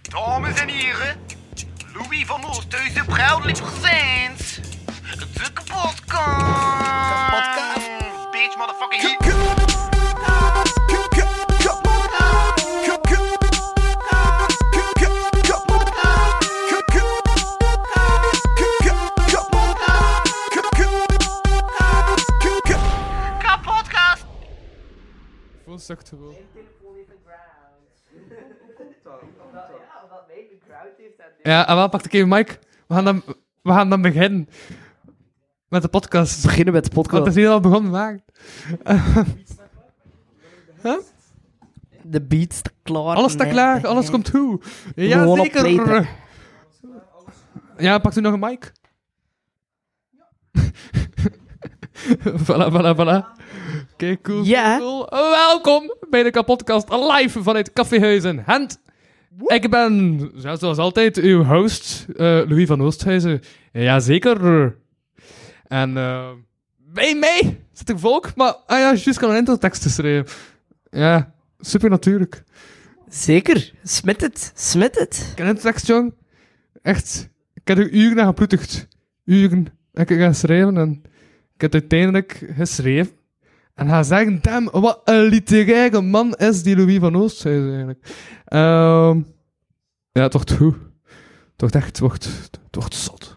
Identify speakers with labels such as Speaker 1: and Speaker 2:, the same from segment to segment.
Speaker 1: Dames en heren, Louis van Oosthuizen, proudly presents de kapotkast.
Speaker 2: Kapotkast.
Speaker 1: Bitch, motherfucker, hier. Kapotkast.
Speaker 3: Vol zakt gewoon.
Speaker 4: Ja, omdat mij de crowd heeft en dit.
Speaker 3: Ja, en wel, pak de keer Mike. We gaan, dan, we gaan dan beginnen met de podcast.
Speaker 2: Beginnen met de
Speaker 3: Want het
Speaker 2: podcast.
Speaker 3: is hier al begonnen maken.
Speaker 2: De beat staat klaar.
Speaker 3: Alles staat klaar, alles komt toe. Ja,
Speaker 2: Gewoon
Speaker 3: zeker.
Speaker 2: opletten.
Speaker 3: Ja, pak toen nog een mic. voilà, voilà, voilà. Oké, cool.
Speaker 2: Ja.
Speaker 3: cool. Welkom bij de kapotkast live vanuit Caféhuizen Gent. Ik ben, ja, zoals altijd, uw host, eh, Louis van Oosthuizen. Jazeker. En eh, bij mij zit een volk, maar ah ja, juist kan een introtekst te schrijven. Ja, super natuurlijk.
Speaker 2: Zeker. Smit het. Smit het.
Speaker 3: Ik ken het echt, jong. Echt. Ik heb er uren naar geploetigd. Uren. En ik heb gaan schrijven en ik heb het uiteindelijk geschreven. En ga zeggen, damn, wat een literaire man is die Louis van Oosthuizen eigenlijk. Ehm, ja, het wordt goed. Het wordt echt, het wordt, het wordt zot.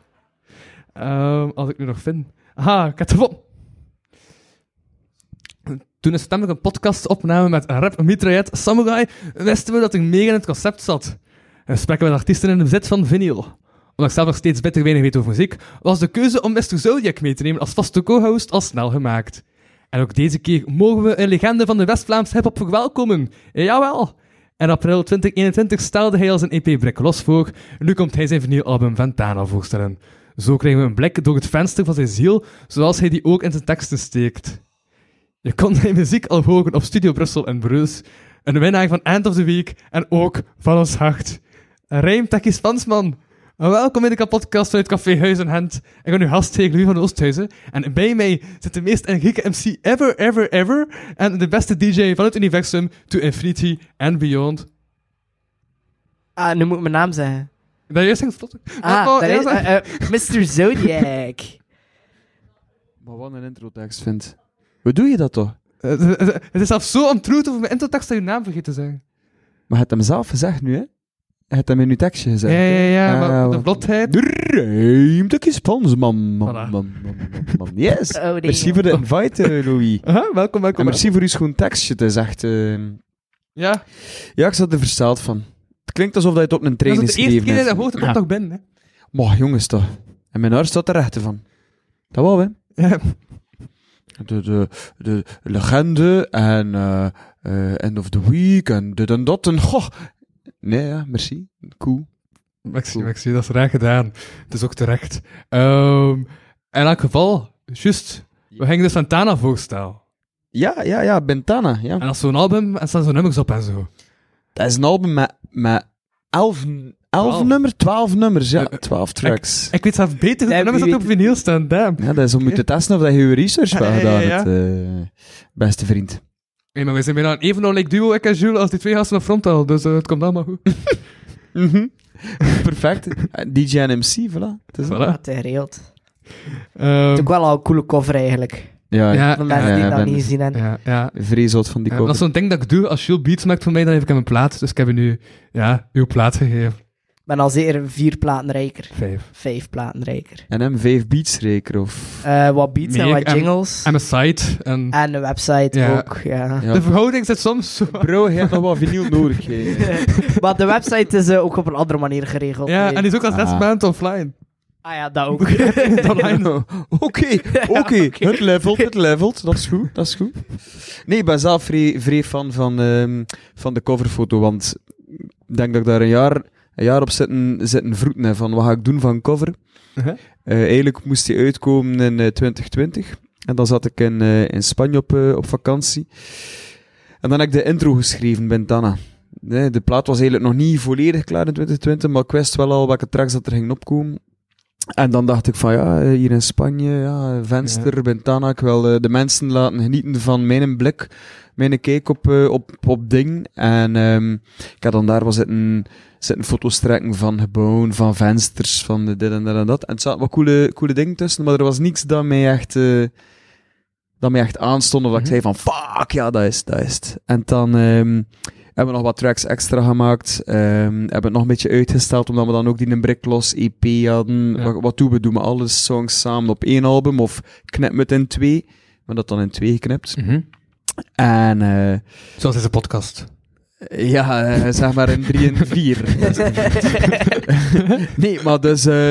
Speaker 3: Ehm, als ik nu nog vind. Aha, ik heb het gevonden. Toen in september een podcast opname met rap mitraillet Samurai, wisten we dat ik meer in het concept zat. En gesprekken met artiesten in de bezit van vinyl. Omdat ik zelf nog steeds bitter weinig weet over muziek, was de keuze om Mr. Zodiac mee te nemen als vaste co-host al snel gemaakt. En ook deze keer mogen we een legende van de West-Vlaams hip-hop verwelkomen. Jawel! In april 2021 stelde hij al zijn EP Brek Los voor. Nu komt hij zijn vinylalbum Ventana voorstellen. Zo krijgen we een blik door het venster van zijn ziel, zoals hij die ook in zijn teksten steekt. Je kon zijn muziek al horen op Studio Brussel en Bruges. Een winnaar van End of the Week en ook van ons hart. Rijm Takis Pansman. Welkom in de kapotkast vanuit Café Huis en Hand. Ik ben uw gastheer Louis van Oosthuizen. En bij mij zit de meest energieke MC ever, ever, ever. En de beste DJ van het universum, To Infinity and Beyond.
Speaker 2: Ah, nu moet ik mijn naam zeggen.
Speaker 3: Dat is echt vlot.
Speaker 2: Ah,
Speaker 3: Oh,
Speaker 2: daar
Speaker 3: ja,
Speaker 2: is...
Speaker 3: zeg.
Speaker 2: eh, eh, Mr. Zodiac.
Speaker 5: Maar wat een introtekst vindt. Hoe doe je dat toch?
Speaker 3: Het- het- Het is zelfs zo ontroerd over mijn introtekst dat je naam vergeten te zeggen.
Speaker 5: Maar je hebt hem zelf gezegd nu, hè? Je hebt hem in je tekstje gezegd.
Speaker 3: Ja, ja, ja,
Speaker 5: Ah,
Speaker 3: maar de
Speaker 5: wat-
Speaker 3: vlotheid.
Speaker 5: De ruimte is van ons, man, man,
Speaker 3: Voilà.
Speaker 5: man, man, man, man. Yes!
Speaker 2: Oh, nee.
Speaker 5: Merci voor de invite, eh, Louis.
Speaker 3: Aha, welkom,
Speaker 5: En
Speaker 3: welkom.
Speaker 5: merci voor uw schoon tekstje, het is echt... eh,
Speaker 3: Ja,
Speaker 5: Ja, ik zat er versteld van. Het klinkt alsof dat je het op een
Speaker 3: dat
Speaker 5: trein
Speaker 3: is de
Speaker 5: geschreven
Speaker 3: eerste keer dat je
Speaker 5: hebt.
Speaker 3: dat hoort. Dat
Speaker 2: Ah.
Speaker 3: komt
Speaker 5: Ja.
Speaker 3: toch binnen, hè?
Speaker 5: Maar jongens toch. En mijn haar staat er rechter van. Dat wel, hè?
Speaker 3: Ja.
Speaker 5: De, de, de legende en eh, eh, end of the week en dit en dat en goh. Nee, ja, merci. Cool.
Speaker 3: Maxi,
Speaker 5: Cool.
Speaker 3: Maxi, dat is raar gedaan. Het is ook terecht. Ehm, in elk geval, juist, we gingen de Santana voorstel.
Speaker 5: Ja, ja, ja, Bentana. Ja.
Speaker 3: En als zo'n album, en staan zo'n nummers op en zo.
Speaker 5: Dat is een album met, met elf, elf
Speaker 3: Twaalf.
Speaker 5: nummers, twaalf nummers, ja,
Speaker 3: Eh, eh,
Speaker 5: twaalf tracks.
Speaker 3: Ik weet zelf beter hoe
Speaker 2: Nee,
Speaker 3: de nummers dat
Speaker 2: wie
Speaker 3: op vinyl staan, damn.
Speaker 5: ja, dat is om
Speaker 3: oké.
Speaker 5: moeten testen of dat je je research wel
Speaker 3: Ja, ja,
Speaker 5: gedaan
Speaker 3: ja, ja.
Speaker 5: hebt, eh, beste vriend.
Speaker 3: Nee, maar wij zijn bijna een evenoudig duo, ik en Jules, als die twee gasten op frontaal, dus eh, het komt allemaal goed.
Speaker 5: Perfect. Eh, DJ en MC, voilà. Het is
Speaker 3: Voilà.
Speaker 2: Wat een reelt.
Speaker 3: Ehm,
Speaker 2: Het is ook wel al een coole cover eigenlijk.
Speaker 5: Ja,
Speaker 3: ja,
Speaker 2: Van
Speaker 3: ja,
Speaker 2: mensen die
Speaker 5: ja,
Speaker 2: het
Speaker 5: ben-
Speaker 2: nog niet gezien hebben.
Speaker 3: ja, ja.
Speaker 5: vreesot van die
Speaker 3: Eh, dat is
Speaker 5: koper.
Speaker 3: zo'n ding dat ik doe, als Jules beats maakt voor mij, dan heb ik hem een plaat. Dus ik heb u nu, ja, uw plaat gegeven.
Speaker 2: Ik ben al zeker vier platen rijker.
Speaker 3: Vijf.
Speaker 2: Vijf platen rijker.
Speaker 5: En hem vijf beats reker, of...
Speaker 2: Eh, wat beats en
Speaker 3: Meer
Speaker 2: wat
Speaker 3: en-
Speaker 2: jingles.
Speaker 3: En een site, en...
Speaker 2: En een website
Speaker 3: Ja.
Speaker 2: ook, ja.
Speaker 5: Ja.
Speaker 3: De verhouding zit soms zo...
Speaker 5: Bro, je hebt Oh, nog wel vinyl nodig. hè.
Speaker 2: maar de website is eh, ook op een andere manier geregeld.
Speaker 3: Ja, en
Speaker 2: Nee.
Speaker 3: die is ook als
Speaker 5: Ah.
Speaker 3: restmaand offline.
Speaker 2: Ah ja, dat ook.
Speaker 5: Oké, oké. Het levelt, het levelt. Dat is goed, dat is goed. Nee, ik ben zelf vrij, vrij fan van, ehm, van de coverfoto, want ik denk dat ik daar een jaar, een jaar op zitten, zitten vroeten heb van wat ga ik doen van cover.
Speaker 3: Uh-huh.
Speaker 5: Eh, eigenlijk moest die uitkomen in eh, 2020. En dan zat ik in, eh, in Spanje op, eh, op vakantie. En dan heb ik de intro geschreven, Bentana. Nee, de plaat was eigenlijk nog niet volledig klaar in 2020, maar ik wist wel al welke tracks dat er gingen opkomen. En dan dacht ik van ja, eh, hier in Spanje, ja, venster, Bintana, ik wil eh, de mensen laten genieten van mijn blik, mijn kijk op, eh, op, op ding. En ehm, ik had dan daar wel zitten, zitten foto's trekken van gebouwen, van vensters, van de dit en dat en dat. En het zaten wat coole, coole dingen tussen, maar er was niets dat mij echt, eh, dat mij echt aanstond of dat ik zei van fuck, ja, dat is, dat is het. En dan... ehm, hebben we nog wat tracks extra gemaakt. ehm, hebben het nog een beetje uitgesteld, omdat we dan ook die een Bricklos EP hadden.
Speaker 3: Ja.
Speaker 5: Wat, wat doen we? Doen we alle songs samen op één album of knippen we het in twee? We hebben dat dan in twee geknipt. En eh,
Speaker 3: Mhm. Zoals deze podcast.
Speaker 5: ja, eh, zeg maar in drie en vier. nee, maar dus... eh,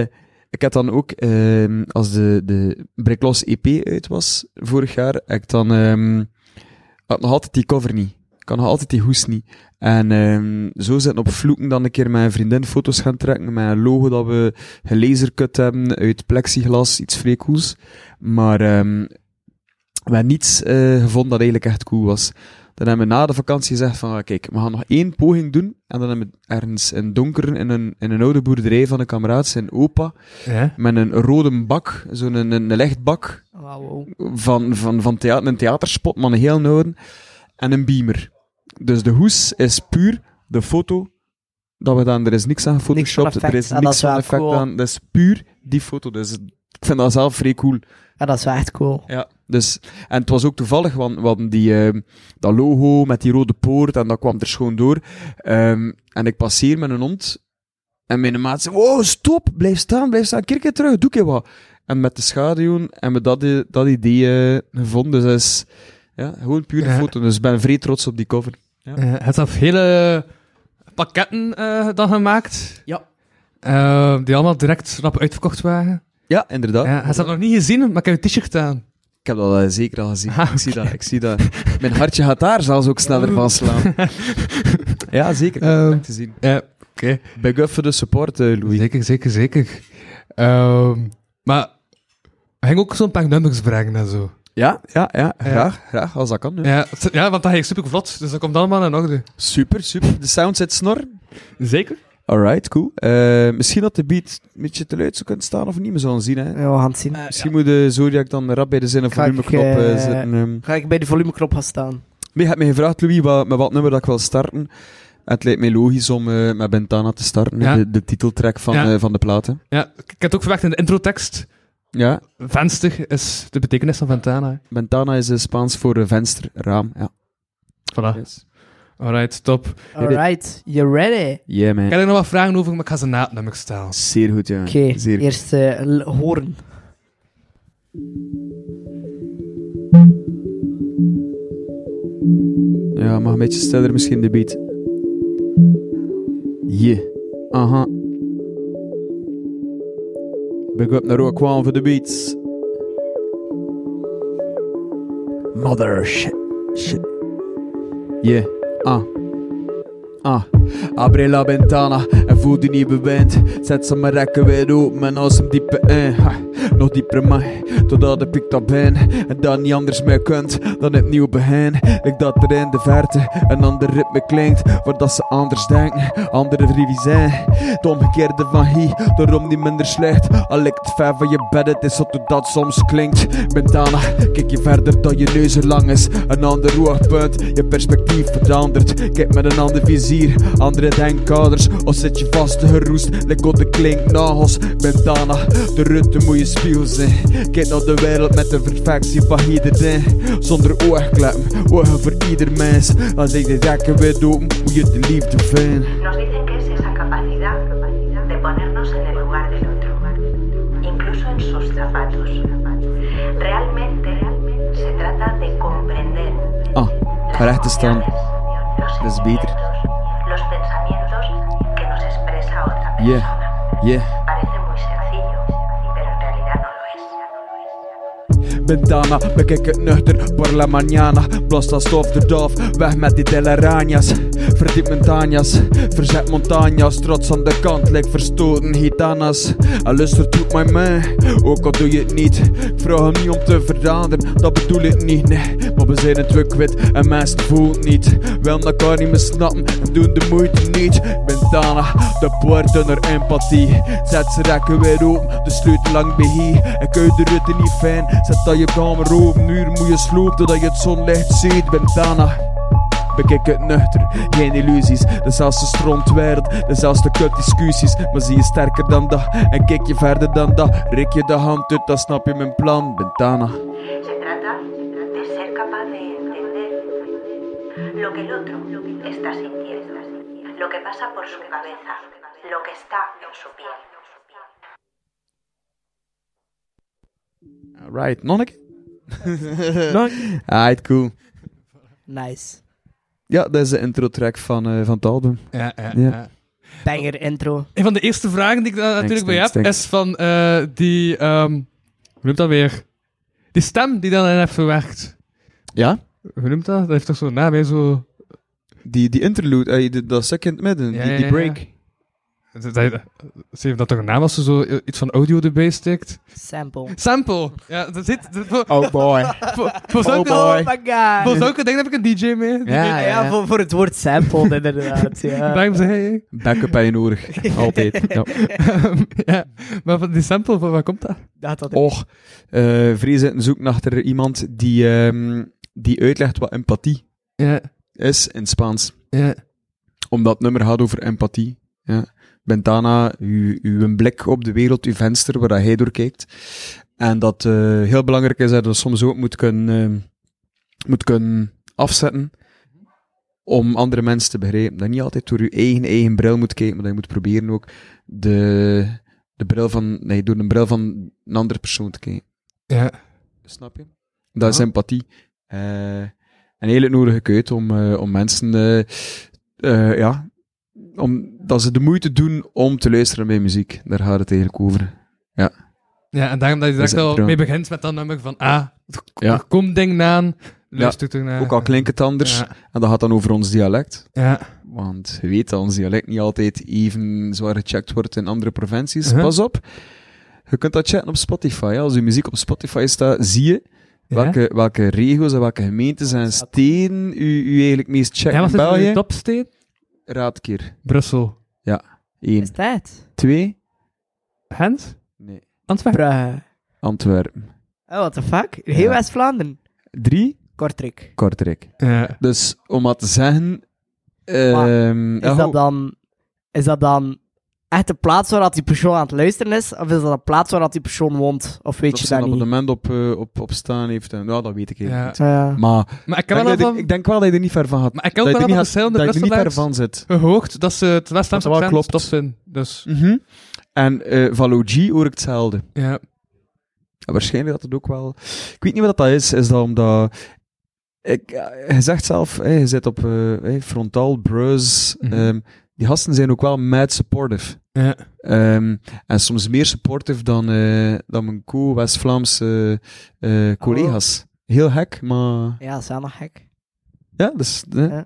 Speaker 5: eh, ik heb dan ook, ehm, als de, de Bricklos EP uit was vorig jaar, heb ik dan ehm, had nog altijd die cover niet. Ik had nog altijd die hoes niet. En ehm, zo zitten op vloeken dan een keer met een vriendin foto's gaan trekken met een logo dat we gelasercut hebben uit plexiglas, iets vrij cools. Maar ehm, we hebben niets eh, gevonden dat eigenlijk echt cool was. Dan hebben we na de vakantie gezegd van, ah, kijk, we gaan nog één poging doen. En dan hebben we ergens in donker, in een, in een oude boerderij van een kameraad, zijn opa,
Speaker 3: Ja.
Speaker 5: met een rode bak, zo'n een, een lichtbak,
Speaker 2: Wow.
Speaker 5: van, van, van theater, een theaterspot, maar een heel oude, en een beamer. Dus de hoes is puur de foto dat we dan, er is niks aan gefotoshopt,
Speaker 2: Niks van
Speaker 5: er is
Speaker 2: effect. Ah, dat
Speaker 5: niks
Speaker 2: is
Speaker 5: van
Speaker 2: wel
Speaker 5: effect
Speaker 2: cool.
Speaker 5: aan, dat is puur die foto. Dus ik vind dat zelf vrij cool.
Speaker 2: Ja, dat is wel echt cool.
Speaker 5: Ja. Dus, en het was ook toevallig, want we hadden die, ehm, dat logo met die rode poort en dat kwam er schoon door. Ehm, en ik passeer met een hond en mijn maat zei, wow, stop, blijf staan, blijf staan, keer keer terug, doe keer wat. En met de schaduwen hebben we dat, i- dat idee eh, gevonden. Dus dat is ja, gewoon puur een
Speaker 3: Ja.
Speaker 5: foto. Dus ik ben vrij trots op die cover.
Speaker 3: Eh, het heeft hele pakketten eh, dan gemaakt.
Speaker 2: Ja.
Speaker 3: Eh, die allemaal direct rap uitverkocht waren.
Speaker 5: Ja, inderdaad.
Speaker 3: Ja, hij had dat nog niet gezien, maar ik heb een t-shirt aan.
Speaker 5: Ik heb dat eh, zeker al gezien.
Speaker 3: Ah,
Speaker 5: Ik zie dat, ik zie dat. Mijn hartje gaat daar zelfs ook sneller van slaan. ja, zeker.
Speaker 3: Ehm,
Speaker 5: Leuk te zien.
Speaker 3: Ja, oké.
Speaker 5: Big up voor de support, eh, Louis.
Speaker 3: Zeker, zeker, zeker. Ehm, maar hij ging ook zo'n paar nummers brengen en zo.
Speaker 5: Ja, ja, ja,
Speaker 3: Ja.
Speaker 5: graag, graag, als dat kan. ja.
Speaker 3: Ja, t- ja want dat ging super vlot, dus dat komt allemaal in orde.
Speaker 5: Super, super. De sound zit snor.
Speaker 3: Zeker?
Speaker 5: Alright, cool. Eh, misschien dat de beat een beetje te luid zou kunnen staan of niet, we zullen zien. Hè.
Speaker 2: Ja, we gaan het zien.
Speaker 5: Misschien moet de Zodiac dan rap bij de zin of
Speaker 2: Ga ik,
Speaker 5: volumeknop eh,
Speaker 2: eh,
Speaker 5: zetten. ehm.
Speaker 2: Ga ik bij de volumeknop gaan staan.
Speaker 5: Nee, je hebt mij gevraagd, Louis, wat, met wat nummer dat ik wil starten. En het lijkt mij logisch om eh, met Bentana te starten,
Speaker 3: Ja.
Speaker 5: de, de titeltrack van,
Speaker 3: Ja.
Speaker 5: eh, van de platen.
Speaker 3: Ja, ik ik heb het ook verwacht in de introtekst.
Speaker 5: Ja,
Speaker 3: Venster is de betekenis van Ventana.
Speaker 5: Bentana is eh, Spaans voor eh, venster, raam. Ja.
Speaker 3: Voilà.
Speaker 5: Yes.
Speaker 3: Alright, top.
Speaker 2: Alright, you ready?
Speaker 5: Yeah, man.
Speaker 3: Ik heb er nog wat vragen over, maar ik ga ze na het nummer stellen.
Speaker 5: Zeer goed, ja.
Speaker 2: Oké,
Speaker 5: Zeer goed.
Speaker 2: eerst eh, l- horen.
Speaker 5: Ja, mag een beetje stiller misschien de beat. Yeah. Aha. Big up naar Roquan voor de beats. Mother shit. Shit. Yeah. Ah. Ah, abre la ventana en voel die nieuwe wind. Zet ze mijn rekken weer op, mijn asem diepe in. Ha, nog dieper in mij, totdat ik dat ben. En dat niet anders meer kunt dan het nieuwe begin. Ik dat er in de verte een ander ritme klinkt. Waar dat ze anders denken, andere rivie zijn. Het omgekeerde van hier, daarom niet minder slecht. Al ligt het ver van je bed, het is zo hoe dat soms klinkt. Mentana, kijk je verder dan je neus er lang is. Een ander oogpunt, je perspectief verandert. Kijk met een ander vizier, andere denkkaders. Of zit je vast geroest, lik op de klinknagels. Mentana, de rutte moet je spiegel zijn. Kijk naar de wereld met de perfectie van iedereen. Zonder oogkleppen, ogen voor ieder mens. Als ik de dekken weer open, hoe je de liefde vindt.
Speaker 6: Nos dicen que es esa capacidad de ponernos en el lugar del otro, incluso en sus zapatos. Realmente se trata de comprender
Speaker 5: Ah, ik ga recht te staan.
Speaker 6: emociones, los
Speaker 5: That's better.
Speaker 6: sentimientos, los pensamientos que nos expresa otra persona.
Speaker 5: Yeah, yeah.
Speaker 6: Parece muy sencillo, pero en realidad no lo es.
Speaker 5: Bandana, bekijk het nuchter, por la mañana Blast als stof de doof, weg met die telarañas Verdiep montañas, verzet montañas Trots aan de kant, lijkt verstoten gitanas En luistert goed mij mee, ook al doe je het niet Ik vraag hem niet om te veranderen, dat bedoel ik niet nee. Maar we zijn het weer kwijt en mensen voelt niet. Wel dat kan niet meer snappen en doen de moeite niet. Bentana, de poort naar empathie. Zet ze rekken weer open, de sleutel lang bij hier. Ik uit de rutte niet fijn, zet dat je kamer open. Nu moet je slopen totdat je het zonlicht ziet. Bentana. Bekijk het nuchter, geen illusies. Dat is als de strontwereld, dat is als de kutdiscussies. Maar zie je sterker dan dat en kijk je verder dan dat. Rek je de hand uit, dan snap je mijn plan. Bentana.
Speaker 6: Se trata de ser capaz de entender lo que el otro está sintiendo, lo que pasa por su cabeza, lo que está en su piel.
Speaker 5: Right, nog een keer? Eh.
Speaker 2: Nog-
Speaker 5: Alright, Ah, cool.
Speaker 2: Nice.
Speaker 5: Ja, dat is de intro track van, eh, van het album.
Speaker 3: Ja, ja,
Speaker 5: Ja.
Speaker 3: ja.
Speaker 2: Banger intro.
Speaker 3: Een van de eerste vragen die ik daar natuurlijk bij
Speaker 5: thanks,
Speaker 3: heb,
Speaker 5: thanks.
Speaker 3: is van eh, die... ehm, hoe noemt dat weer? Die stem die dan in heeft verwerkt.
Speaker 5: Ja?
Speaker 3: Hoe noemt dat? Dat heeft toch zo'n naam, hè? Zo...
Speaker 5: Die, die interlude, eh, die- dat stukje in het midden,
Speaker 3: Ja,
Speaker 5: die,
Speaker 3: ja,
Speaker 5: die
Speaker 3: ja,
Speaker 5: break.
Speaker 3: Dat, dat, ze heeft dat toch een naam als ze zo iets van audio erbij steekt?
Speaker 2: Sample.
Speaker 3: Sample! Ja, dat zit... dat- voor,
Speaker 5: Oh boy.
Speaker 3: voor, voor
Speaker 5: Oh
Speaker 3: zulke,
Speaker 5: boy.
Speaker 2: Oh my god.
Speaker 3: voor zulke dingen heb ik een DJ mee.
Speaker 5: Ja, ja,
Speaker 2: Ja, voor, voor het woord sample inderdaad. Ja.
Speaker 3: Daarom zei ik.
Speaker 5: Backup heb je nodig. Altijd. Ja.
Speaker 3: ja, maar van die sample, van waar komt dat?
Speaker 2: Dat had ik.
Speaker 5: Och, eh Vrees zit een zoek achter iemand die, ehm, die uitlegt wat empathie
Speaker 3: Ja,
Speaker 5: is in Spaans.
Speaker 3: ja.
Speaker 5: Omdat het nummer gaat over empathie. Ja. Bentana, uw, uw blik op de wereld, uw venster waar dat hij door kijkt. En dat eh, heel belangrijk is dat je dat soms ook moet kunnen, ehm, moet kunnen afzetten om andere mensen te begrijpen. Dat je niet altijd door je eigen, eigen bril moet kijken, maar dat je moet proberen ook de, de bril van, nee, door de bril van een andere persoon te kijken.
Speaker 3: ja.
Speaker 5: Snap je? Dat is empathie. Eh, een hele nodige keut om, eh, om mensen, eh, eh, ja, om, dat ze de moeite doen om te luisteren bij muziek. Daar gaat het eigenlijk over.
Speaker 3: Ja, en daarom dat je direct
Speaker 5: Dat is
Speaker 3: al
Speaker 5: intro.
Speaker 3: mee begint met dat nummer van, ah,
Speaker 5: Ja.
Speaker 3: er komt ding na, luister er naar.
Speaker 5: Ook al klinkt het anders,
Speaker 3: Ja,
Speaker 5: en dat gaat dan over ons dialect.
Speaker 3: ja.
Speaker 5: Want je weet dat ons dialect niet altijd even zwaar gecheckt wordt in andere provincies.
Speaker 3: Uh-huh.
Speaker 5: Pas op, je kunt dat checken op Spotify. hè. Als je muziek op Spotify staat, zie je welke, welke regio's en welke gemeentes en steden u, u eigenlijk meest checken
Speaker 3: Ja,
Speaker 5: in
Speaker 3: was het in de
Speaker 5: België.
Speaker 3: topsteen?
Speaker 5: Raad keer.
Speaker 3: Brussel.
Speaker 5: 1,
Speaker 2: Is dat?
Speaker 5: 2,
Speaker 3: Gent?
Speaker 5: nee.
Speaker 3: Antwerpen?
Speaker 2: Brugge.
Speaker 5: Antwerpen.
Speaker 2: Oh, what the fuck? Heel
Speaker 5: Ja.
Speaker 2: West-Vlaanderen.
Speaker 5: 3,
Speaker 2: Kortrijk.
Speaker 5: Kortrijk.
Speaker 3: Ja.
Speaker 5: Dus om maar te zeggen.
Speaker 2: Maar
Speaker 5: ehm,
Speaker 2: Is
Speaker 5: ja,
Speaker 2: dat
Speaker 5: goh,
Speaker 2: dan... Is dat dan echt de plaats waar dat die persoon aan het luisteren is? Of is dat de plaats waar dat die persoon woont? Of weet
Speaker 5: dat
Speaker 2: je
Speaker 5: ze een
Speaker 2: dat niet?
Speaker 5: abonnement op, eh, op, op staan heeft. En, ja, dat weet ik eigenlijk
Speaker 3: Ja.
Speaker 5: niet.
Speaker 2: Ja.
Speaker 5: Maar
Speaker 3: Maar ik heb
Speaker 5: denk
Speaker 3: wel al
Speaker 5: dat je-
Speaker 3: van,
Speaker 5: ik denk wel dat je er niet ver van gaat.
Speaker 3: maar ik heb
Speaker 5: Dat
Speaker 3: ook
Speaker 5: je er
Speaker 3: wel
Speaker 5: niet
Speaker 3: van
Speaker 5: gaat-
Speaker 3: verschillende
Speaker 5: dat je er niet ver
Speaker 3: Brusselaars
Speaker 5: van zit.
Speaker 3: gehoord dat ze het West-Vlaamse
Speaker 5: Dat wel
Speaker 3: accent
Speaker 5: klopt.
Speaker 3: tof vinden. Dus,
Speaker 5: Mhm. En eh van Logie hoor ik hetzelfde.
Speaker 3: ja.
Speaker 5: Ja, waarschijnlijk dat het ook wel. Ik weet niet wat dat is. Is dat omdat. Ik, ja, je zegt zelf, hey, je zit op eh, hey, frontaal, brus.
Speaker 3: Mhm.
Speaker 5: ehm, die gasten zijn ook wel mad supportive.
Speaker 3: Ja.
Speaker 5: Ehm, en soms meer supportive dan, eh, dan mijn co-West-Vlaamse eh, eh, collega's. Heel gek, maar.
Speaker 2: Ja, dat is wel nog gek.
Speaker 5: Ja, dus. eh.
Speaker 2: Ja.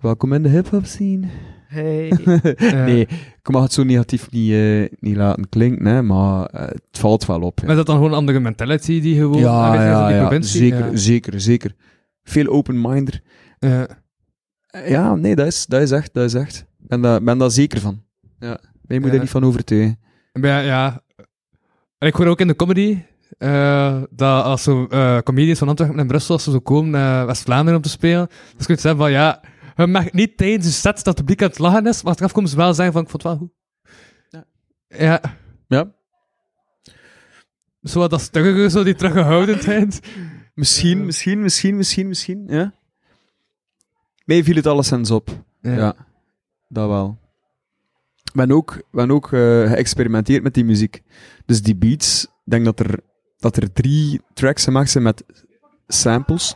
Speaker 5: Welkom in de hip-hop scene.
Speaker 2: Hey.
Speaker 5: Nee, ik mag het zo negatief niet, eh, niet laten klinken, hè, maar eh, het valt wel op. hè.
Speaker 3: Maar dat dan gewoon een andere mentality die gewoon
Speaker 5: Ja,
Speaker 3: aanwezig is in
Speaker 5: ja,
Speaker 3: die
Speaker 5: ja,
Speaker 3: provincie?
Speaker 5: zeker,
Speaker 3: Ja.
Speaker 5: zeker, zeker. Veel open-minder.
Speaker 3: Ja.
Speaker 5: Eh, Ja, nee, dat is, dat is echt, dat is echt. Ik ben daar ben daar zeker van. Ja, mij moet
Speaker 3: Ja.
Speaker 5: er niet van overtuigen.
Speaker 3: Maar Ja, ja. En ik hoor ook in de comedy eh, dat als zo eh, comedians van Antwerpen en Brussel, als ze zo komen naar West-Vlaanderen om te spelen, dan kun je zeggen van ja, je mag niet tijdens je set dat het publiek aan het lachen is, maar achteraf komen ze wel zeggen van ik vond het wel goed.
Speaker 5: Ja.
Speaker 3: Ja.
Speaker 5: Ja.
Speaker 3: Zo wat dat stugger, zo die teruggehoudendheid.
Speaker 5: Misschien,
Speaker 3: Ja.
Speaker 5: misschien, misschien, misschien, misschien, ja. Mij viel het alleszins op. Ja. dat wel. We hebben ook, we hebben ook eh, geëxperimenteerd met die muziek. Dus die beats, ik denk dat er, dat er drie tracks gemaakt zijn met samples.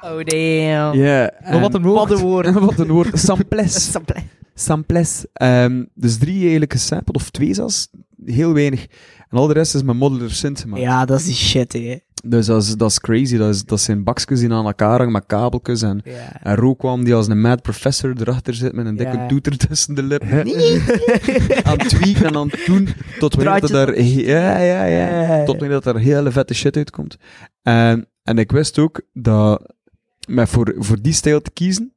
Speaker 2: Oh, damn.
Speaker 5: Ja.
Speaker 3: Maar wat een woord.
Speaker 2: Wat een woord.
Speaker 5: Wat een woord. Samples.
Speaker 2: Sample.
Speaker 5: Samples. Ehm, dus drie eigenlijk gesampled, of twee zelfs. Heel weinig. En al de rest is met modular synth gemaakt.
Speaker 2: Ja, dat is die shit, hè.
Speaker 5: Dus dat is, dat is crazy. Dat, is, dat zijn bakjes die aan elkaar hangen met kabeltjes. En,
Speaker 2: Ja.
Speaker 5: en Ro kwam die als een mad professor erachter zit met een dikke
Speaker 2: Ja.
Speaker 5: toeter tussen de lippen. aan het tweaken en aan het doen. Tot wanneer dat
Speaker 2: Draadjes
Speaker 5: er, ja, ja, ja,
Speaker 2: Ja, ja, ja.
Speaker 5: Tot wanneer dat er hele vette shit uitkomt. En, En ik wist ook dat met voor, voor die stijl te kiezen,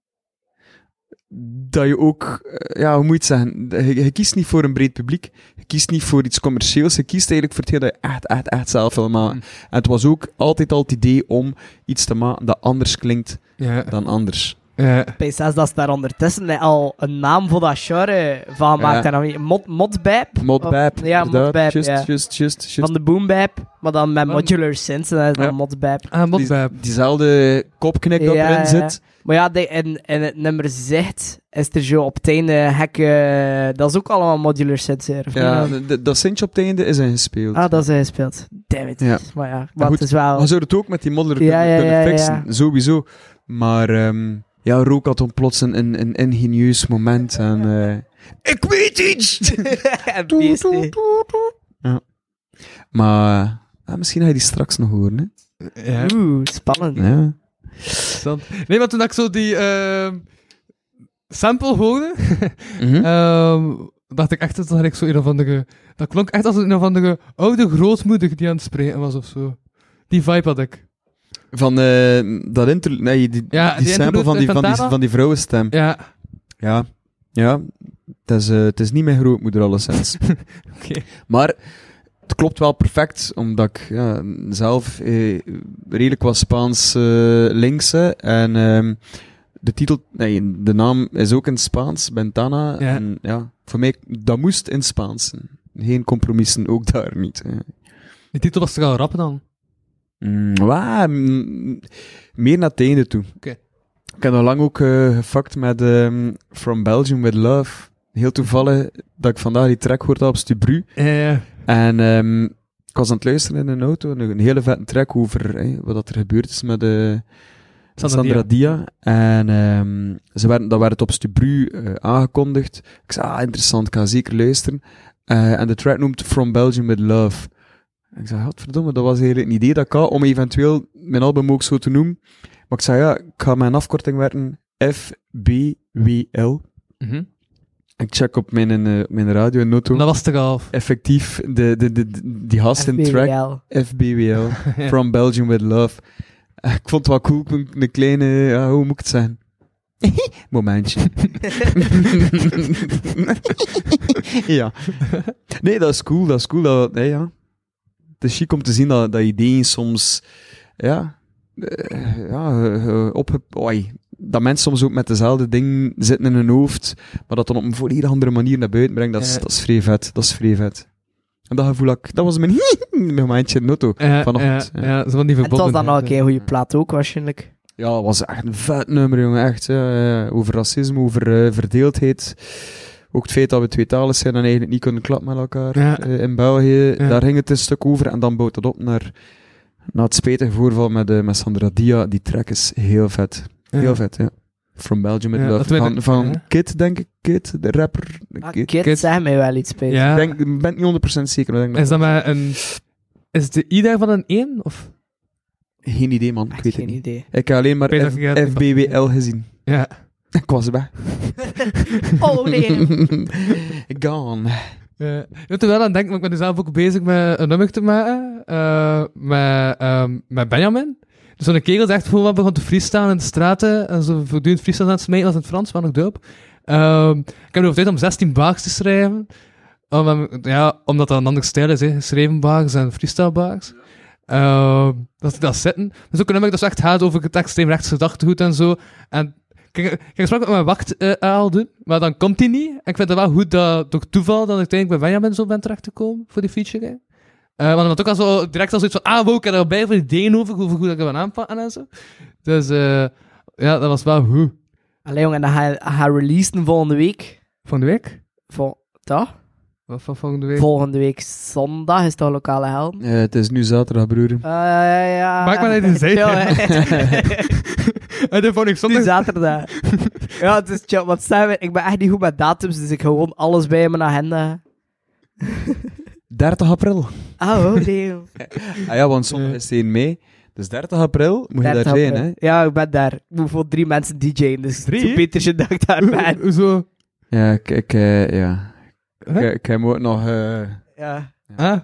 Speaker 5: dat je ook, eh, ja, hoe moet je het zeggen? Je, je kiest niet voor een breed publiek, je kiest niet voor iets commercieels, je kiest eigenlijk voor hetgeen dat je echt, echt, echt zelf wil maken.
Speaker 3: Mm.
Speaker 5: En het was ook altijd al het idee om iets te maken dat anders klinkt
Speaker 3: Ja.
Speaker 5: dan anders.
Speaker 3: Ja.
Speaker 2: P6, dat is daar ondertussen al een naam voor dat genre van
Speaker 5: Ja.
Speaker 2: maakt. En dan weer Mod, modbap?
Speaker 5: Modbap,
Speaker 2: Of- Ja,
Speaker 5: inderdaad.
Speaker 2: modbap,
Speaker 5: Just,
Speaker 2: ja.
Speaker 5: just, just, just.
Speaker 2: Van de boombap, maar dan met
Speaker 3: Van-
Speaker 2: modular synths en dat is dan
Speaker 5: Ja.
Speaker 2: modbap.
Speaker 3: Ah,
Speaker 5: Die-
Speaker 3: Modbab.
Speaker 5: diezelfde kopknik dat
Speaker 2: Ja,
Speaker 5: erin
Speaker 2: ja.
Speaker 5: zit.
Speaker 2: Maar ja, die- in, in het nummer zegt is er zo op het einde hekken... Dat is ook allemaal modular synths, hè, of
Speaker 5: Ja,
Speaker 2: niet?
Speaker 5: d- d- dat Sintje op het einde is ingespeeld.
Speaker 2: Ah, dat is hij speelt. Damn it.
Speaker 5: Ja.
Speaker 2: Maar ja, maar
Speaker 5: goed,
Speaker 2: het is wel...
Speaker 5: Maar zou het ook met die modder
Speaker 2: Ja, ja,
Speaker 5: kunnen
Speaker 2: ja,
Speaker 5: fixen,
Speaker 2: ja.
Speaker 5: sowieso. Maar ehm, ja, Rook had dan plots een, een, een ingenieus moment en... eh, ik weet iets!
Speaker 2: En BST.
Speaker 5: Ja. Maar eh, misschien ga je die straks nog horen, hè?
Speaker 3: Ja.
Speaker 2: Oeh, spannend.
Speaker 5: Ja.
Speaker 3: Interessant. Nee, maar toen dat ik zo die ehm, sample hoorde,
Speaker 5: Mhm.
Speaker 3: ehm, dacht ik echt dat dat ik zo een of andere... Dat klonk echt als een of andere oude grootmoeder die aan het spreken was of zo. Die vibe had ik.
Speaker 5: Van eh, dat intro... Nee, die,
Speaker 3: Ja,
Speaker 5: die,
Speaker 3: die
Speaker 5: sample
Speaker 3: interlude
Speaker 5: van die, van, die,
Speaker 3: Cantata?
Speaker 5: van die vrouwenstem.
Speaker 3: Ja.
Speaker 5: Ja. Ja. Het is, eh, het is niet mijn grootmoeder, alleszins.
Speaker 3: Oké.
Speaker 5: Maar het klopt wel perfect, omdat ik ja, zelf eh, redelijk was Spaans eh, linkse. En ehm, de titel, nee, de naam is ook in het Spaans, Bentana.
Speaker 3: Ja.
Speaker 5: En ja, voor mij, dat moest in het Spaans. zijn. Geen compromissen, ook daar niet. hè.
Speaker 3: Die titel was toch al rap dan?
Speaker 5: Mm, wa- mm, meer naar het einde toe.
Speaker 3: Oké.
Speaker 5: Ik heb al lang ook eh gefakt met ehm, From Belgium with Love. Heel toevallig dat ik vandaag die track hoorde op Stubru.
Speaker 3: Eh,
Speaker 5: En ehm, ik was aan het luisteren in een auto, een, een hele vette track over hè, wat dat er gebeurd is met eh, Sandra,
Speaker 3: Sandra
Speaker 5: Dia. En ehm, ze werden, dat werd het op Stubru eh, aangekondigd. Ik zei, ah, interessant, ik ga zeker luisteren. Eh, en de track noemt From Belgium With Love. En ik zei, godverdomme, dat was eigenlijk een idee dat ik had om eventueel mijn album ook zo te noemen. Maar ik zei, ja, ik ga mijn afkorting werken FBWL.
Speaker 3: Mhm.
Speaker 5: En ik check op mijn, eh, op mijn radio en auto.
Speaker 3: Dat was toch al...
Speaker 5: Effectief, de, de, de, de- die gast in track
Speaker 2: FBWL.
Speaker 5: FBWL,
Speaker 3: Ja.
Speaker 5: From Belgium With Love. Eh, Ik vond het wel cool, een, een kleine, ja, hoe moet ik het zijn? Momentje. ja. Nee, dat is cool, dat is cool. Dat, nee, ja. Het is chic om te zien dat, dat ideeën soms, ja, eh, ja eh, opge- oei, dat mensen soms ook met dezelfde dingen zitten in hun hoofd, maar dat dan op een volledig andere manier naar buiten brengt, dat is,
Speaker 3: Ja.
Speaker 5: dat is vrij vet, dat is vrij vet. En dat gevoel had ik, dat was mijn momentje in de auto.
Speaker 3: Eh,
Speaker 5: Vanochtend,
Speaker 3: eh,
Speaker 5: ja.
Speaker 3: ja, zo van die
Speaker 2: En het was
Speaker 3: verbonden.
Speaker 2: dan ook een goede plaat ook, waarschijnlijk.
Speaker 5: Ja, het was echt een vet nummer, jongen. Echt, ja, ja. Over racisme, over eh, verdeeldheid. Ook het feit dat we tweetalig zijn en eigenlijk niet kunnen klappen met elkaar
Speaker 3: Ja.
Speaker 5: eh, in België.
Speaker 3: Ja.
Speaker 5: Daar ging het een stuk over en dan bouwt dat op naar, naar het spijtige voorval met, eh, met Sandra Dia. Die track is heel vet.
Speaker 3: Ja.
Speaker 5: Heel vet, ja. From Belgium with
Speaker 3: Ja,
Speaker 5: Love.
Speaker 3: dat weet
Speaker 5: Van,
Speaker 3: ik,
Speaker 5: van
Speaker 3: ja.
Speaker 5: Kid, denk ik. Kid, de rapper.
Speaker 2: Ah,
Speaker 5: Kid.
Speaker 2: Kid,
Speaker 3: Kid.
Speaker 2: zeg mij wel iets, Peter.
Speaker 3: Ja.
Speaker 5: Ik denk, ik ben niet 100% zeker. maar ik denk
Speaker 3: Is dat maar een... Is de I daarvan een 1? Of...
Speaker 5: dat- Geen idee, man. Ik
Speaker 2: Echt
Speaker 5: weet
Speaker 2: Ah, geen
Speaker 5: het niet.
Speaker 2: idee.
Speaker 5: Ik heb alleen maar
Speaker 3: Peter,
Speaker 5: F-
Speaker 3: ik heb het niet-
Speaker 5: FBWL gezien.
Speaker 3: Ja.
Speaker 5: Ik was weg.
Speaker 2: Oh, nee.
Speaker 5: Gone.
Speaker 3: Ja. Je moet er wel aan denken, want ik ben zelf ook bezig met een nummer te maken. eh, met, ehm, met Benjamin. Dus zo'n kerel die echt gewoon wat begon te freestylen in de straten. En zo voortdurend freestyle aan het smijten was in het Frans, maar nog doop. Ehm, ik heb er tijd om 16 baars te schrijven. Om hem- ja, omdat dat een ander stijl is, hè. geschreven baars en freestyle baars. Ehm, dat ze dat zitten. Dus ook een nummer dat zo echt gaat over het extreemrechts gedachtegoed en zo. En ik ik ging gesprek met mijn wacht eh, al doen, maar dan komt hij niet. En ik vind het wel goed dat door toeval dat ik uiteindelijk bij Benjamin zo ben terechtgekomen voor die feature. Eh want dan had ook al zo, direct al zoiets van, ah, wow, ik heb er bij voor ideeën over, over hoe dat ik het ben aanpakken en zo. Dus eh, ja, dat was wel goed.
Speaker 2: Allee, jongen, dan ga je, ga je releasen volgende week.
Speaker 3: Volgende week?
Speaker 2: Vol toch?
Speaker 3: Wat van volgende week?
Speaker 2: Volgende week zondag is toch lokale helden?
Speaker 5: Eh, het is nu zaterdag, broer.
Speaker 2: Ah, ja, ja.
Speaker 3: Maak maar dat je het zei.
Speaker 2: Chill, hè.
Speaker 3: en dan vond ik
Speaker 2: Nu
Speaker 3: zondag...
Speaker 2: zaterdag. ja, het is chill. Want Sam, ik ben echt niet goed met datums, dus ik hou gewoon alles bij in mijn agenda.
Speaker 5: 30 april.
Speaker 2: Oh, oh, damn.
Speaker 5: Ah ja, want zondag is 1 mei. Dus 30 april moet je
Speaker 2: 30
Speaker 5: daar zijn, hè?
Speaker 2: april. Ja, ik ben daar. Ik moet voor drie mensen DJ'en, dus
Speaker 3: Drie?
Speaker 2: zo beter je dat ik daar ben.
Speaker 3: Zo...
Speaker 5: Ja, ik, ik, eh, ja.
Speaker 3: Huh?
Speaker 5: Ik, ik heb hem ook nog... eh,
Speaker 2: Ja.
Speaker 3: Ah,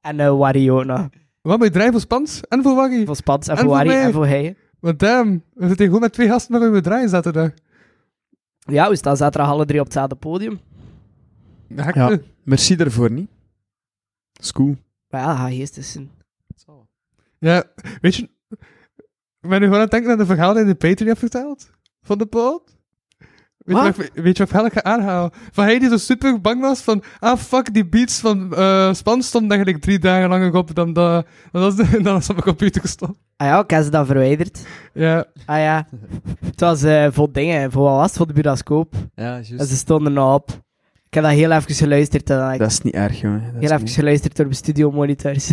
Speaker 2: En eh Wario ook nog.
Speaker 3: Wat bedrijf voor Spans en voor Waggy?
Speaker 2: Voor Spans en
Speaker 3: En
Speaker 2: voor
Speaker 3: voor
Speaker 2: Harry
Speaker 3: mij.
Speaker 2: en voor hij.
Speaker 3: Want damn, we zitten hier gewoon met twee gasten met een bedrijf zaterdag.
Speaker 2: Ja, we staan zaterdag alle drie op hetzelfde podium.
Speaker 3: Hek,
Speaker 5: Ja.
Speaker 3: eh,
Speaker 5: Merci daarvoor, niet? Is cool.
Speaker 2: Maar ja, ga eerst eens zien.
Speaker 3: ja, weet je... Ik ben nu gewoon aan het denken aan de verhaal die de Patreon heeft verteld. Van de pot. Weet je
Speaker 2: Wat?
Speaker 3: wat, ik- weet je wat verhaal ik ga aanhalen? Van hij die zo super bang was van... Ah, fuck, die beats van eh Spans stonden eigenlijk drie dagen langer op dan, dat dan, als de- dan als op mijn computer gestond.
Speaker 2: Ah ja, ik heb ze dan verwijderd.
Speaker 3: Ja.
Speaker 2: Ah ja. het was eh, voor dingen, voor wat was het? Voor de Budascoop.
Speaker 5: Ja,
Speaker 2: En ze stonden er nog op. Ik heb dat heel even geluisterd. En dan heb ik
Speaker 5: Dat is niet erg, jongen. Dat is
Speaker 2: heel even
Speaker 5: niet-
Speaker 2: geluisterd door mijn studiomonitors.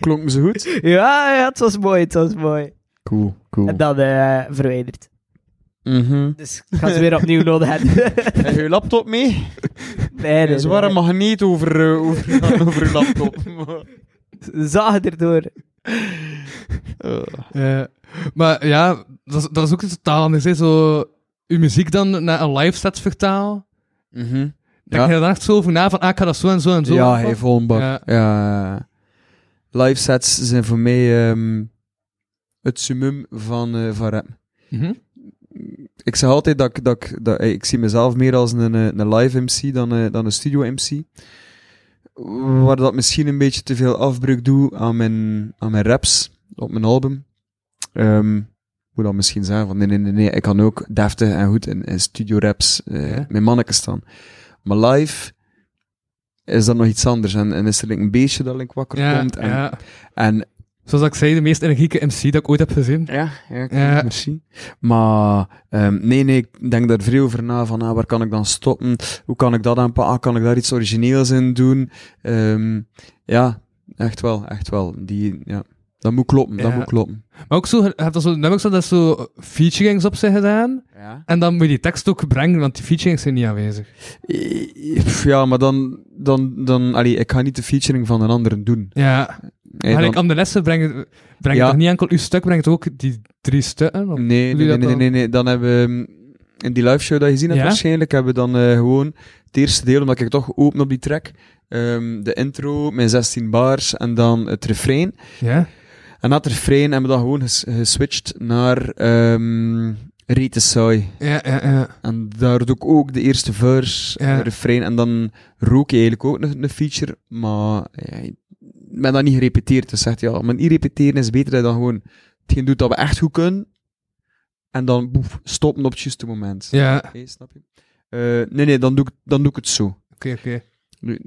Speaker 5: Klonk me zo goed?
Speaker 2: ja, ja, het was mooi, het was mooi.
Speaker 5: Cool, cool.
Speaker 2: En dan eh, verwijderd.
Speaker 5: Mhm.
Speaker 2: Dus ik ga ze weer opnieuw nodig hebben.
Speaker 5: Heb je je laptop mee?
Speaker 2: nee,
Speaker 5: Er
Speaker 2: nee,
Speaker 5: is waar een
Speaker 2: nee.
Speaker 5: magneet over, eh, over, over je laptop.
Speaker 2: Zagen erdoor.
Speaker 3: Ja. Maar ja, dat is, dat is ook iets totaal anders. Hè? Zo, uw muziek dan naar een live set vertaal.
Speaker 5: Mhm.
Speaker 3: Denk
Speaker 5: Ja.
Speaker 3: je daar echt zo over na van, ah, ik ga dat zo en zo en zo.
Speaker 5: Ja,
Speaker 3: aanpakken?
Speaker 5: hij vol een bak.
Speaker 3: Ja.
Speaker 5: Ja. Live sets zijn voor mij ehm, het summum van, eh van rap.
Speaker 3: Mhm.
Speaker 5: Ik zeg altijd dat ik, dat ik, dat, eh, ik zie mezelf meer als een, eh, een live MC dan, eh, dan een studio MC. Waar dat misschien een beetje te veel afbreuk doe aan mijn, aan mijn raps op mijn album. Ehm, moet dan misschien zeggen van nee, nee, nee, nee, ik kan ook deftig en goed in, in studio raps eh,
Speaker 3: Ja.
Speaker 5: met mannetjes staan. Maar live is dat nog iets anders en, en is er like, een beestje dat like, wakker
Speaker 3: Ja,
Speaker 5: komt. En,
Speaker 3: ja.
Speaker 5: en
Speaker 3: Zoals ik zei, de meest energieke MC dat ik ooit heb gezien.
Speaker 5: ja, ja, ik-
Speaker 3: Ja.
Speaker 5: merci. Maar ehm, nee, nee, ik denk daar veel over na, van ah, waar kan ik dan stoppen? Hoe kan ik dat aanpakken? Ah, kan ik daar iets origineels in doen? Ehm, ja, echt wel, echt wel. Die, ja. Dat moet kloppen, dat
Speaker 3: Ja.
Speaker 5: moet kloppen.
Speaker 3: Maar ook zo, je hebt dan zo nummers dat zo featurings op zijn gedaan.
Speaker 5: Ja.
Speaker 3: En dan moet je die tekst ook brengen, want die featurings zijn niet aanwezig.
Speaker 5: Ja, maar dan, dan, dan allee, ik ga niet de featuring van een ander doen.
Speaker 3: Ja,
Speaker 5: Hey,
Speaker 3: maar
Speaker 5: dan-
Speaker 3: ik aan de lessen breng, breng
Speaker 5: Ja. Mm.
Speaker 3: toch niet enkel uw stuk, breng toch ook die drie stukken? Of-
Speaker 5: Nee,
Speaker 3: doe
Speaker 5: nee,
Speaker 3: je
Speaker 5: nee,
Speaker 3: Oh, dat
Speaker 5: nee, nee, nee. Dan hebben we ehm, in die live show dat je gezien hebt,
Speaker 3: Ja?
Speaker 5: waarschijnlijk hebben we dan eh, gewoon het eerste deel, omdat ik toch open op die track. ehm, de intro, mijn 16 bars en dan het refrein.
Speaker 3: Ja?
Speaker 5: En na het refrein hebben we dan gewoon ges- geswitcht naar ehm Rete Saai.
Speaker 3: Ja, ja, ja.
Speaker 5: En daar doe ik ook de eerste verse,
Speaker 3: Ja.
Speaker 5: de refrein. En dan rook je eigenlijk ook nog een feature, maar ja, ik ben dat niet gerepeteerd. Dus zegt ja, maar niet repeteren is beter dan gewoon hetgeen doet dat we echt goed kunnen. En dan boef, stoppen op het juiste moment.
Speaker 3: Ja,
Speaker 5: Oké, snap je? Eh, nee, nee, dan doe ik, dan doe ik het zo.
Speaker 3: oké, oké.
Speaker 5: Nu,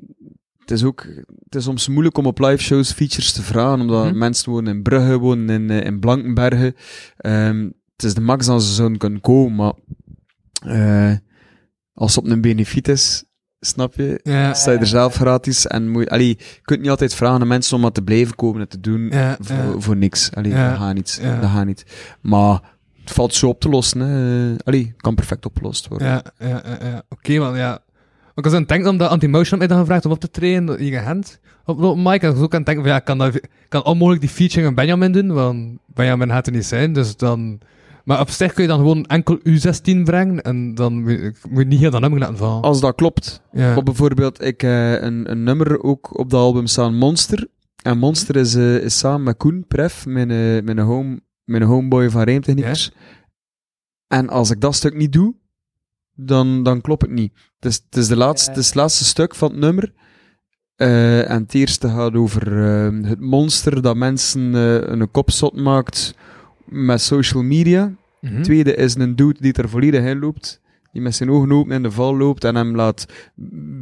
Speaker 5: het is ook, het is soms moeilijk om op live shows features te vragen, omdat
Speaker 3: Mhm.
Speaker 5: mensen wonen in Brugge, wonen in, eh, in Blankenbergen. Ehm, het is de max dat ze zouden kunnen komen, maar eh, als het op een benefiet is, snap je,
Speaker 3: Ja,
Speaker 5: sta je er zelf gratis en moet, allee, je kunt niet altijd vragen aan mensen om dat te blijven komen en te doen
Speaker 3: ja,
Speaker 5: voor,
Speaker 3: ja.
Speaker 5: voor niks. Allee,
Speaker 3: Ja,
Speaker 5: dat gaat niet,
Speaker 3: ja.
Speaker 5: dat gaat niet. Maar het valt zo op te lossen, hè. Allee, kan perfect opgelost worden.
Speaker 3: Ja, ja, ja, ja. Oké, man, ja. Want ik was aan het denken omdat Anti-Motion mij dan gevraagd om op te trainen hier in Gent. Op de open mic. En ik was ook aan het denken van, ja, ik kan, dat, ik kan onmogelijk die featuring aan Benjamin doen, want Benjamin gaat er niet zijn, dus dan... Maar op zich kun je dan gewoon enkel U16 brengen en dan moet je- ik moet niet heel dat nummer laten vallen.
Speaker 5: Als dat klopt,
Speaker 3: ja.
Speaker 5: Maar bijvoorbeeld, ik heb een, een nummer ook op dat album staan, Monster. En Monster is, eh, is samen met Koen Pref, mijn, eh, mijn, home, mijn homeboy van Rijmtechniekers. En als ik dat stuk niet doe, dan, dan klopt het niet. Het is, het, is de laatste, het is het laatste stuk van het nummer. Eh, en het eerste gaat over eh, het monster dat mensen eh, een kop zot maakt met social media.
Speaker 3: Mhm.
Speaker 5: Tweede is een dude die er volledig in loopt. Die met zijn ogen open in de val loopt en hem laat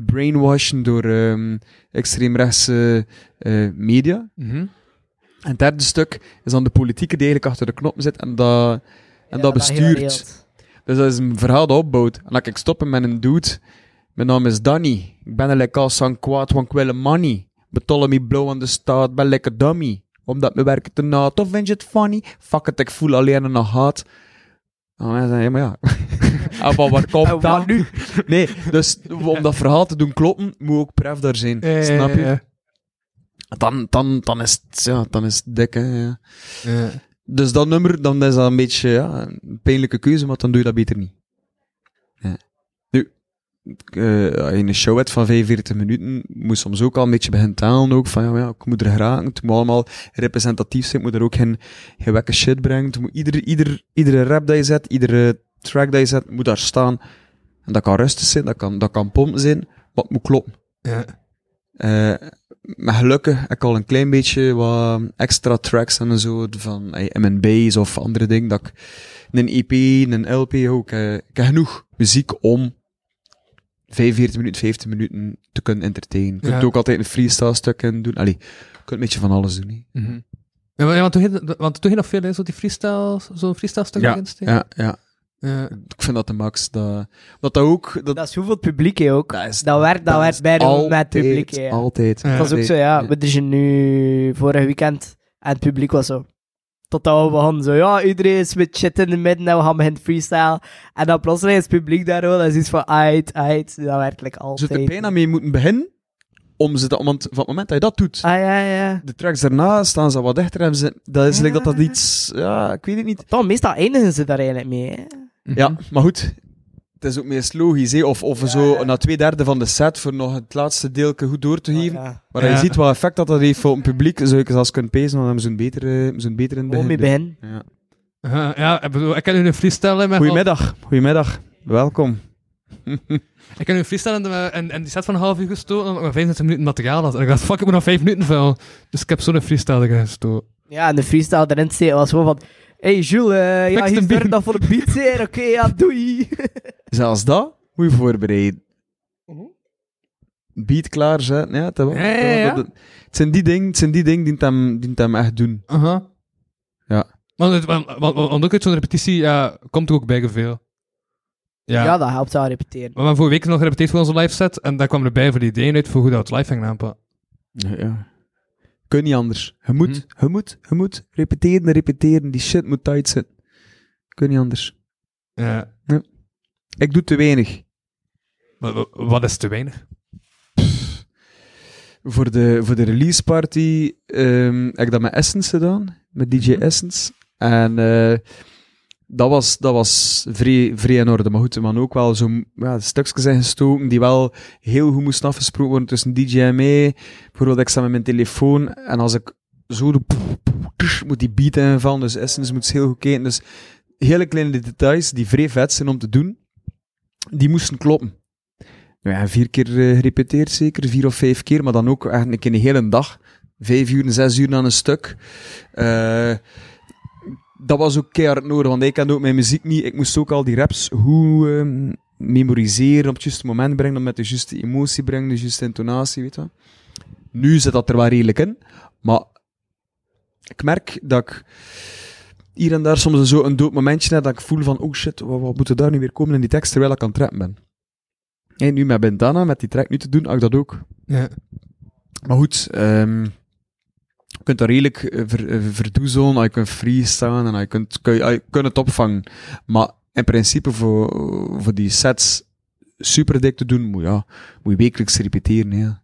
Speaker 5: brainwashen door ehm, extreemrechtse eh, media.
Speaker 3: Mhm.
Speaker 5: En het derde stuk is dan de politieke die eigenlijk achter de knop zit en dat, en dat bestuurt. dus dat is een verhaal dat opbouwt. En dan kan ik stoppen met een dude. Mijn naam is Danny. Ik ben een lekker sang kwaad, want ik wil money. Betollen me blow aan de staat, ben lekker dummy. Omdat mijn werken te naad, of vind je het funny? Fuck it, ik voel alleen nog haat. En dan zeggen, ja, maar ja. Ah, maar waar komt dat?
Speaker 2: Wat nu?
Speaker 5: Nee, dus om dat verhaal te doen kloppen, moet ook pref daar zijn.
Speaker 3: Ja, ja,
Speaker 5: Snap je?
Speaker 3: ja, ja.
Speaker 5: Dan, dan, dan is het, ja, dan is het dik, hè, ja.
Speaker 3: Ja.
Speaker 5: Dus dat nummer, dan is dat een beetje ja, een pijnlijke keuze, maar dan doe je dat beter niet. Ja. Nu, eh, in een show had van 45 minuten, moest soms ook al een beetje beginnen talen ook, van ja, ja, ik moet er geraken, het moet allemaal representatief zijn, ik moet er ook geen, geen wekke shit brengen, het moet ieder, ieder, iedere rap dat je zet, iedere track dat je zet, moet daar staan. En dat kan rustig zijn, dat kan, dat kan pompen zijn, maar het moet kloppen.
Speaker 3: Ja.
Speaker 5: Eh, maar gelukkig heb ik al een klein beetje wat extra tracks en zo van eh, M&B's of andere dingen. Dat ik een EP, een LP ook. eh, ik heb genoeg muziek om 45 minuten, 50 minuten te kunnen entertainen. Je kunt
Speaker 3: Ja.
Speaker 5: ook altijd een freestyle stuk in doen. Allee, je kunt een beetje van alles doen. hè.
Speaker 3: Mhm. Ja, maar- ja, want toen ging- want toen ging nog veel, hè, zo die freestyle, zo'n freestyle stuk
Speaker 5: Ja,
Speaker 3: erin steken.
Speaker 5: Ja, ja,
Speaker 3: Ja.
Speaker 5: ik vind dat de max. Dat, dat, dat ook... Dat,
Speaker 2: Dat is hoeveel publiek hè, ook.
Speaker 5: Dat is-
Speaker 2: Dat werkt dat werkt bij de, met het
Speaker 5: altijd,
Speaker 2: publiek. hè, ja.
Speaker 5: Altijd.
Speaker 3: Ja.
Speaker 2: Dat is ook zo, ja. We zijn nu vorig weekend en het publiek was zo. Totdat we begonnen zo, ja, iedereen is met shit in de midden en we gaan beginnen freestyle. En dan plotseling is het publiek daar wel, dat is iets van, uit, uit, dat werkelijk
Speaker 5: Ze
Speaker 2: altijd.
Speaker 5: er bijna mee Dus moeten beginnen, om ze dat, want van het moment dat je dat doet,
Speaker 2: Ah, ja, ja.
Speaker 5: de tracks daarna staan ze wat dichter. Hebben ze, dat is
Speaker 2: Ja.
Speaker 5: like dat dat iets... Ja, ik weet het niet.
Speaker 2: Dan, meestal eindigen ze daar eigenlijk mee, hè.
Speaker 3: Mhm.
Speaker 5: Ja, maar goed. Het is ook meest logisch, hè. Of, of zo na twee derde van de set voor nog het laatste deelke goed door te geven.
Speaker 2: Ja.
Speaker 5: Maar als
Speaker 3: Oh, Ja.
Speaker 5: je ziet wat effect dat dat heeft voor het publiek, zou ik zelfs kunnen pezen, dan hebben ze een betere, zo'n beter
Speaker 3: Oh,
Speaker 5: in
Speaker 2: Gewoon mee
Speaker 5: begin.
Speaker 2: beginnen.
Speaker 5: Ja.
Speaker 3: Ja, ja, ik bedoel, ik ken nu een freestyle. hè, met-
Speaker 5: Goedemiddag, goedemiddag. Welkom.
Speaker 3: Ik heb nu een freestyle en, eh, en, en die set van een half uur gestoten, omdat ik maar 25 minuten materiaal had. En ik dacht, fuck, ik moet nog 5 minuten vuil. Dus ik heb zo'n freestyle erin gestoten.
Speaker 2: Ja, en de freestyle erin te steken was gewoon van, hey Jules, eh, ja,
Speaker 3: Fix
Speaker 2: hier
Speaker 3: de
Speaker 2: is
Speaker 3: beat.
Speaker 2: dat voor de beat, hè. oké, ja, doei.
Speaker 5: Zelfs dat moet je voorbereiden. Beat klaarzetten, ja, dat,
Speaker 3: Mhm. Ja, ja, ja.
Speaker 5: dat- het zijn die dingen, het zijn die dingen die het hem, die het hem echt doen.
Speaker 3: Aha.
Speaker 5: Ja.
Speaker 3: Want, het- want, want, want ook uit zo'n repetitie ja, komt er ook bij veel. Ja.
Speaker 2: Ja, dat helpt wel repeteren.
Speaker 3: We hebben vorige week nog gerepeteerd voor onze live set. En daar kwamen erbij voor die ideeën uit voor hoe dat we het live gaan aanpakken.
Speaker 5: Ja, ja. Kun niet anders. Je moet, je moet, je moet repeteren, repeteren. Die shit moet tight zitten. Kun niet anders.
Speaker 3: Ja.
Speaker 5: Ik doe te weinig.
Speaker 3: Wa- wa- Wat is te weinig?
Speaker 5: Voor de, voor de release party ehm, heb ik dat met Essence gedaan. Met DJ Essence. En eh, dat was, dat was vrij, vrij in orde. Maar goed, er waren ook wel zo'n ja, stukjes zijn gestoken die wel heel goed moesten afgesproken worden tussen DJ en mij. Bijvoorbeeld, ik sta met mijn telefoon en als ik zo doe, poef, poef, tush, moet die beat invallen. Dus Essence moet ze heel goed kijken. Dus hele kleine details die vrij vet zijn om te doen, die moesten kloppen. Nou ja, vier keer eh, gerepeteerd zeker, vier of vijf keer, maar dan ook eigenlijk in een hele dag. Vijf uur, zes uur aan een stuk. Eh, dat was ook keihard nodig, want ik kende ook mijn muziek niet. Ik moest ook al die raps hoe ehm, memoriseren, op het juiste moment brengen, om met de juiste emotie brengen, de juiste intonatie, weet je wel. Nu zit dat er wel redelijk in, maar ik merk dat ik hier en daar soms zo een dood momentje heb dat ik voel van, oh shit, wat, wat moet er daar nu weer komen in die tekst, terwijl ik aan het rappen ben. En nu met Bandana, met die track nu te doen, had ik dat ook.
Speaker 3: Ja.
Speaker 5: Maar goed, ehm, je kunt dat redelijk eh, ver, eh, verdoezelen, en je kunt freestylen en je kunt, kun je, ah, je kunt het opvangen. Maar in principe voor, voor die sets super dik te doen, moet, ja, moet je wekelijks repeteren. Ja.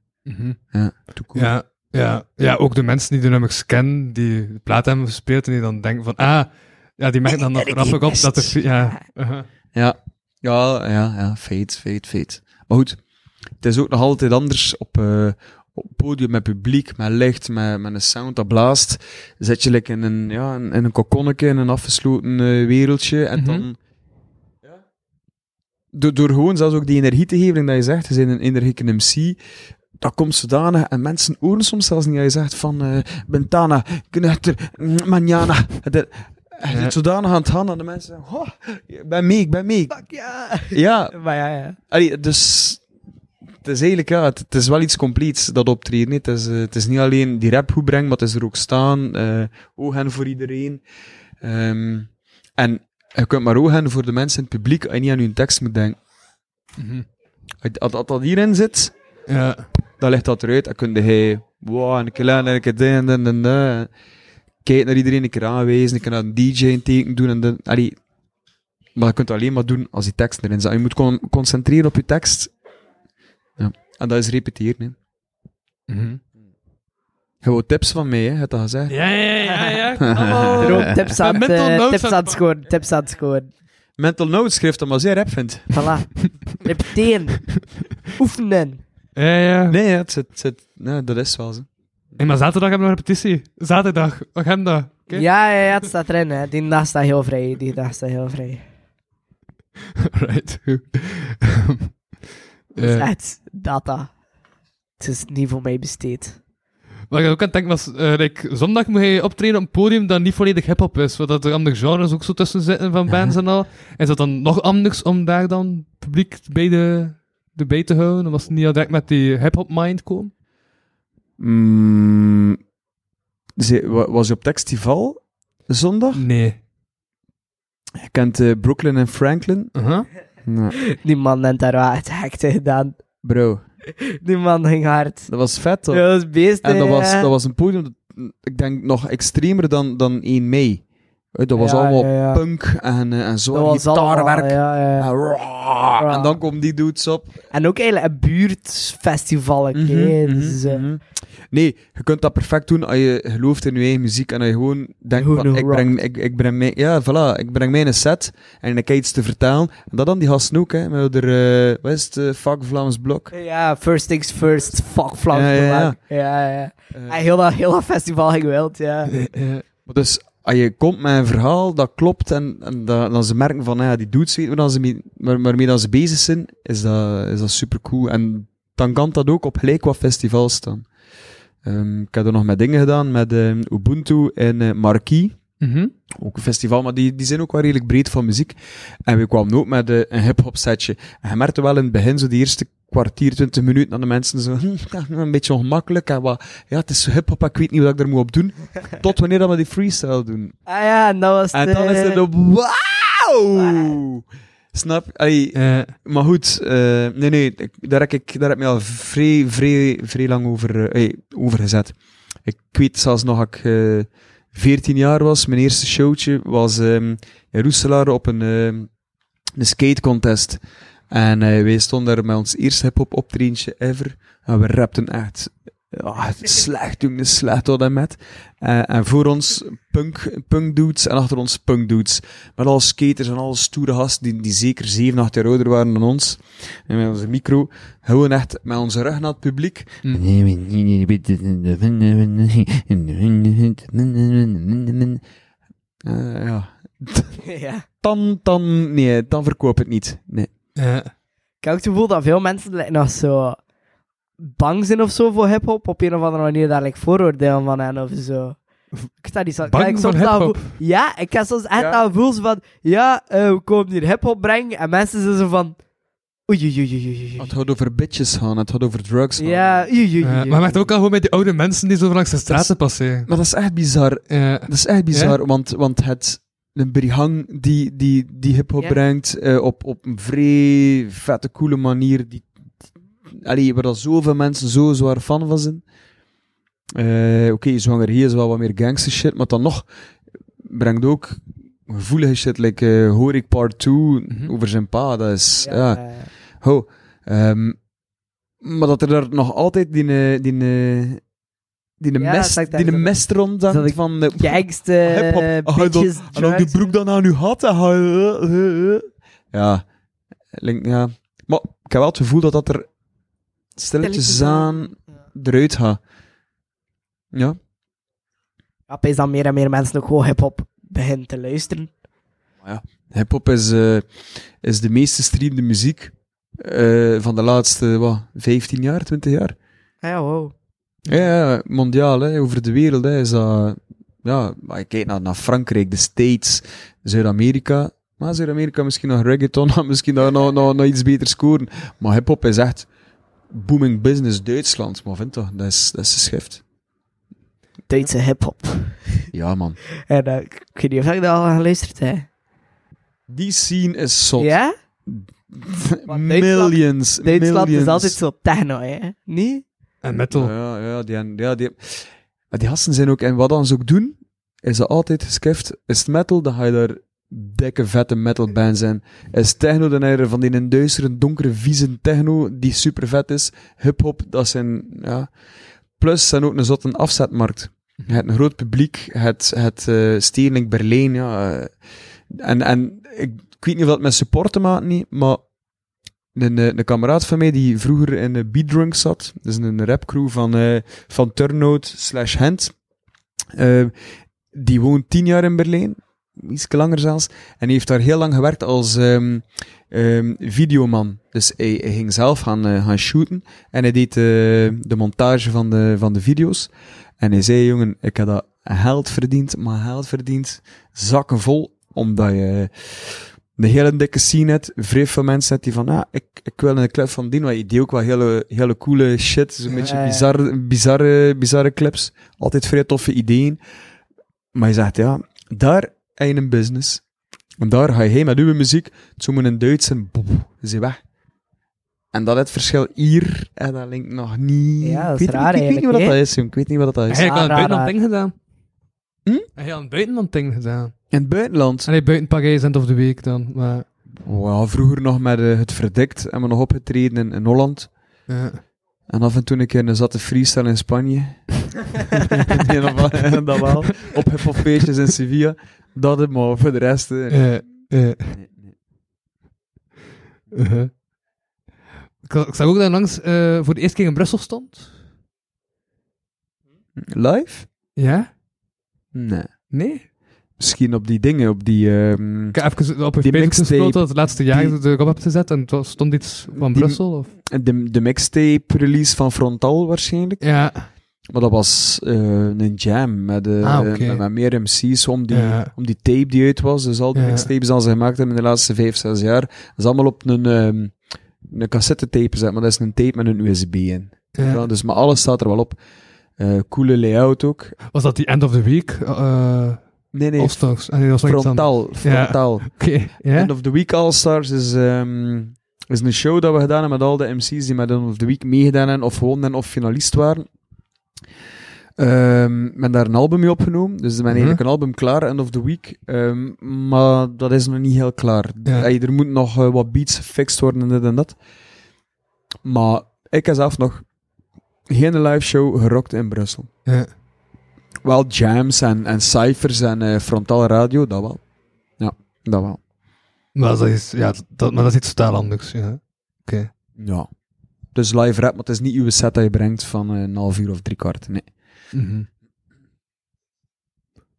Speaker 5: Ja, toekomst.
Speaker 3: Ja, ja, ja, ook de mensen die de nummers kennen, die de plaat hebben gespeeld en die dan denken van, ah, ja, die merken dan nog grappig op dat er... Ja, uh-huh.
Speaker 5: Ja, ja, ja, ja. Feit, feit, feit. Maar goed, het is ook nog altijd anders op, eh op het podium met publiek, met licht, met, met een sound dat blaast. Zet je like in een, ja, in, in een kokonnetje, in een afgesloten eh, wereldje. En
Speaker 3: Mhm.
Speaker 5: dan... Door, door gewoon zelfs ook die energie te geven, dat je zegt, je bent een energieke MC, dat komt zodanig, en mensen horen soms zelfs niet dat je zegt van, eh Bentana, Knechter, Manjana. De, je
Speaker 3: Ja.
Speaker 5: zit zodanig aan het handen aan de mensen, zeggen, "Goh, ik ben mee, ik ben mee.
Speaker 2: Fuck ja.
Speaker 5: Ja,
Speaker 2: Maar ja, ja.
Speaker 5: allee, dus het is eigenlijk ja, het, het is wel iets compleets dat optreden. hè. Het is, eh, het is niet alleen die rap goed brengen, maar het is er ook staan, eh ogen voor iedereen. Ehm, en je kunt maar ogen voor de mensen in het publiek en niet aan hun tekst moet denken.
Speaker 3: Mhm.
Speaker 5: Als, als- als dat hierin zit,
Speaker 3: ja.
Speaker 5: dan ligt dat eruit. Dan kun je wow, een keer laten, een keer dit en dit en dat. Kijk naar iedereen, een keer aanwijzen, een keer naar een DJ een teken doen. En dan, allee. Maar dat kun je alleen maar doen als die tekst erin zit. Je moet con- concentreren op je tekst. Ja. En dat is repeteren. Hè.
Speaker 3: Mhm.
Speaker 5: Je wou tips van mij, hè, had dat gezegd.
Speaker 3: Ja, ja, ja, ja. ja.
Speaker 2: Er ook tips aan,
Speaker 3: Een
Speaker 2: het,
Speaker 3: mental
Speaker 2: eh,
Speaker 3: note
Speaker 2: tips
Speaker 3: van-
Speaker 2: aan het scoren, tips aan het scoren.
Speaker 5: Mental notes schrijft dat maar zeer rap vindt.
Speaker 2: Voilà. Repeteren. Oefenen.
Speaker 3: Ja, ja.
Speaker 5: Nee, ja, het zit, het zit, ja, dat is wel zo.
Speaker 3: Hey, maar zaterdag hebben we een repetitie. Zaterdag, agenda. Oké?
Speaker 2: Ja, ja, ja, het staat erin. Hè. Die dag staat heel vrij. Die dag staat heel vrij.
Speaker 3: Right. goed.
Speaker 2: Het is
Speaker 3: Eh,
Speaker 2: echt data. Het is niet voor mij besteed.
Speaker 3: Wat ik ook aan het denken was, eh, like, zondag moet je optreden op een podium dat niet volledig hip-hop is, want dat er andere genres ook zo tussen zitten van bands en al. Is dat dan nog anders om daar dan publiek bij, de, de bij te houden? Dan was het niet al direct met die hip-hop mind komen?
Speaker 5: Mm, ze- wa- was je op Textival zondag?
Speaker 3: Nee.
Speaker 5: Je kent eh, Brooklyn en Franklin?
Speaker 3: Uh-huh.
Speaker 5: Nee.
Speaker 2: Die man heeft daar wel het hekte gedaan.
Speaker 5: Bro,
Speaker 2: Die man ging hard.
Speaker 5: dat was vet toch?
Speaker 2: Ja, dat is beest.
Speaker 5: En dat
Speaker 2: hè.
Speaker 5: was, dat was een podium, dat- ik denk nog extremer dan, dan 1 mei. Eh, Dat was
Speaker 2: Ja,
Speaker 5: allemaal
Speaker 2: ja, ja.
Speaker 5: punk en, eh, en zo,
Speaker 2: Dat
Speaker 5: en
Speaker 2: was allemaal,
Speaker 5: gitaarwerk.
Speaker 2: ja, ja.
Speaker 5: En, raar.
Speaker 2: Raar.
Speaker 5: en dan komen die dudes op.
Speaker 2: Nou. En ook eigenlijk een buurtfestival.
Speaker 5: Mhm,
Speaker 2: dus,
Speaker 5: mhm,
Speaker 2: eh,
Speaker 5: mhm. Nee, je kunt dat perfect doen als je gelooft in je eigen muziek en als je gewoon denkt
Speaker 2: Gewoon
Speaker 5: van, ik
Speaker 2: rockt.
Speaker 5: breng, ik, ik breng mijn, ja, voilà, ik breng mijn set en ik heb iets te vertellen. En dat dan die gasten ook, hè, met er, eh wat is het, eh, fuck Vlaams Blok.
Speaker 2: Ja, first things first, fuck Vlaams
Speaker 5: Ja, ja, ja.
Speaker 2: Belang. Ja, ja.
Speaker 5: Eh,
Speaker 2: Hij Heel dat, heel dat festival ging wild, ja.
Speaker 3: Eh,
Speaker 5: Maar Dus als je komt met een verhaal dat klopt en, en dat, dan ze merken van ah ja, die dudes weten waar dan ze mee, waar, waarmee dan ze bezig zijn, is dat, is dat super cool. En dan kan dat ook op gelijk wat festivals staan. Ehm, ik heb er nog met dingen gedaan met ehm, Ubuntu en eh Marquis.
Speaker 3: Mhm.
Speaker 2: Mm-hmm.
Speaker 5: Ook een festival, maar die, die zijn ook wel redelijk breed van muziek. En we kwamen ook met eh, een hip-hop setje. En je merkte wel in het begin, zo die eerste kwartier, twintig minuten, aan de mensen zo hm, ja, een beetje ongemakkelijk. En wat, ja, het is zo hip-hop, ik weet niet wat ik er moet op doen. Tot wanneer dat we die freestyle doen.
Speaker 2: Ah ja, en dat was
Speaker 5: En
Speaker 2: de-
Speaker 5: dan is het op wauw! Snap? Allee,
Speaker 3: Eh,
Speaker 5: maar goed, eh, nee, nee, ik- daar heb ik daar heb ik me al vrij, vrij, vrij lang over, eh, ey, over gezet. Ik weet zelfs nog, dat ik eh 14 jaar was, mijn eerste showtje was ehm, in Roeselaar op een, ehm, een skatecontest. En eh, wij stonden daar met ons eerste hip-hop optredentje ever. En we rapten echt. ah, het is slecht doen, het is slecht tot en met. Eh, en voor ons punk, punk dudes en achter ons punk dudes. Met al skaters en alle stoere gasten die, die zeker 7, 8 jaar ouder waren dan ons. En met onze micro. Gewoon echt met onze rug naar het publiek. Eh, ja.
Speaker 2: ja.
Speaker 5: Dan, dan, nee, dan verkoop het niet. Nee.
Speaker 3: eh,
Speaker 2: Ik heb ook het gevoel dat veel mensen like, nog zo bang zijn of zo voor hip-hop. Op een of andere manier daar like, vooroordelen van hen of zo. Ik sta niet zo.
Speaker 3: Bang
Speaker 2: ik
Speaker 3: voor
Speaker 2: soms dat
Speaker 3: hiphop?
Speaker 2: gevoel- Ja, ik heb soms echt
Speaker 5: Ja.
Speaker 2: dat gevoel zo van. Ja, eh, we komen hier hip-hop brengen. En mensen zijn zo van. Oei, oei, oei, oei, oei, oei.
Speaker 5: Het had over bitches gaan, het had over drugs gaan.
Speaker 2: Ja, oei, oei, oei,
Speaker 3: eh,
Speaker 2: oei.
Speaker 3: maar merkt ook al gewoon met die oude mensen die zo langs de straten passeren.
Speaker 5: Maar dat is echt bizar.
Speaker 3: Eh,
Speaker 5: Dat is echt bizar, want, want het... Een Brihang die, die, die hip-hop
Speaker 2: Ja.
Speaker 5: brengt eh, op, op een vrij vette, coole manier. Die, die- allee, waar dat zoveel mensen zo zwaar fan van zijn. Eh, Oké, zwanger hier is wel wat meer gangster shit, maar dan nog brengt ook gevoelige shit. Like eh, Hoor ik Part 2
Speaker 3: Mhm.
Speaker 5: over zijn pa, dat is...
Speaker 2: Ja,
Speaker 5: ja.
Speaker 2: eh,
Speaker 5: Ho. ehm, maar dat er daar nog altijd die, eh, die, eh, die,
Speaker 2: Ja, dat
Speaker 5: mest,
Speaker 2: zag ik
Speaker 5: die
Speaker 2: daar.
Speaker 5: mest rondhangt
Speaker 2: Dat ik-
Speaker 5: van... eh,
Speaker 2: gangster,
Speaker 5: Hip-hop.
Speaker 2: eh,
Speaker 5: Ah, dan-
Speaker 2: bitches,
Speaker 5: en dan die
Speaker 2: drugs.
Speaker 5: broek dan aan uw had. en ga je- eh, eh, eh. Ja. Link, ja. Maar ik heb wel het gevoel dat dat er stilletjes
Speaker 2: Stilletjes
Speaker 5: aan eruit gaat. Ja.
Speaker 2: Rap is dan meer en meer mensen ook gewoon hip-hop beginnen te luisteren.
Speaker 5: Hip-hop is, eh, is de meest gestreamde muziek eh, van de laatste wat, 15 jaar, 20 jaar.
Speaker 2: Ah Ja, wow.
Speaker 5: Ja, ja, mondiaal, hè, over de wereld hè, is dat. Ja, maar je kijkt naar, naar Frankrijk, de States, Zuid-Amerika. Maar Zuid-Amerika misschien nog reggaeton, had misschien daar nog, nog, nog iets beter scoren. Maar hip-hop is echt booming business Duitsland. Maar vind toch, dat is, dat is een schrift.
Speaker 2: Duitse hip-hop.
Speaker 5: Ja, man.
Speaker 2: En eh, ik ik weet niet of ik dat al aan geluisterd heb.
Speaker 5: Die scene is zot.
Speaker 2: Ja?
Speaker 5: Millions.
Speaker 2: Duitsland
Speaker 5: millions.
Speaker 2: is dus altijd zo techno, hè? Niet?
Speaker 3: en metal.
Speaker 5: Ja, ja, die, en- ja, die, maar die gasten zijn ook, en wat dan ze ook doen, is dat altijd geskift. Is het metal, dan ga je daar dikke, vette metal bands in. Is techno, dan heb je er van die een duistere, donkere, vieze techno, die super vet is. Hip-hop, dat zijn, ja. Plus, zijn ook een zotte afzetmarkt. Je hebt een groot publiek, het, het eh Stedelijk Berlijn, ja. eh, En, en ik, ik weet niet of dat met support te maken niet, maar een, eh, een kameraad van mij die vroeger in de B-Drunk zat, dus een rapcrew van, eh van Turnout slash Hand, eh, die woont tien jaar in Berlijn, iets langer zelfs, en heeft daar heel lang gewerkt als ehm, ehm, videoman. Dus hij, hij ging zelf gaan, eh, gaan shooten en hij deed eh, de montage van de, van de video's. En hij zei, jongen, ik heb dat geld verdiend, maar geld verdiend, zakken vol, omdat je de hele dikke scene hebt, vrij veel mensen hebt die van, ah, ik, ik wil in de clip van Dien, want je deed ook wel hele, hele coole shit, zo'n beetje
Speaker 2: ja.
Speaker 5: bizarre, bizarre, bizarre clips, altijd vrij toffe ideeën. Maar je zegt, ja, daar heb je een business. En daar ga je heen met uw muziek, zo moet een Duits en boep, is hij weg. En dat is het verschil hier, en dat linkt nog niet...
Speaker 2: Ja, dat is
Speaker 5: Ik weet- ik-
Speaker 2: raar
Speaker 5: ik, weet niet wat dat
Speaker 2: eigenlijk,
Speaker 5: is, jong. Ik weet niet wat dat is.
Speaker 3: Hij heeft al een
Speaker 2: raar,
Speaker 3: buitenland
Speaker 2: raar.
Speaker 3: ding gedaan.
Speaker 5: Hm?
Speaker 3: Hij heeft al een buitenland ding gedaan.
Speaker 5: In het buitenland?
Speaker 3: En hij buiten Parijs end of the week dan. Maar,
Speaker 5: Ja, vroeger nog met eh, het verdikt en we nog opgetreden in, in Holland.
Speaker 3: ja.
Speaker 5: En af en toe een keer een zatte freestyle in Spanje. Nee, dat wel- dat wel. Op hiphopfeestjes in Sevilla. Dat het, maar voor de rest... eh,
Speaker 3: Eh, eh. Uh-huh. Ik, ik zag ook dat langs eh, voor de eerste keer in Brussel stond.
Speaker 5: Live?
Speaker 3: Ja?
Speaker 5: Nee.
Speaker 3: Nee?
Speaker 5: Misschien op die dingen, op die... ehm,
Speaker 3: Ik heb even op een
Speaker 5: Die
Speaker 3: Facebook
Speaker 5: mixtape,
Speaker 3: gesproken dat het laatste jaar
Speaker 5: die-
Speaker 3: dat ik op heb gezet en het was, stond iets van
Speaker 5: Die-
Speaker 3: Brussel. Of?
Speaker 5: de, de mixtape-release van Frontal waarschijnlijk.
Speaker 3: Ja.
Speaker 5: Maar dat was eh, een jam met, eh,
Speaker 3: Ah, oké.
Speaker 5: met, met meer MC's om die,
Speaker 3: Ja.
Speaker 5: om die tape die uit was. Dus al die
Speaker 3: Ja.
Speaker 5: mixtapes die ze gemaakt hebben in de laatste vijf, zes jaar, dat is allemaal op een, ehm een cassettetape gezet, maar dat is een tape met een USB in.
Speaker 3: ja.
Speaker 5: Ja, dus, maar alles staat er wel op. Eh, coole layout ook.
Speaker 3: Was dat die end of the week? eh
Speaker 5: Nee, nee,
Speaker 3: Ostalks. En die was nog iets anders.
Speaker 5: frontaal.
Speaker 3: Ja.
Speaker 5: frontaal.
Speaker 3: Oké. Ja?
Speaker 5: End of the Week All Stars is, ehm, is een show dat we gedaan hebben met al de MC's die met End of the Week meegedaan hebben, of gewonnen hebben, of finalist waren. Ehm, men daar een album mee opgenomen, dus men
Speaker 3: Mhm.
Speaker 5: heeft eigenlijk een album klaar, End of the Week. Ehm, maar dat is nog niet heel klaar.
Speaker 3: Ja.
Speaker 5: Ey, er moet nog eh, wat beats gefixt worden en dit en dat. Maar ik heb zelf nog geen live show gerokt in Brussel.
Speaker 3: Ja.
Speaker 5: Wel jams en, en cijfers en eh frontaal radio, dat wel. Ja, dat wel.
Speaker 3: Maar, dat is, ja, dat, maar dat is iets totaal anders. Ja.
Speaker 5: Ja. Dus live rap, maar het is niet uw set dat je brengt van eh, een half uur of drie kwart. Nee.
Speaker 3: Mhm.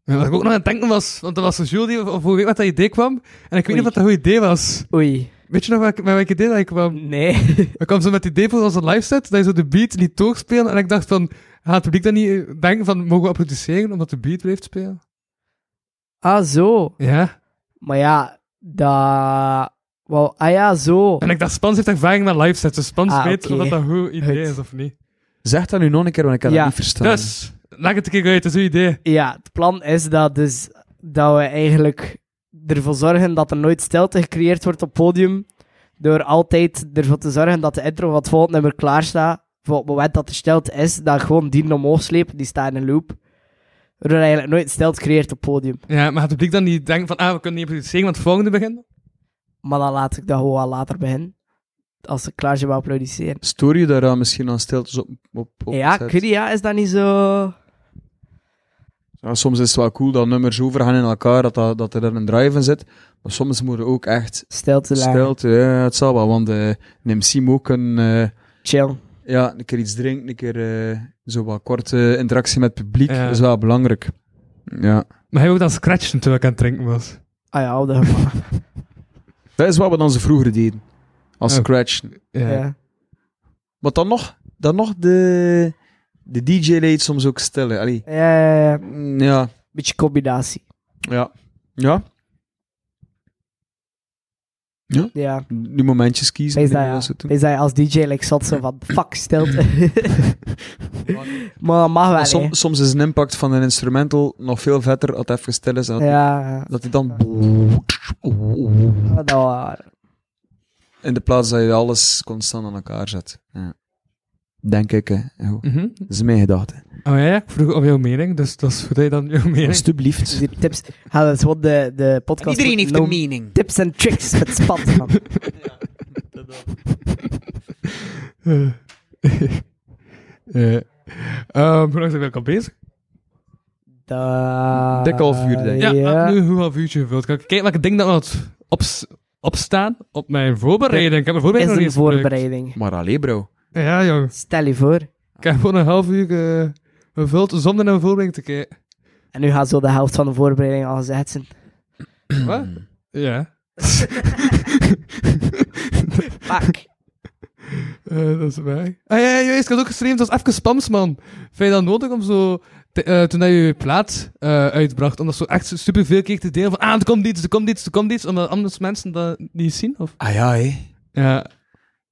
Speaker 3: Ja, wat ik ook nog aan het denken was, want dat was de Jules die vorige week met dat idee kwam. En ik weet niet of dat een goed idee was.
Speaker 2: Oei.
Speaker 3: Weet je nog welk, met welk idee dat ik kwam?
Speaker 2: Nee.
Speaker 3: Ik kwam zo met het idee voor onze live set, dat je zo de beat liet doorspelen. En ik dacht van, gaat het publiek dan niet eh, denken van, mogen we applaudisseren omdat de beat blijft spelen?
Speaker 2: ah, zo.
Speaker 3: Ja.
Speaker 2: Maar ja, dat... Wel, ah ja, zo.
Speaker 3: En ik dacht, Spans heeft ervaring met live sets, dus Spans
Speaker 2: Ah,
Speaker 3: weet
Speaker 2: oké.
Speaker 3: of dat een goed idee
Speaker 2: Goed.
Speaker 3: is of niet.
Speaker 5: Zeg dat nu nog een keer, want ik kan
Speaker 2: Ja.
Speaker 5: het niet verstaan.
Speaker 3: Dus, leg het een keer uit, dat is een idee.
Speaker 2: Ja, het plan is dat, dus, dat we eigenlijk ervoor zorgen dat er nooit stilte gecreëerd wordt op het podium. Door altijd ervoor te zorgen dat de intro van het volgende nummer klaar staat. Voor op het moment dat er stilte is, dan gewoon die omhoog slepen, die staat in een loop. Waardoor eigenlijk nooit stilte creëert op het podium.
Speaker 3: Ja, maar gaat het publiek dan niet denken van, ah, we kunnen niet applaudisseren, want het volgende begint?
Speaker 2: Maar dan laat ik dat gewoon wel later beginnen. Als ze klaar zijn, we applaudisseren.
Speaker 5: Stoor je daar aan misschien aan stiltes op? op, op
Speaker 2: Ja,
Speaker 5: het set?
Speaker 2: ik weet niet, ja, is dat niet zo...
Speaker 5: Ja, Soms is het wel cool dat nummers overgaan in elkaar, dat, dat, dat er daar een drive in zit. Maar soms moet je ook echt
Speaker 2: Stilte laten.
Speaker 5: stilte. Ja, het zal wel, want eh een MC moet ook een, eh,
Speaker 2: Chill.
Speaker 5: ja, een keer iets drinken, een keer eh, zo wat korte interactie met het publiek.
Speaker 3: Ja.
Speaker 5: Dat is wel belangrijk. Ja.
Speaker 3: Maar hij ook dan scratchen terwijl ik aan het drinken was.
Speaker 2: Ah ja, oude gemaakt.
Speaker 5: Dat is wat we dan zo vroeger deden. Als
Speaker 2: Oh.
Speaker 3: Ja.
Speaker 5: scratch.
Speaker 3: Ja.
Speaker 2: ja.
Speaker 5: Maar dan nog, dan nog de, de DJ leed soms ook stellen. Allee.
Speaker 2: Ja, ja, ja.
Speaker 5: Mm, Ja,
Speaker 2: Beetje combinatie.
Speaker 5: ja, ja.
Speaker 2: Ja.
Speaker 5: Nu momentjes kiezen.
Speaker 2: Wees
Speaker 5: die
Speaker 2: dat,
Speaker 5: we
Speaker 2: ja.
Speaker 5: zo doen.
Speaker 2: Wees dat je als DJ like zat zo van, fuck, stilte. maar dat mag wel,
Speaker 5: Maar som-
Speaker 2: hè.
Speaker 5: soms is een impact van een instrumental nog veel vetter als het even stil is. En dat,
Speaker 2: Ja, ja.
Speaker 5: dat hij dan
Speaker 2: dat was...
Speaker 5: in de plaats dat je alles constant aan elkaar zet. Ja. Denk ik, hè. Goed.
Speaker 2: Hm.
Speaker 3: Mhm.
Speaker 5: Dat is mijn gedachte.
Speaker 3: Oh ja, ja, ik vroeg om jouw mening, dus dat is goed dat je dan jouw mening...
Speaker 5: Alsjeblieft.
Speaker 2: Dus Die tips... Ja, dat is gewoon de, de podcast...
Speaker 1: Iedereen heeft een
Speaker 2: noemt
Speaker 1: mening.
Speaker 2: Tips en tricks met spat, man.
Speaker 3: Eh. Eh, ehm, Hoe lang zijn we ook al bezig?
Speaker 2: Da-
Speaker 5: Dik half uur, denk ik.
Speaker 3: Ja,
Speaker 2: Ja.
Speaker 3: ik heb nu een goed half uurtje gevuld. Kan ik kijken wat ik denk dat we het ops- opstaan op mijn voorbereiding. Ik heb mijn
Speaker 2: is
Speaker 3: voorbereiding
Speaker 2: een
Speaker 3: nog niet eens
Speaker 2: voorbereiding.
Speaker 5: Maar alleen, bro.
Speaker 3: gebruikt. Ja, jong.
Speaker 2: Stel je voor.
Speaker 3: Ik heb gewoon een half uur eh, gevuld zonder naar mijn voorbereiding te kijken.
Speaker 2: En nu gaat zo de helft van de voorbereiding al gezet zijn.
Speaker 3: Wat? Ja.
Speaker 2: Fuck.
Speaker 3: Eh, dat is mij. Ah ja, ja, juist, ik had ook gestreamd als even spams, man. Vind je dat nodig om zo... te- eh, toen dat je je plaat eh, uitbracht, om dat zo echt superveel keer te delen van ah, er komt iets, er komt iets, er komt iets, omdat anders mensen dat niet zien, of?
Speaker 5: Ah ja, hé.
Speaker 3: Ja.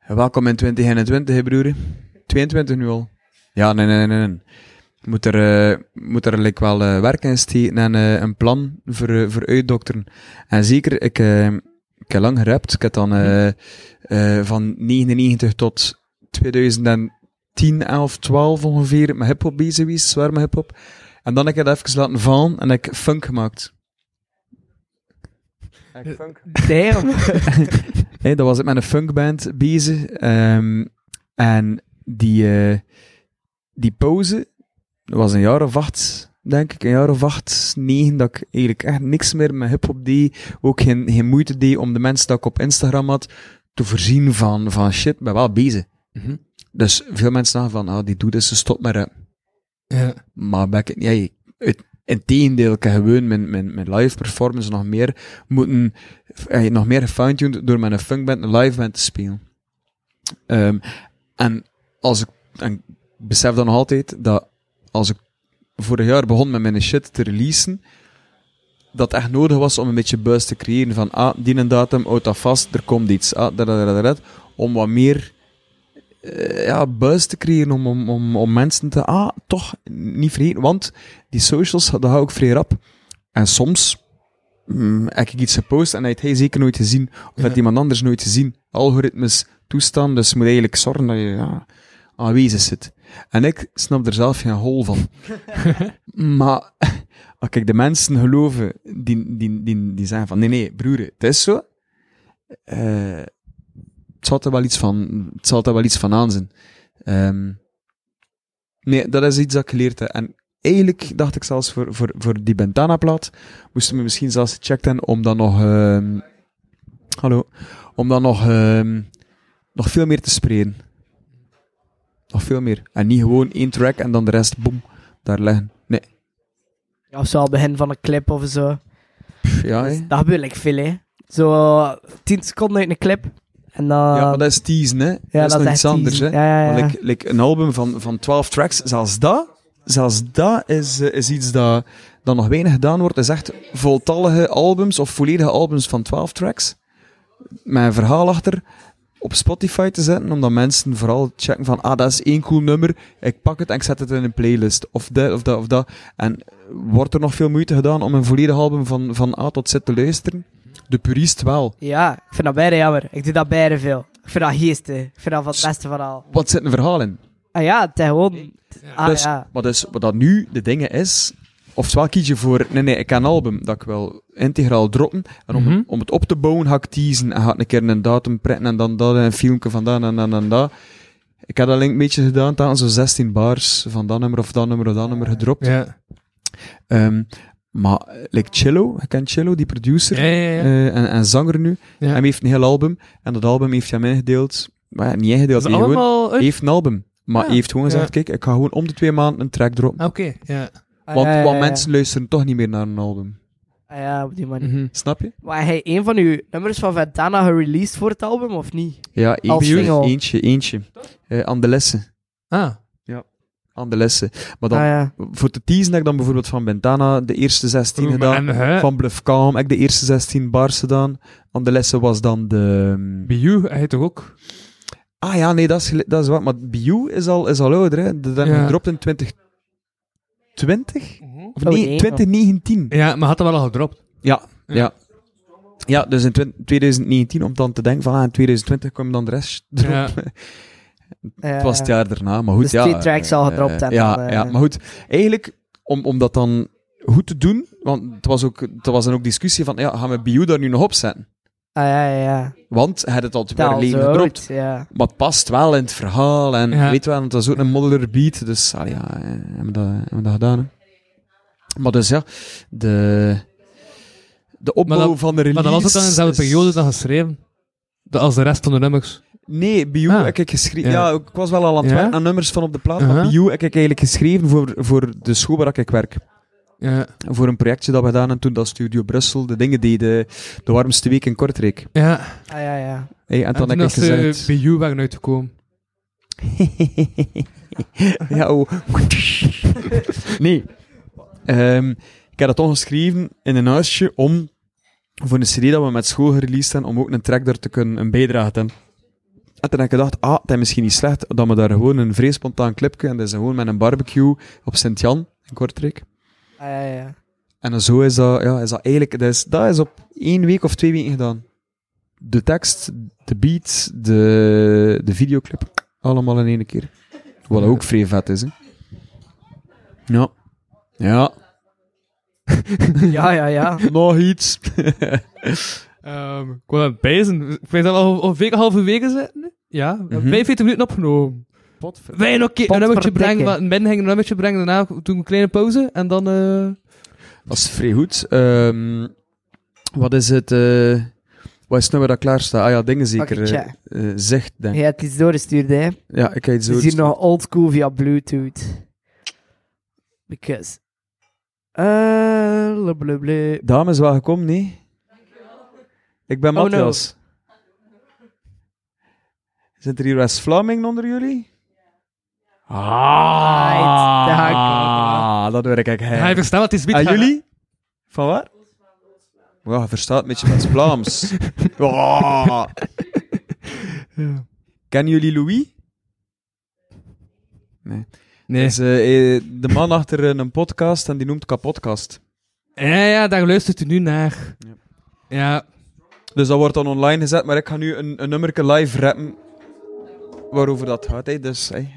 Speaker 5: Welkom in 2021, hè, broer. 22 nu al. Ja, nee, nee, nee, nee. Moet er, eh, moet er like, wel eh, werk in steken en eh, een plan voor, eh, voor uitdokteren. En zeker, ik, eh, ik heb lang gerapt. Ik heb dan eh, eh, van 99 tot 2010, 11, 12 ongeveer met hip-hop bezig geweest, zwaar met hip-hop. En dan heb ik het even laten vallen en heb ik funk gemaakt.
Speaker 2: Damn.
Speaker 5: Nee, dat was ik met een funkband bezig. ehm, en die, eh, die pauze, dat was een jaar of acht, denk ik. Een jaar of acht, negen, dat ik eigenlijk echt niks meer met hip-hop deed. Ook geen, geen moeite deed om de mensen dat ik op Instagram had te voorzien van, van shit, ben wel bezig. Dus veel mensen dachten van, ah, die doet dus, ze stopt maar. rappen.
Speaker 3: Ja.
Speaker 5: Maar ben ik, het niet. ja, het, integendeel, ik heb gewoon mijn, mijn, mijn live performance nog meer moeten, eh, nog meer gefine-tuned door mijn funkband, een live band te spelen. Ehm, en als ik, en ik besef dan nog altijd dat als ik vorig jaar begon met mijn shit te releasen, dat echt nodig was om een beetje buis te creëren van, ah, die een datum, houd dat vast, er komt iets, ah, dat, dat, dat, dat, dat, om wat meer eh, ja, buis te creëren om, om, om, om mensen te... Ah, toch, niet vergeten. Want die socials, dat hou ik vrij rap. En soms mm, heb ik iets gepost en dat heeft hij zeker nooit gezien. Of dat iemand anders nooit gezien. Algoritmes toestaan, dus je moet eigenlijk zorgen dat je ja, aanwezig zit. En ik snap er zelf geen hol van. maar als ik de mensen geloven die, die, die, die zeggen van... Nee, nee, broer, het is zo. Eh het zal er wel iets van, het zal er wel iets van aan zijn. Ehm, nee, dat is iets dat ik geleerd heb. En eigenlijk dacht ik zelfs voor, voor, voor die Bentana-plaat, moesten we misschien zelfs gecheckt hebben om dan nog, ehm, hallo, om dan nog, ehm, nog veel meer te sprayen. Nog veel meer. En niet gewoon één track en dan de rest, boem, daar leggen. Nee,
Speaker 2: Of zo al begin van een clip of zo.
Speaker 5: pff, ja,
Speaker 2: Dus
Speaker 5: hè.
Speaker 2: dat gebeurt like veel, hè. Zo 10 seconden uit een clip. En dan...
Speaker 5: ja, maar dat is teasen, hè.
Speaker 2: Ah. ja,
Speaker 5: dat is nog
Speaker 2: echt
Speaker 5: iets anders, hè.
Speaker 2: teasen. Ja, ja,
Speaker 5: Maar
Speaker 2: ja.
Speaker 5: like, like een album van, van 12 tracks, zelfs dat, zelfs dat is, eh, is iets dat, dat nog weinig gedaan wordt. is echt voltallige albums of volledige albums van 12 tracks. Met een verhaal achter op Spotify te zetten, omdat mensen vooral checken van, ah, dat is één cool nummer, ik pak het en ik zet het in een playlist. Of dit, of dat, of dat. En wordt er nog veel moeite gedaan om een volledig album van, van A tot Z te luisteren? De purist wel.
Speaker 2: Ja, ik vind dat beide jammer. Ik doe dat beide veel. Ik vind dat geestig. Ik vind dat van het beste van al.
Speaker 5: Wat zit een verhaal in?
Speaker 2: Ah ja, het is gewoon... Ah
Speaker 5: dus,
Speaker 2: ja.
Speaker 5: Maar dus, wat dat nu de dingen is, oftewel kies je voor, nee, nee, ik kan een album dat ik wil integraal droppen, en om,
Speaker 3: Mhm.
Speaker 5: om het op te bouwen ga ik teasen, en ga ik een keer een datum printen, en dan dat, en een filmpje van dat, en dan en dat. Ik heb dat alleen een beetje gedaan, dan zo'n 16 bars van dat nummer of dat nummer of dat nummer gedropt.
Speaker 3: Ja.
Speaker 5: Ehm, maar, eh, like Chillo, je kent Chillo, die producer,
Speaker 3: Ja, ja, ja.
Speaker 5: eh, en, en zanger nu,
Speaker 3: Ja.
Speaker 5: hij heeft een heel album, en dat album heeft hij mij gedeeld, maar ja, niet ingedeeld,
Speaker 3: Dat is
Speaker 5: hij gewoon-
Speaker 3: allemaal uit...
Speaker 5: heeft een album. Maar
Speaker 3: Ja.
Speaker 5: hij heeft gewoon gezegd, kijk, ik ga gewoon om de twee maanden een track droppen.
Speaker 3: Ah, Oké, ja.
Speaker 2: Ah,
Speaker 5: Want,
Speaker 2: ja, ja,
Speaker 5: want
Speaker 2: ja.
Speaker 5: mensen luisteren toch niet meer naar een album.
Speaker 2: Ah ja, op die manier.
Speaker 3: Mhm.
Speaker 5: Snap je?
Speaker 2: Maar hij een van uw nummers van Ventana gereleased voor het album, of niet?
Speaker 5: Ja,
Speaker 2: Als
Speaker 5: eentje.
Speaker 2: single.
Speaker 5: Eentje, eentje. Eh, aan de lessen.
Speaker 3: Ah.
Speaker 5: Aan de lessen. Maar dan,
Speaker 2: Ah ja.
Speaker 5: voor te teasen heb ik dan bijvoorbeeld van Bentana de eerste 16
Speaker 3: Oeh, maar
Speaker 5: gedaan.
Speaker 3: en, hè?
Speaker 5: Van Bluff Calm heb ik de eerste 16 bars gedaan. Aan de lessen was dan de... ehm,
Speaker 3: Bij jou, hij toch ook?
Speaker 5: Ah ja, nee, dat is, gel- dat is wat. Maar Biu is al, is al ouder, hè. Dat hebben we
Speaker 3: Ja.
Speaker 5: gedropt in 2020? Of
Speaker 2: Oh,
Speaker 5: nee,
Speaker 2: nee.
Speaker 5: 2019.
Speaker 3: Ja, maar had dat wel al gedropt.
Speaker 5: Ja,
Speaker 3: Ja.
Speaker 5: ja. Ja, dus in twin- 2019, om dan te denken van, ah, in 2020 kwam dan de rest erop.
Speaker 3: Ja.
Speaker 5: Het was het jaar daarna, maar goed,
Speaker 2: Dus
Speaker 5: ja.
Speaker 2: twee Eh, tracks al
Speaker 5: eh,
Speaker 2: gedropt en
Speaker 5: ja,
Speaker 2: dan, eh,
Speaker 5: ja, maar goed. Eigenlijk, om, om dat dan goed te doen, want het was, ook, het was dan ook discussie van, ja, gaan we Bio daar nu nog op zetten?
Speaker 2: Ah ja, ja, ja.
Speaker 5: Want hij had het al twee jaar
Speaker 2: Dat
Speaker 5: geleden
Speaker 2: zo
Speaker 5: gedropt.
Speaker 2: goed, ja.
Speaker 5: Maar het past wel in het verhaal en
Speaker 3: Ja.
Speaker 5: weet wel, want het was ook een modder beat, dus allee, ja, eh, hebben we dat, hebben we dat gedaan. hè. Maar dus ja, de, de opbouw
Speaker 3: Maar dat-
Speaker 5: van de
Speaker 3: Maar
Speaker 5: release...
Speaker 3: dat was ook dan in dezelfde
Speaker 5: is-
Speaker 3: periode dan geschreven. Dat als de rest van de nummers.
Speaker 5: Nee, Biu
Speaker 3: Ah.
Speaker 5: heb ik geschreven.
Speaker 3: Ja.
Speaker 5: Ja. ik was wel al aan het
Speaker 3: Ja? Uh-huh.
Speaker 5: werken aan nummers van op de plaat, maar
Speaker 3: Aha.
Speaker 5: Biu heb ik eigenlijk geschreven voor, voor de school waar ik werk.
Speaker 3: Ja.
Speaker 5: Voor een projectje dat we gedaan hebben toen dat Studio Brussel de dingen deden, de warmste week in Kortrijk.
Speaker 3: ja.
Speaker 2: Ah ja, ja.
Speaker 5: Hey, en toen heb ik
Speaker 3: als ze
Speaker 5: gezegd...
Speaker 3: bij jou eh, waren uitgekomen.
Speaker 5: ja, oh. nee. Ehm, ik heb dat toch geschreven in een huisje om voor een CD dat we met school gereleased hebben, om ook een track daar te kunnen een bijdrage te hebben. En toen heb ik gedacht, ah, het is misschien niet slecht dat we daar gewoon een vrij spontaan clipje, en dat is gewoon met een barbecue op Sint-Jan in Kortrijk.
Speaker 2: Ah, ja, ja.
Speaker 5: En zo is dat, ja, is dat eigenlijk, dat is, dat is op één week of twee weken gedaan. De tekst, de beat, de, de videoclip, allemaal in één keer. Wat ook vrij vet is, hè. Ja. Ja.
Speaker 2: Ja, ja, ja.
Speaker 5: Nog iets.
Speaker 3: Ehm, ik was aan het bijzen. Ik weet dat we al ongeveer een halve weken zitten. nu. Ja, we hebben
Speaker 5: Mhm.
Speaker 3: 45 minuten opgenomen. Wij een, oké- een nummertje
Speaker 2: Potverdikke.
Speaker 3: brengen, maar men ging een nummertje brengen, daarna doen we een kleine pauze en dan... eh,
Speaker 5: Dat is vrij goed. Ehm, wat is het, eh, wat is het nummer dat klaar staat? Ah ja, dingen zeker.
Speaker 2: Oké,
Speaker 5: eh
Speaker 2: tja.
Speaker 5: eh, zegt, denk ik.
Speaker 2: Je hebt iets doorgestuurd, hè.
Speaker 5: Ja, ik kijk zo.
Speaker 2: Het is hier nog old school via Bluetooth. Because... Eh, blablabla.
Speaker 5: Dame is wel gekomen, nee? Ik ben
Speaker 2: Oh,
Speaker 5: Matthias. Zit er hier West Vlaming onder jullie?
Speaker 2: Right, daar ga
Speaker 5: Ah, dat hoor ik
Speaker 3: Ga je
Speaker 5: eigenlijk.
Speaker 3: verstaan wat het is?
Speaker 5: En
Speaker 3: Piet?
Speaker 5: Ah, jullie? Van waar? Ja, je verstaat een beetje West Vlaams. Ah. Kennen jullie Louis?
Speaker 3: Nee.
Speaker 5: Is, eh, eh, de man achter eh, een podcast en die noemt Kapodcast.
Speaker 3: Ja, ja, daar luistert u nu naar.
Speaker 5: Ja.
Speaker 3: Ja,
Speaker 5: Dus dat wordt dan online gezet, maar ik ga nu een, een nummerke live rappen waarover dat gaat. Hè. Dus, hè.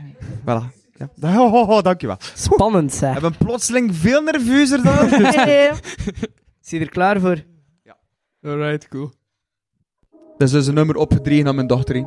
Speaker 5: voilà. Ja. Oh, oh, oh, dankjewel.
Speaker 2: Spannend, zeg.
Speaker 5: Ik ben plotseling veel nerveuzer dan...
Speaker 2: Is je er klaar voor?
Speaker 3: alright, cool.
Speaker 5: Dat is dus een nummer opgedreven aan mijn dochter. hè.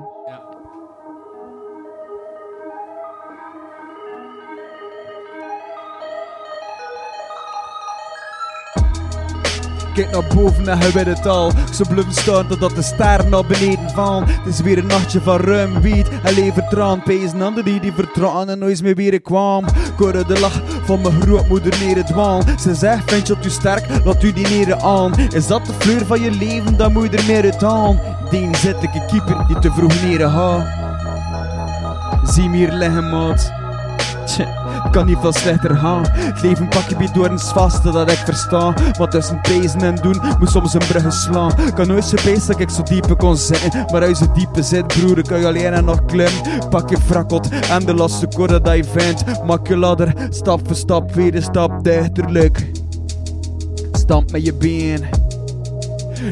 Speaker 5: Kijk naar boven en hij weet het al. Ze bluffen staan totdat de sterren naar beneden vallen. Het is weer een nachtje van ruim wiet. Hij levert traan, pees een ander die die vertraan en nooit meer weer kwam. Korre de lach van mijn grootmoeder neer het wal. Ze zegt, vind je het u sterk, laat u die neren aan. Is dat de fleur van je leven, dan moet je er meer uit aan. Die inzettelijke keeper die te vroeg neren haalt. Zie me hier liggen, maat. Tje, kan niet veel slechter gaan. Het leven pak je bidoorns vast, dat ik versta. Want tussen pezen en doen moet soms een brugge slaan. Kan nooit zo bezig dat ik zo diepe kon zitten. Maar uit zo diepe zit, broer, kan je alleen en nog klimmen. Pak je frakkelt en de laatste korte dat je vindt. Maak je ladder, stap voor stap, weer een stap dichterlijk. Stamp met je been.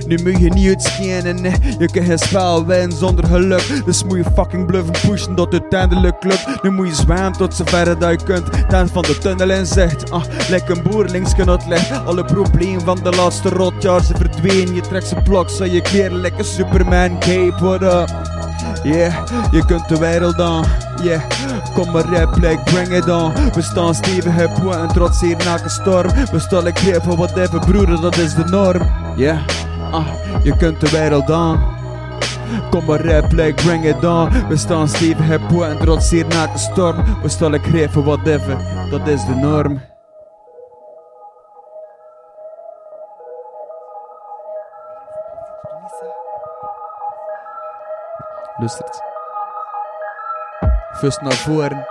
Speaker 5: Nu moet je niet uitschenen, nee. je kan geen spel winnen zonder geluk. Dus moet je fucking bluffen pushen tot het uiteindelijk lukt. Nu moet je zwemmen tot zover dat je kunt. Ten van de tunnel in zicht, ah, lekker een boer links het licht. Alle problemen van de laatste rotjaar ze verdwenen. Je trekt ze blok, zo je keer lekker Superman cape, what up? Yeah, je kunt de wereld aan. Yeah, kom maar rap, like bring it on. We staan stevig, heb en trots hier na een storm. We staan ik grip van wat even broeder, dat is de norm. Yeah, ah, je kunt de wereld aan. Kom maar rap, like bring it on. We staan stevig, heb en trots hier na een storm. We staan ik grip van wat even, dat is de norm. Lustert. Vust naar voren,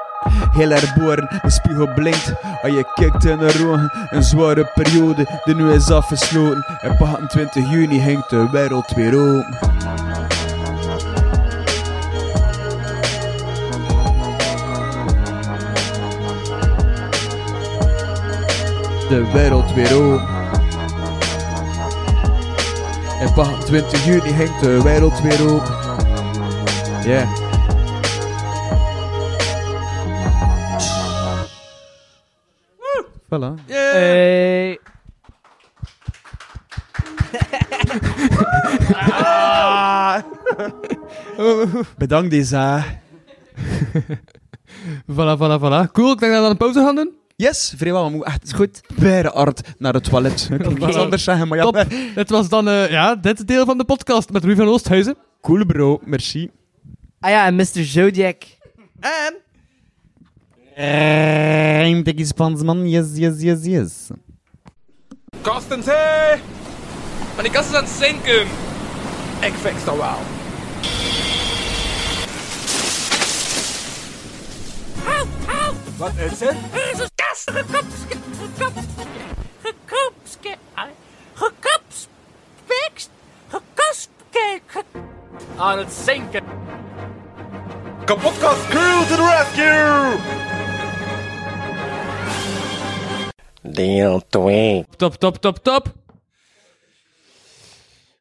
Speaker 5: heel erboren, de spiegel blinkt. En je kijkt in de ogen, een zware periode die nu is afgesloten. En op 28 juni hangt de wereld weer open. De wereld weer open. En op 28 juni hangt de wereld weer open. Yeah. Voilà.
Speaker 2: Hey.
Speaker 5: Bedankt, Deza.
Speaker 3: Voilà, voilà, voilà. Cool, ik denk dat we dan een pauze gaan doen.
Speaker 5: Yes, vrijwel. Maar moet echt goed per art naar het toilet. Ik kan iets
Speaker 3: Voilà.
Speaker 5: anders zeggen, maar ja.
Speaker 3: Top. Het was dan eh, ja, dit deel van de podcast met Ruud van Oosthuizen.
Speaker 5: Cool bro, merci.
Speaker 2: Ah ja, en Mr. Zodiac.
Speaker 5: En... Rijmtekkie Spansman, yes, yes, yes, yes.
Speaker 7: Kastens, hé! Maar die kast is aan het zinken. Ik fix dat wel. Wat is het?
Speaker 8: is een kast gekopske, gekopske, gekopske, gekopspekst, gekopske, aan het zinken.
Speaker 7: Kapotkast crew to the rescue!
Speaker 9: Deel 2.
Speaker 3: Top, top, top, top.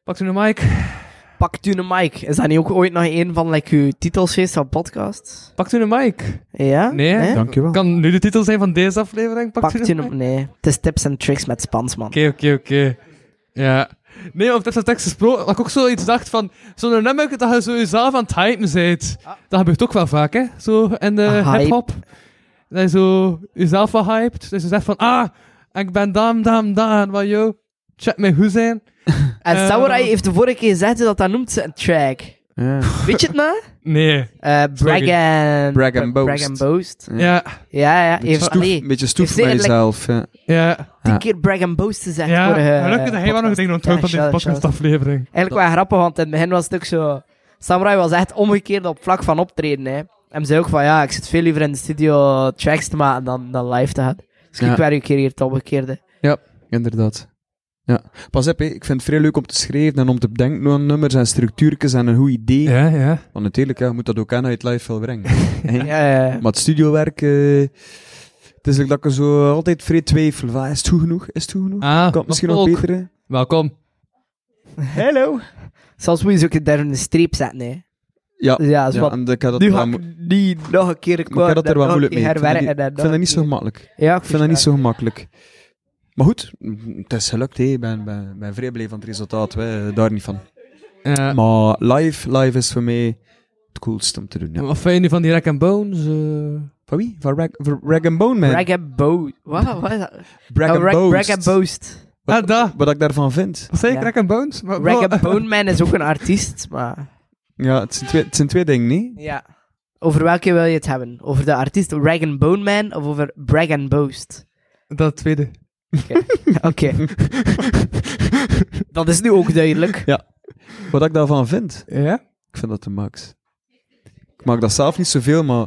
Speaker 3: Pak u een mic.
Speaker 2: Pak toen een mic. Is dat niet ook ooit nog een van like, uw titels geweest van podcasts?
Speaker 3: Pak u een mic.
Speaker 2: Ja?
Speaker 3: Nee,
Speaker 2: Hè?
Speaker 5: Dankjewel.
Speaker 3: Kan nu de titel zijn van deze aflevering? Pak,
Speaker 2: Pak
Speaker 3: u een
Speaker 2: toen
Speaker 3: mic.
Speaker 2: een... Nee. Het is tips en tricks met Spans, man.
Speaker 3: Oké, oké, oké. Ja. Nee, op deze tekst gesproken, dat ik ook zoiets dacht van... Zo'n nummer dat je zo jezelf aan het hypen bent. Dat gebeurt ook wel vaak, hè. Zo in de
Speaker 2: Ah, hype.
Speaker 3: hip-hop. Dat je zo jezelf wel hypt. Dat je zegt van... Ah, ik ben dam, dam, dam. Wat, yo. Check me hoe zijn.
Speaker 2: En
Speaker 3: Eh,
Speaker 2: Samurai heeft de vorige keer gezegd dat dat noemt ze een track. Weet je het nou?
Speaker 3: Nee.
Speaker 2: Eh brag
Speaker 3: Sorry.
Speaker 2: and...
Speaker 5: Brag and
Speaker 2: Bra-
Speaker 5: boast.
Speaker 2: Brag and boast.
Speaker 3: Ja.
Speaker 2: Ja, ja.
Speaker 5: Beetje
Speaker 2: Heeft,
Speaker 5: stoef,
Speaker 2: allee,
Speaker 5: een beetje stoef
Speaker 2: Is
Speaker 5: voor
Speaker 2: dit
Speaker 5: jezelf. ja.
Speaker 3: Ja.
Speaker 2: tien
Speaker 5: Ja.
Speaker 2: keer brag and boast gezegd
Speaker 3: Ja.
Speaker 2: vorige... eh,
Speaker 3: Gelukkig dat hij wel nog
Speaker 2: podcast.
Speaker 3: dingen onthouden
Speaker 2: Ja,
Speaker 3: van deze
Speaker 2: shout out,
Speaker 3: podcastaflevering.
Speaker 2: Eigenlijk wel grappig, want in het begin was het ook zo... Samurai was echt omgekeerd op vlak van optreden, hè. Hem zei ook van, ja, ik zit veel liever in de studio tracks te maken dan, dan live te gaan. Dus
Speaker 5: Ja.
Speaker 2: ik werk een keer hier het omgekeerde.
Speaker 5: Inderdaad. Ja. Pas op, hé, ik vind het vrij leuk om te schrijven en om te bedenken aan nummers en structuurtjes en een goed idee.
Speaker 3: Ja, ja.
Speaker 5: Want natuurlijk, ja, je moet dat ook aan uit live wil brengen.
Speaker 2: Ja, ja, ja.
Speaker 5: Maar het studiowerk, eh, het is ook dat ik er zo altijd vrij twijfel. van, Is het goed genoeg? Is het goed genoeg?
Speaker 3: Ah,
Speaker 5: kan het misschien nog
Speaker 3: ook.
Speaker 5: beter? hè?
Speaker 3: Welkom.
Speaker 5: Hallo.
Speaker 2: Zelfs moet je ze ook daar een streep zetten, hè.
Speaker 5: Ja,
Speaker 2: Dus ja, is
Speaker 5: ja,
Speaker 2: wat...
Speaker 5: en ik had dat
Speaker 2: Nu
Speaker 5: wel
Speaker 2: ga
Speaker 5: mo-
Speaker 2: ik niet nog een keer...
Speaker 5: maar ik had dat er wel
Speaker 2: nog
Speaker 5: moeilijk
Speaker 2: een
Speaker 5: mee.
Speaker 2: keer
Speaker 5: Ik vind dat niet-
Speaker 2: herwerken en
Speaker 5: ik vind dat niet zo
Speaker 2: nog een
Speaker 5: gemakkelijk.
Speaker 2: keer- Ja, ik
Speaker 5: Ik vind dat niet zo gemakkelijk. Maar goed, mm, het is gelukt. hé. Ik ben, ben, ben vrij blij van het resultaat. Wij, daar niet van.
Speaker 3: Ja.
Speaker 5: Maar live, live is voor mij het coolste om te doen. Ja.
Speaker 3: Wat vind je nu van die Rack and Bones? eh?
Speaker 5: Van wie? Van Rag, van Rag and Bone Man?
Speaker 2: Brag and boast. Wat? Wat is dat?
Speaker 5: Brag
Speaker 2: Oh,
Speaker 5: and
Speaker 2: Rag-
Speaker 5: Boast.
Speaker 2: Brag and boast.
Speaker 5: Wat-
Speaker 3: Ah, daar.
Speaker 5: Wat ik daarvan vind.
Speaker 3: Wat zei ik?
Speaker 2: Ja.
Speaker 3: Rack and Bones? Maar-
Speaker 2: Rag
Speaker 3: maar-
Speaker 2: and Bone Man is ook een artiest, maar...
Speaker 5: Ja, het zijn twee, het zijn twee dingen, nee?
Speaker 2: Ja. Over welke wil je het hebben? Over de artiest Rag and Bone Man of over Brag and Boast?
Speaker 3: Dat tweede.
Speaker 2: Oké. Dat is nu ook duidelijk.
Speaker 5: Wat ik daarvan vind.
Speaker 3: Ja?
Speaker 5: Ik vind dat de max. Ik maak dat zelf niet zoveel, maar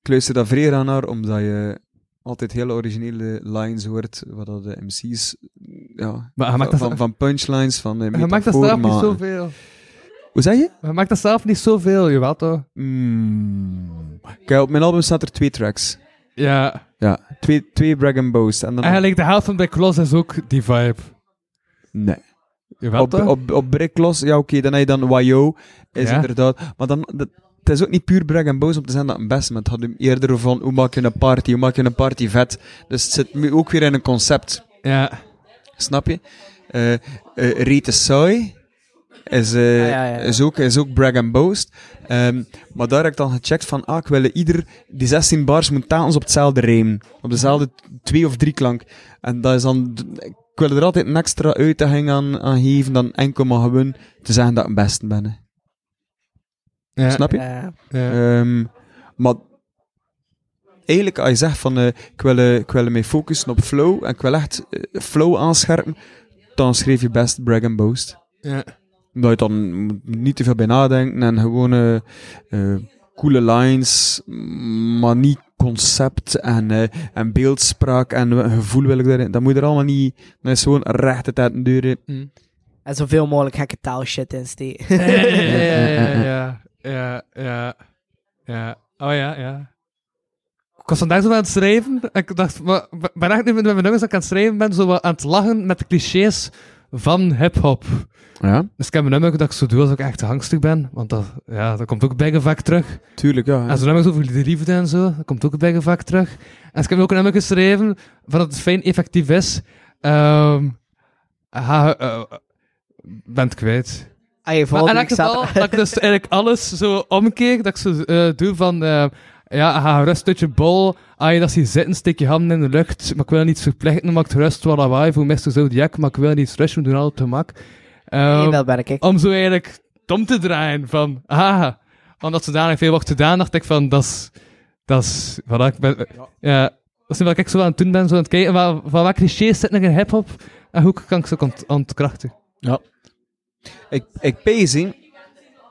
Speaker 5: ik luister daar vrij aan naar, omdat je altijd hele originele lines hoort, wat dat de MC's... Ja,
Speaker 3: Maar hij maakt dat,
Speaker 5: van, van punchlines, van
Speaker 3: hij
Speaker 5: eh,
Speaker 3: maakt dat
Speaker 5: metaforen,
Speaker 3: zelf niet
Speaker 5: maar-
Speaker 3: zoveel.
Speaker 5: Hoe zei je?
Speaker 3: Hij maakt dat zelf niet zoveel, jawel toch?
Speaker 5: Mm. Kijk, op mijn album staat er twee tracks.
Speaker 3: Ja.
Speaker 5: Ja, twee, twee Brag and Boast. En dan
Speaker 3: Eigenlijk de helft van Black Cross is ook die vibe.
Speaker 5: Nee.
Speaker 3: Jawel
Speaker 5: Op,
Speaker 3: toch?
Speaker 5: op, op Bricklos, ja oké, dan heb je dan Wayo, is
Speaker 3: Ja.
Speaker 5: inderdaad. Maar dan, dat, het is ook niet puur brag en boos om te zijn dat het best maar Het had hem eerder van hoe maak je een party, hoe maak je een party vet. Dus het zit nu ook weer in een concept,
Speaker 3: Ja.
Speaker 5: snap je? Eh eh Rita Soy is, eh,
Speaker 2: Ah, ja, ja, ja.
Speaker 5: is ook, is ook brag and boast. Ehm, maar daar heb ik dan gecheckt van, ah, ik wil ieder, die 16 bars moet telkens op hetzelfde rijm. Op dezelfde twee of drie klank. En dat is dan, ik wil er altijd een extra uitdaging aan, aan geven dan enkel maar gewoon te zeggen dat ik het beste ben. hè.
Speaker 3: Ja.
Speaker 5: Snap je?
Speaker 2: Ja.
Speaker 3: Ja.
Speaker 5: Ehm, maar eigenlijk, als je zegt van eh, ik, wil, eh, ik wil mij focussen op flow en ik wil echt eh, flow aanscherpen, dan schreef je best brag and boast.
Speaker 3: Ja.
Speaker 5: Omdat je dan moet niet te veel bij nadenken en gewoon eh, eh, coole lines, maar niet concept en, eh, en beeldspraak en eh, gevoel wil ik daarin. Dat moet je er allemaal niet. Dat is gewoon recht het uit de deur. hè.
Speaker 2: En zoveel mogelijk gekke taalshit in steken.
Speaker 3: Ja, ja, ja, ja, ja, ja, ja. Oh ja, ja. Ik was vandaag zo aan het schrijven. en Ik dacht, maar maar- ben echt nu met mijn nummers dat ik aan het schrijven ben, zo wat aan het lachen met de clichés van hip-hop.
Speaker 5: Ja,
Speaker 3: Dus ik heb een nummer dat ik zo doe als ik echt angstig ben, want dat, ja, dat komt ook bijna vaak terug.
Speaker 5: tuurlijk. Ja,
Speaker 3: En zo'n nummer over de liefde en zo, dat komt ook bij vaak terug. En ik heb ook een nummer geschreven van dat het fijn effectief is. Ehm ha, eh, bent kwijt.
Speaker 2: Ah, je
Speaker 3: Maar
Speaker 2: volgt
Speaker 3: in
Speaker 2: me,
Speaker 3: elk
Speaker 2: ik zat-
Speaker 3: geval, dat ik dus eigenlijk alles zo omkeer, dat ik zo eh, doe van... eh, Ja, ga rust uit je bol. Ah, je dat ziet zitten, steek je handen in de lucht. Maar ik wil niets verplichten, maakt rust wel lawaai voor Mr. Zodiac. Maar ik wil niets rushen, we doen altijd te mak. Ehm,
Speaker 2: Nee, dat ben
Speaker 5: Oh,
Speaker 2: ik.
Speaker 3: om zo eigenlijk dom te draaien van, ah, omdat ze daar veel wordt gedaan, dacht ik van, dat is, dat is, wat ik ben, ja, dat is nu wat ik zo aan het doen ben, zo aan het kijken, van, van wat clichés zitten er in hip-hop en hoe kan ik ze ont ontkrachten?
Speaker 5: Ja. Ik, ik pees, hè.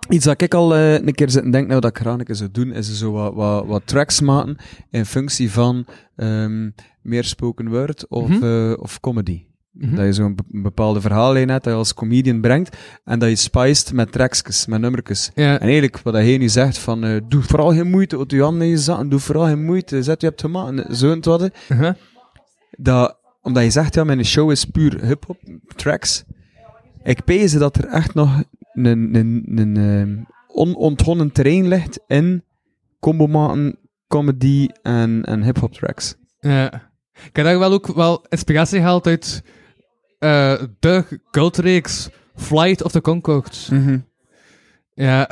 Speaker 5: Iets dat ik al eh, een keer zit en denk, nou, dat ik graag een keer zou doen, is zo wat, wat, wat tracks maken in functie van ehm, meer spoken word of,
Speaker 3: Mhm.
Speaker 5: eh, of comedy.
Speaker 3: Mhm.
Speaker 5: Dat je zo'n be- een bepaalde verhaallijn hebt, dat je als comedian brengt, en dat je spiced met tracksjes, met nummertjes.
Speaker 3: Ja,
Speaker 5: En eigenlijk, wat hij nu zegt, van eh, doe vooral geen moeite, houd je handen in je zakken, doe vooral geen moeite, zet je hebt gemaakt, zo en het wat, hè.
Speaker 3: uh-huh.
Speaker 5: dat, omdat je zegt, ja, mijn show is puur hip-hop tracks. Ik pees dat er echt nog een, een, een, ehm, onontgonnen terrein ligt in combomaten, comedy en, en hip-hop tracks.
Speaker 3: Ja. Ik heb daar wel ook wel inspiratie gehaald uit eh, de cultreeks Flight of the Conchords. Ja,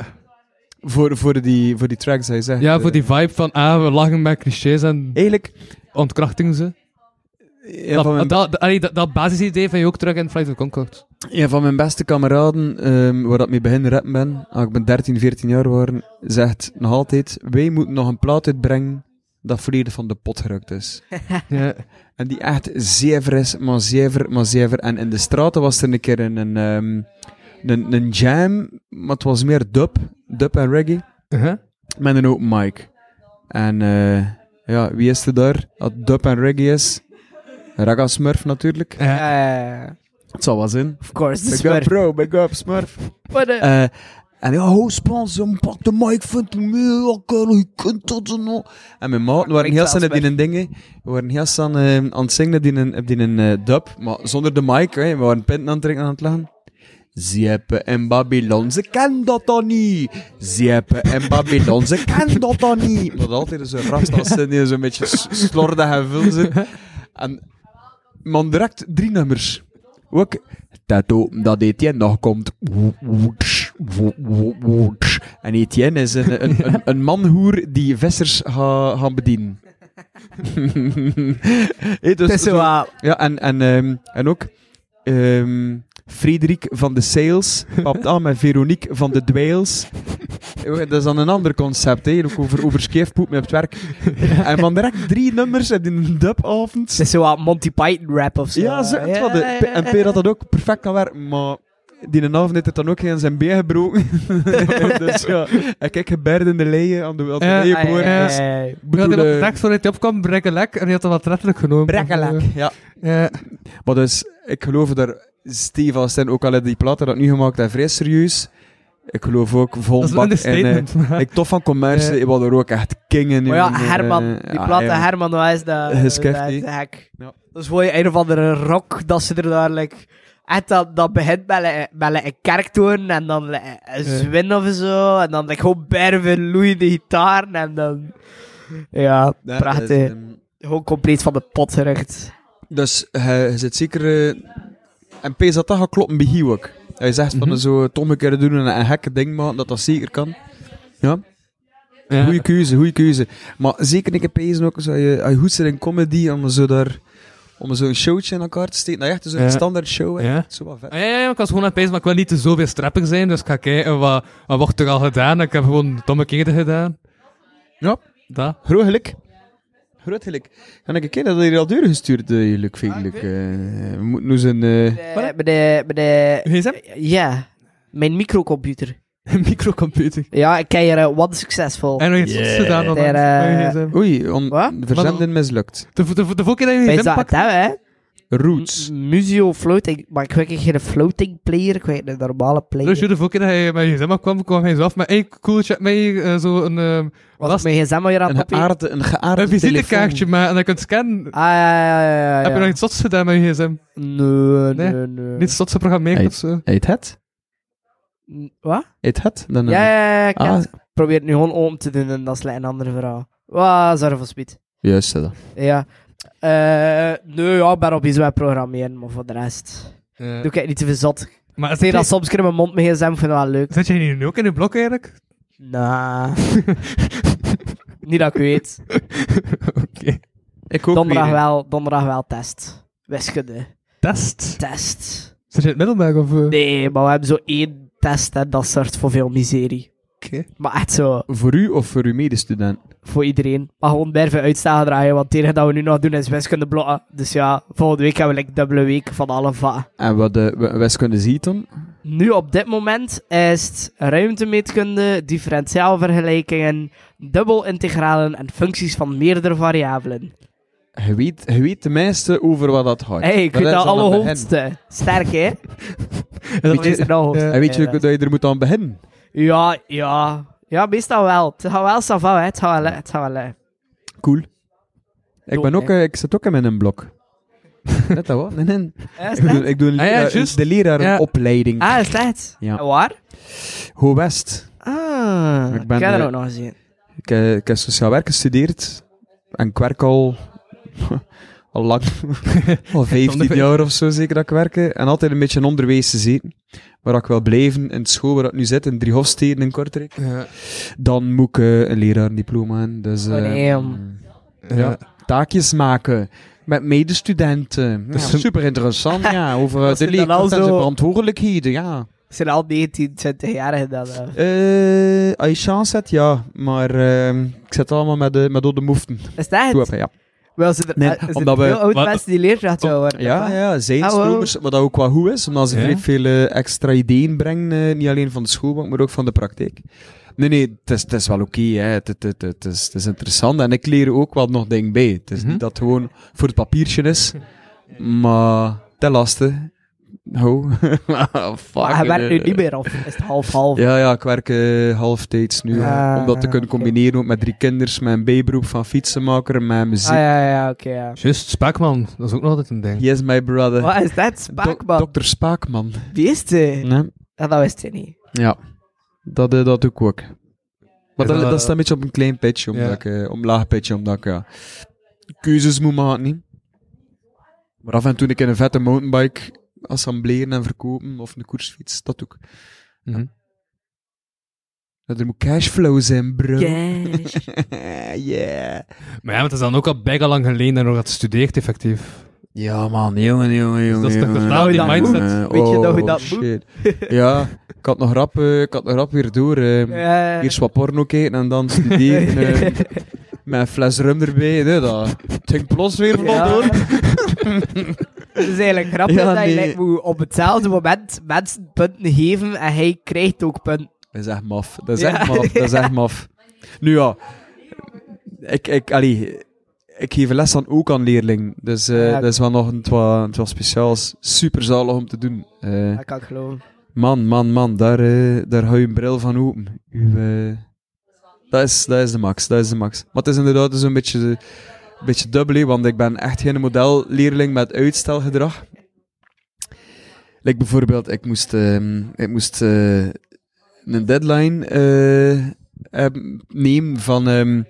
Speaker 5: voor, voor, die, voor die tracks, zou je zeggen.
Speaker 3: ja, voor die vibe van, ah, we lachen met clichés en
Speaker 5: Eigenlijk,
Speaker 3: ontkrachten ze.
Speaker 5: een
Speaker 3: dat,
Speaker 5: van mijn,
Speaker 3: dat, allee, dat, dat basisidee van je ook terug in Flight of the Conchords.
Speaker 5: een van mijn beste kameraden, ehm, waar dat mee begin rappen ben, als ik ben 13, 14 jaar waren, zegt nog altijd, wij moeten nog een plaat uitbrengen dat volledig van de pot gerukt is.
Speaker 3: Ja.
Speaker 5: En die echt zever is, maar zever, maar zever. En in de straten was er een keer een, een, ehm, een, een jam, maar het was meer dub, dub en reggae,
Speaker 3: Uh-huh.
Speaker 5: met een open mic. En eh, ja, wie is er daar? Dat dub en reggae is? Raga Smurf natuurlijk.
Speaker 3: Ja.
Speaker 2: Eh,
Speaker 5: Het zal wel zijn.
Speaker 2: of course, de
Speaker 5: Big up
Speaker 2: smurf.
Speaker 5: bro, big up Smurf.
Speaker 2: Wat een-
Speaker 5: Eh, en ja, ho, sponsor, pak de mic, vindt hem heel kerel, je kunt dat en al. En mijn maat, we waren
Speaker 2: Ik
Speaker 5: heel
Speaker 2: zelfs
Speaker 5: snel op die dingen, we waren heel snel eh, aan het zingen op die, een- op die een, eh, dub, maar zonder de mic, hè, we waren pinten aan het trekken en aan het lachen. Zeepen en Babylon, ze kennen dat dan niet. Zeepen en Babylon, ze kennen dat dan niet. Maar dat altijd zo'n rast als ze die zo'n beetje s- slordig en vul zijn. En man, direct drie nummers. Ook Tato, dat Etienne nog komt. En Etienne is een, een, een, een manhoer die vissers gaat gaan bedienen. Hé, dus-
Speaker 2: Het is zo, ah,
Speaker 5: ja, en, en, ehm, en ook ehm Frederik van de Sales papt aan met Veronique van de Dweils. Dat is dan een ander concept, hè? ook over, over scheefpoep met het werk. En van direct drie nummers en in een dubavond.
Speaker 2: het is zo ah, Monty Python rap of zo.
Speaker 5: Ja, zo het wat.
Speaker 2: ja, ja,
Speaker 5: En Peer had dat ook perfect kan werken, maar die een avond heeft het dan ook geen zijn been gebroken. dus ja, en kijk, geberden in de leien aan de aan de
Speaker 3: Ja,
Speaker 2: Ah, ja,
Speaker 5: leeuwenhoorn.
Speaker 2: ja,
Speaker 5: Dus,
Speaker 2: ja, ja.
Speaker 5: bedoel,
Speaker 3: ja, de
Speaker 5: eh,
Speaker 3: tekst vooruit hij opkwam, brekkelek, en hij had dat wat letterlijk genomen. Eh,
Speaker 5: Brekkelek, ja.
Speaker 3: Ja.
Speaker 5: Maar dus, ik geloof daar stevast in, ook al heb die platen dat nu gemaakt heeft, vrij serieus. Ik geloof ook vol
Speaker 3: Dat is een
Speaker 5: bak in... eh,
Speaker 3: understatement. maar-
Speaker 5: ik tof van commerce,
Speaker 3: Ja.
Speaker 5: die waren er ook echt kingen in.
Speaker 2: Maar ja,
Speaker 5: eh,
Speaker 2: Herman, die
Speaker 5: ja,
Speaker 2: platte
Speaker 5: ja.
Speaker 2: Herman Wijs, dat
Speaker 5: Eh,
Speaker 2: dat-
Speaker 5: Skefti.
Speaker 2: dat is de hek.
Speaker 5: Ja.
Speaker 2: Dat is gewoon een of andere rock, dat ze er daar, like, echt dat, dat begint met, een- met een kerktoon en dan like, een
Speaker 3: Ja.
Speaker 2: zwin of zo, en dan like, gewoon berven, loeiende gitaar en dan... Ja,
Speaker 5: Ja,
Speaker 2: prachtig.
Speaker 5: Dus, ehm,
Speaker 2: Gewoon compleet van de pot gerukt.
Speaker 5: dus hij hij zit zeker... eh, en Pees dat dat gaat kloppen bij Hugh ook. Hij zegt van
Speaker 3: Mhm.
Speaker 5: zo het omgekeerde doen en een gekke ding maken, dat dat zeker kan.
Speaker 3: Ja.
Speaker 5: Goeie keuze, goeie keuze. Maar zeker een keer pezen ook, als je, als je goed zit in comedy, om zo daar... Om zo'n showtje in elkaar te steken. Nou echt, zo'n
Speaker 3: Ja.
Speaker 5: standaard show. hè.
Speaker 3: Ja.
Speaker 5: Zo wat vet.
Speaker 3: Ah, Ja, ja, ja, ik was gewoon aan het pezen, maar ik wil niet te zoveel strapper zijn, dus ik ga kijken wat, wat wordt er al gedaan. Ik heb gewoon domme keren gedaan.
Speaker 5: Ja.
Speaker 3: Dat.
Speaker 5: Groot geluk. Groot geluk. En ik ken dat hij al deur gestuurd, eh, geluk, veel
Speaker 2: Ah,
Speaker 5: geluk. Eh, we moeten nu zijn... eh,
Speaker 2: Eh, Bij de... Bij de
Speaker 3: GSM?
Speaker 2: ja, mijn microcomputer.
Speaker 3: Een microcomputer.
Speaker 2: Ja, ik ken hier eh, wat succesvol.
Speaker 3: En nog iets Oh, yeah. gedaan dan.
Speaker 2: Daar, eh,
Speaker 5: Oei, on,
Speaker 2: Wat?
Speaker 5: verzenden mislukt.
Speaker 3: De, de, de, de volgende keer dat je
Speaker 2: Wij
Speaker 3: een gsm
Speaker 2: zaten
Speaker 3: pakt...
Speaker 2: dat, hè?
Speaker 5: Roots.
Speaker 2: Museo floating, maar ik weet geen floating player, ik weet een normale player.
Speaker 3: Dus de volgende keer dat je met je gsm kwam, kwam hij zo af met hey, cool, check mij eh, zo een, ehm,
Speaker 2: Wat
Speaker 3: last-
Speaker 2: mijn gsm al hier aan
Speaker 5: Een
Speaker 2: het papier?
Speaker 5: geaarde, mm. een geaarde
Speaker 3: een visitekaartje maar en dan kunt scannen.
Speaker 2: Ah, ja, ja, ja, ja.
Speaker 3: Heb je nog iets zots gedaan met je gsm?
Speaker 2: Nee,
Speaker 3: Nee?
Speaker 2: nee, nee. nee.
Speaker 3: Eh, Niet zotse programmeren
Speaker 5: Hey.
Speaker 3: of zo?
Speaker 5: Eet het?
Speaker 2: N- Wat?
Speaker 5: Eet het? Dan, eh,
Speaker 2: Ja, ja, ja, ik ken
Speaker 5: Ah.
Speaker 2: het. Probeer het nu gewoon open te doen en dat is like een ander verhaal. Wauw, zorg voor speed.
Speaker 5: Juist, dat.
Speaker 2: Ja. Eh nee, ja, ik ben op iets met programmeren, maar voor de rest...
Speaker 3: Ja.
Speaker 2: Doe ik niet te veel zot. Ik
Speaker 3: Eh, Maar
Speaker 2: zeg
Speaker 3: zit
Speaker 2: dat
Speaker 3: je,
Speaker 2: soms keer in mijn mond mijn gsm, vind ik wel leuk.
Speaker 3: zit je hier nu ook in je blok eigenlijk?
Speaker 2: Nah. Niet dat ik weet.
Speaker 3: Oké.
Speaker 5: Ik ook
Speaker 2: Donderdag
Speaker 5: weer, hè.
Speaker 2: wel, donderdag wel test. Wiskunde.
Speaker 3: Test.
Speaker 2: Test.
Speaker 3: Zit je in het middelbaar of... eh?
Speaker 2: Nee, maar we hebben zo één test en dat zorgt voor veel miserie.
Speaker 3: Oké.
Speaker 2: Maar echt zo,
Speaker 5: Voor u of voor uw medestudent?
Speaker 2: voor iedereen. Maar gewoon blijven uitstaan draaien, want het enige dat we nu nog doen is wiskunde blokken. Dus ja, volgende week hebben we like dubbele week van alle vakken.
Speaker 5: En wat de wiskunde ziet dan?
Speaker 2: Nu op dit moment is het ruimtemeetkunde, differentiaalvergelijkingen, dubbelintegralen en functies van meerdere variabelen.
Speaker 5: Je weet, je weet de meeste over wat dat gaat.
Speaker 2: hey, ik
Speaker 5: Dat
Speaker 2: weet
Speaker 5: is
Speaker 2: dat
Speaker 5: al
Speaker 2: alle
Speaker 5: aan het
Speaker 2: hoofdste. Sterk, hè?
Speaker 5: begin.
Speaker 2: Weet je- er nou hoofd?
Speaker 5: Eh, En weet je
Speaker 2: Ja,
Speaker 5: dat je er moet aan beginnen?
Speaker 2: Ja, ja. Ja, meestal wel. Het gaat wel sava, hè. Het gaat wel, lukken, het gaat wel. lukken.
Speaker 5: Cool. Ik, ben
Speaker 2: Doe-
Speaker 5: ook, eh, ik zit ook in mijn blok. Net dat wat? Nee, nee.
Speaker 2: Eh, is
Speaker 5: Ik
Speaker 2: het
Speaker 5: doe,
Speaker 2: echt?
Speaker 5: ik doe een
Speaker 3: Ah ja,
Speaker 5: lera-
Speaker 3: juist.
Speaker 5: de
Speaker 3: Ja.
Speaker 5: lerarenopleiding.
Speaker 2: Ah, is het echt?
Speaker 5: Ja.
Speaker 2: En waar?
Speaker 5: Hoe West.
Speaker 2: Ah,
Speaker 5: Ik
Speaker 2: ik,
Speaker 5: ben,
Speaker 2: heb
Speaker 5: eh,
Speaker 2: dat ook nog gezien.
Speaker 5: Ik, eh, ik heb sociaal werk gestudeerd. En ik werk al... al lang. al 15 jaar of zo zeker dat ik werk. hè. En altijd een beetje in onderwijs gezeten. Waar ik wil blijven. In de school waar ik nu zit. In Driehofsteden in Kortrijk.
Speaker 3: Ja.
Speaker 5: Dan moet ik eh, een lerarendiploma aan. Dus... eh,
Speaker 2: Oh, nee, jong.
Speaker 5: mm,
Speaker 3: Ja.
Speaker 5: Taakjes maken. Met medestudenten.
Speaker 3: Dus-
Speaker 5: ja, super interessant, ja. Over eh, de
Speaker 2: vind ik dan al
Speaker 5: leerkracht en
Speaker 2: zo-
Speaker 5: zijn verantwoordelijkheden, ja.
Speaker 2: Het zijn al 19, 20-jarigen dan. eh.
Speaker 5: Eh, als je chance hebt, ja. Maar ehm, ik zit allemaal met, de met dode moeften.
Speaker 2: Is dat
Speaker 5: Toe
Speaker 2: het?
Speaker 5: heb je, ja.
Speaker 2: Wel, zijn er,
Speaker 5: Nee,
Speaker 2: eh, zijn
Speaker 5: omdat
Speaker 2: er
Speaker 5: we- Oh,
Speaker 2: veel oude
Speaker 3: wat-
Speaker 2: mensen die leerkracht willen worden?
Speaker 5: Ja, ja,
Speaker 2: Ah, wow.
Speaker 5: zijnstromers, wat dat ook wel goed is, omdat ze
Speaker 3: Ja.
Speaker 5: vrij veel eh, extra ideeën brengen, eh, niet alleen van de schoolbank, maar ook van de praktijk. Nee, nee, het is, het is wel oké, hè. het, het, het, het is, het is interessant en ik leer ook wel nog dingen bij. Het is
Speaker 3: Mhm.
Speaker 5: niet dat het gewoon voor het papiertje is, maar ten laste. Ho.
Speaker 2: Maar
Speaker 5: Fuck,
Speaker 2: Ah, hij werkt nu
Speaker 5: eh.
Speaker 2: niet meer, of is het half-half?
Speaker 5: Ja, ja, ik werk eh, halftijds nu.
Speaker 2: Ah,
Speaker 5: om dat te kunnen
Speaker 2: oké.
Speaker 5: combineren ook met drie kinders, met een bijberoep van fietsenmaker, met muziek.
Speaker 2: ah, ja, ja, oké, ja.
Speaker 3: Juist, Spaakman. Dat is ook nog altijd een ding.
Speaker 5: Yes, my brother.
Speaker 2: Wat is dat? Spaakman?
Speaker 5: Dokter Spaakman.
Speaker 2: Wie is die?
Speaker 5: Nee?
Speaker 2: Ah, dat wist hij niet.
Speaker 5: Ja, dat, eh, dat doe ik ook. Maar
Speaker 3: Ja,
Speaker 5: dat,
Speaker 3: dat-
Speaker 5: dat staat een beetje op een klein pitje, omdat
Speaker 3: Ja.
Speaker 5: ik, eh, omlaag pitje, omdat ik ja, keuzes moet maken. Niet? Maar af en toe een keer een vette mountainbike assembleren en verkopen, of een koersfiets, dat doe ik.
Speaker 3: Mhm.
Speaker 5: Dat er moet cashflow zijn, bro.
Speaker 2: Cash.
Speaker 5: yeah.
Speaker 3: Maar ja, maar het is dan ook al bijna lang geleden dat je nog had gestudeerd, effectief.
Speaker 5: Ja, man, jongen, jongen, jongen.
Speaker 3: dat is toch
Speaker 5: jongen.
Speaker 3: totaal die
Speaker 5: Jongen,
Speaker 3: mindset.
Speaker 5: jongen.
Speaker 2: Weet je nog hoe
Speaker 5: Oh,
Speaker 2: dat
Speaker 5: shit. Ja, ik had nog rap, eh, ik had nog rap weer door. eh,
Speaker 2: Ja.
Speaker 5: Eerst wat porno kijken en dan studeren. eh, met een fles rum erbij. Nee, dat het ging plots weer vlot,
Speaker 2: Ja.
Speaker 5: hoor.
Speaker 2: Het is eigenlijk grappig
Speaker 5: Ja,
Speaker 2: dat
Speaker 5: nee.
Speaker 2: je lijkt moet op hetzelfde moment mensen punten geven en hij krijgt ook punten.
Speaker 5: Dat is echt maf. Dat is
Speaker 2: Ja.
Speaker 5: echt maf. Dat is echt maf. Nu ja, ik, ik, allee, ik geef les dan ook aan leerlingen. Dus eh,
Speaker 2: Ja.
Speaker 5: dat is wel nog een twa, een twa speciaals. Super zalig om te doen. Eh,
Speaker 2: Dat kan ik geloven.
Speaker 5: Man, man, man, daar, eh, daar hou je een bril van open. Uw, eh, dat, is, dat is de max, dat is de max. Maar het is inderdaad dus een beetje, een beetje dubbel, hè, want ik ben echt geen modelleerling met uitstelgedrag. Like bijvoorbeeld, ik moest, ehm, ik moest eh, een deadline eh, hebben- nemen van ehm,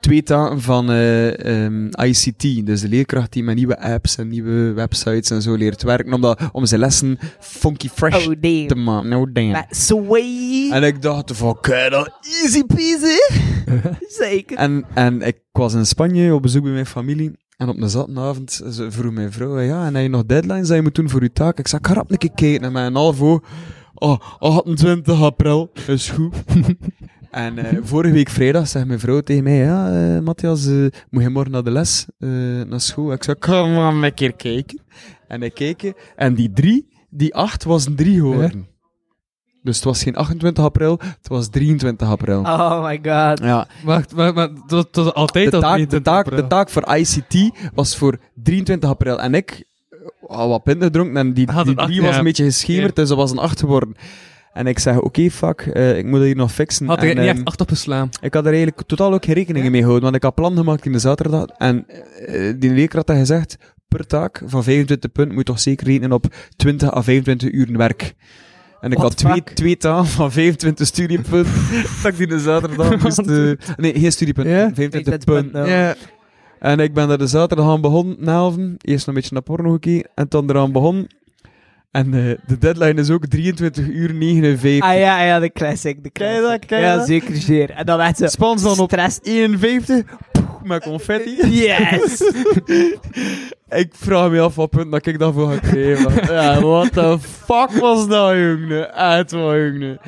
Speaker 5: twee taken van eh, ehm, ICT. Dus de leerkracht die met nieuwe apps en nieuwe websites en zo leert werken, om, dat, om zijn lessen funky fresh
Speaker 2: Oh, damn.
Speaker 5: te maken. Nou, damn.
Speaker 2: Maar sway.
Speaker 5: En ik dacht van, kijk dat, easy peasy.
Speaker 2: Zeker.
Speaker 5: En, en ik was in Spanje op bezoek bij mijn familie. En op een zattenavond ze vroeg mijn vrouw, ja, en heb je nog deadlines dat je moet doen voor je taak? Ik zei, ik ga rap een keer kijken. En mijn half oog, oh, 28 april, is goed. en eh, vorige week vrijdag zei mijn vrouw tegen mij, ja, eh, Matthias, eh, moet je morgen naar de les, eh, naar school? Ik zei, kom maar een keer kijken. En ik keek, en die drie, die acht was een drie horen. Dus het was geen 28 april, het was 23 april.
Speaker 2: Oh my god.
Speaker 5: Ja,
Speaker 3: Wacht, maar, maar dat dat was altijd
Speaker 5: de
Speaker 3: al eh,
Speaker 5: taak, de,
Speaker 3: 23
Speaker 5: taak,
Speaker 3: april.
Speaker 5: de taak voor ICT was voor 23 april. En ik eh, had wat pint gedronken en die,
Speaker 3: Had
Speaker 5: die
Speaker 3: een acht,
Speaker 5: drie was
Speaker 3: ja.
Speaker 5: een beetje geschemerd, dus dat was een 8 geworden. En ik zeg, oké, fuck, eh, ik moet dat hier nog fixen.
Speaker 3: Had
Speaker 5: en,
Speaker 3: ik niet
Speaker 5: ehm,
Speaker 3: echt acht op geslaan.
Speaker 5: ik had er eigenlijk totaal ook geen rekening mee gehouden, want ik had plan gemaakt in de zaterdag. En eh, die leerkracht had gezegd, per taak van 25 punten moet je toch zeker rekenen op 20 à 25 uur werk. En ik
Speaker 2: What
Speaker 5: had twee,
Speaker 2: fuck?
Speaker 5: twee taken van 25 studiepunten. dat ik die de zaterdag moest... eh, nee, geen studiepunten,
Speaker 3: Ja?
Speaker 5: 25 punten.
Speaker 2: nou.
Speaker 5: En ik ben daar de zaterdag aan begonnen, na elven. Eerst een beetje naar porno gekeken en dan eraan begonnen. En eh, de deadline is ook 23 uur 49.
Speaker 2: Ah ja, ja, de classic. De
Speaker 5: Ken je
Speaker 2: classic.
Speaker 5: dat, ken je
Speaker 2: ja,
Speaker 5: dat?
Speaker 2: zeker zeer. En dan echt zo...
Speaker 5: Spans dan op
Speaker 2: Stress.
Speaker 5: 51 poeh, met confetti.
Speaker 2: Yes!
Speaker 5: Ik vraag me af wat punt dat ik daarvoor ga krijgen. maar- Ja, what the fuck was dat, jongen? Echt waar, jongen.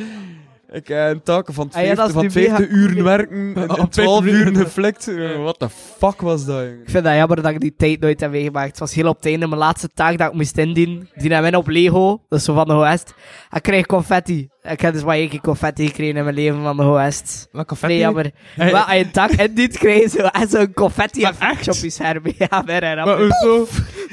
Speaker 5: Ik heb een taken van
Speaker 2: Ah ja,
Speaker 5: 50,
Speaker 2: dat is
Speaker 5: van
Speaker 2: nu
Speaker 5: 50
Speaker 2: mega-
Speaker 5: uren werken en- en
Speaker 3: Op
Speaker 5: 12
Speaker 3: 50
Speaker 5: uur
Speaker 3: uur.
Speaker 5: geflikt. Jongen, What the fuck was dat, jongen?
Speaker 2: Ik vind dat jammer dat ik die tijd nooit heb meegemaakt. Het was heel op het einde mijn laatste taak dat ik moest indienen. Die nam in op Lego, dat is zo van de West. Ik kreeg confetti. Ik heb dus maar één keer confetti gekregen in mijn leven van de West.
Speaker 3: Maar confetti?
Speaker 2: Nee, jammer.
Speaker 3: Hey.
Speaker 2: Maar als je een taak indient, krijg je zo echt zo'n confetti
Speaker 3: Eh, Maar
Speaker 2: effect op je scherm. Ja, ben er
Speaker 3: Maar
Speaker 2: aan.
Speaker 3: hoezo?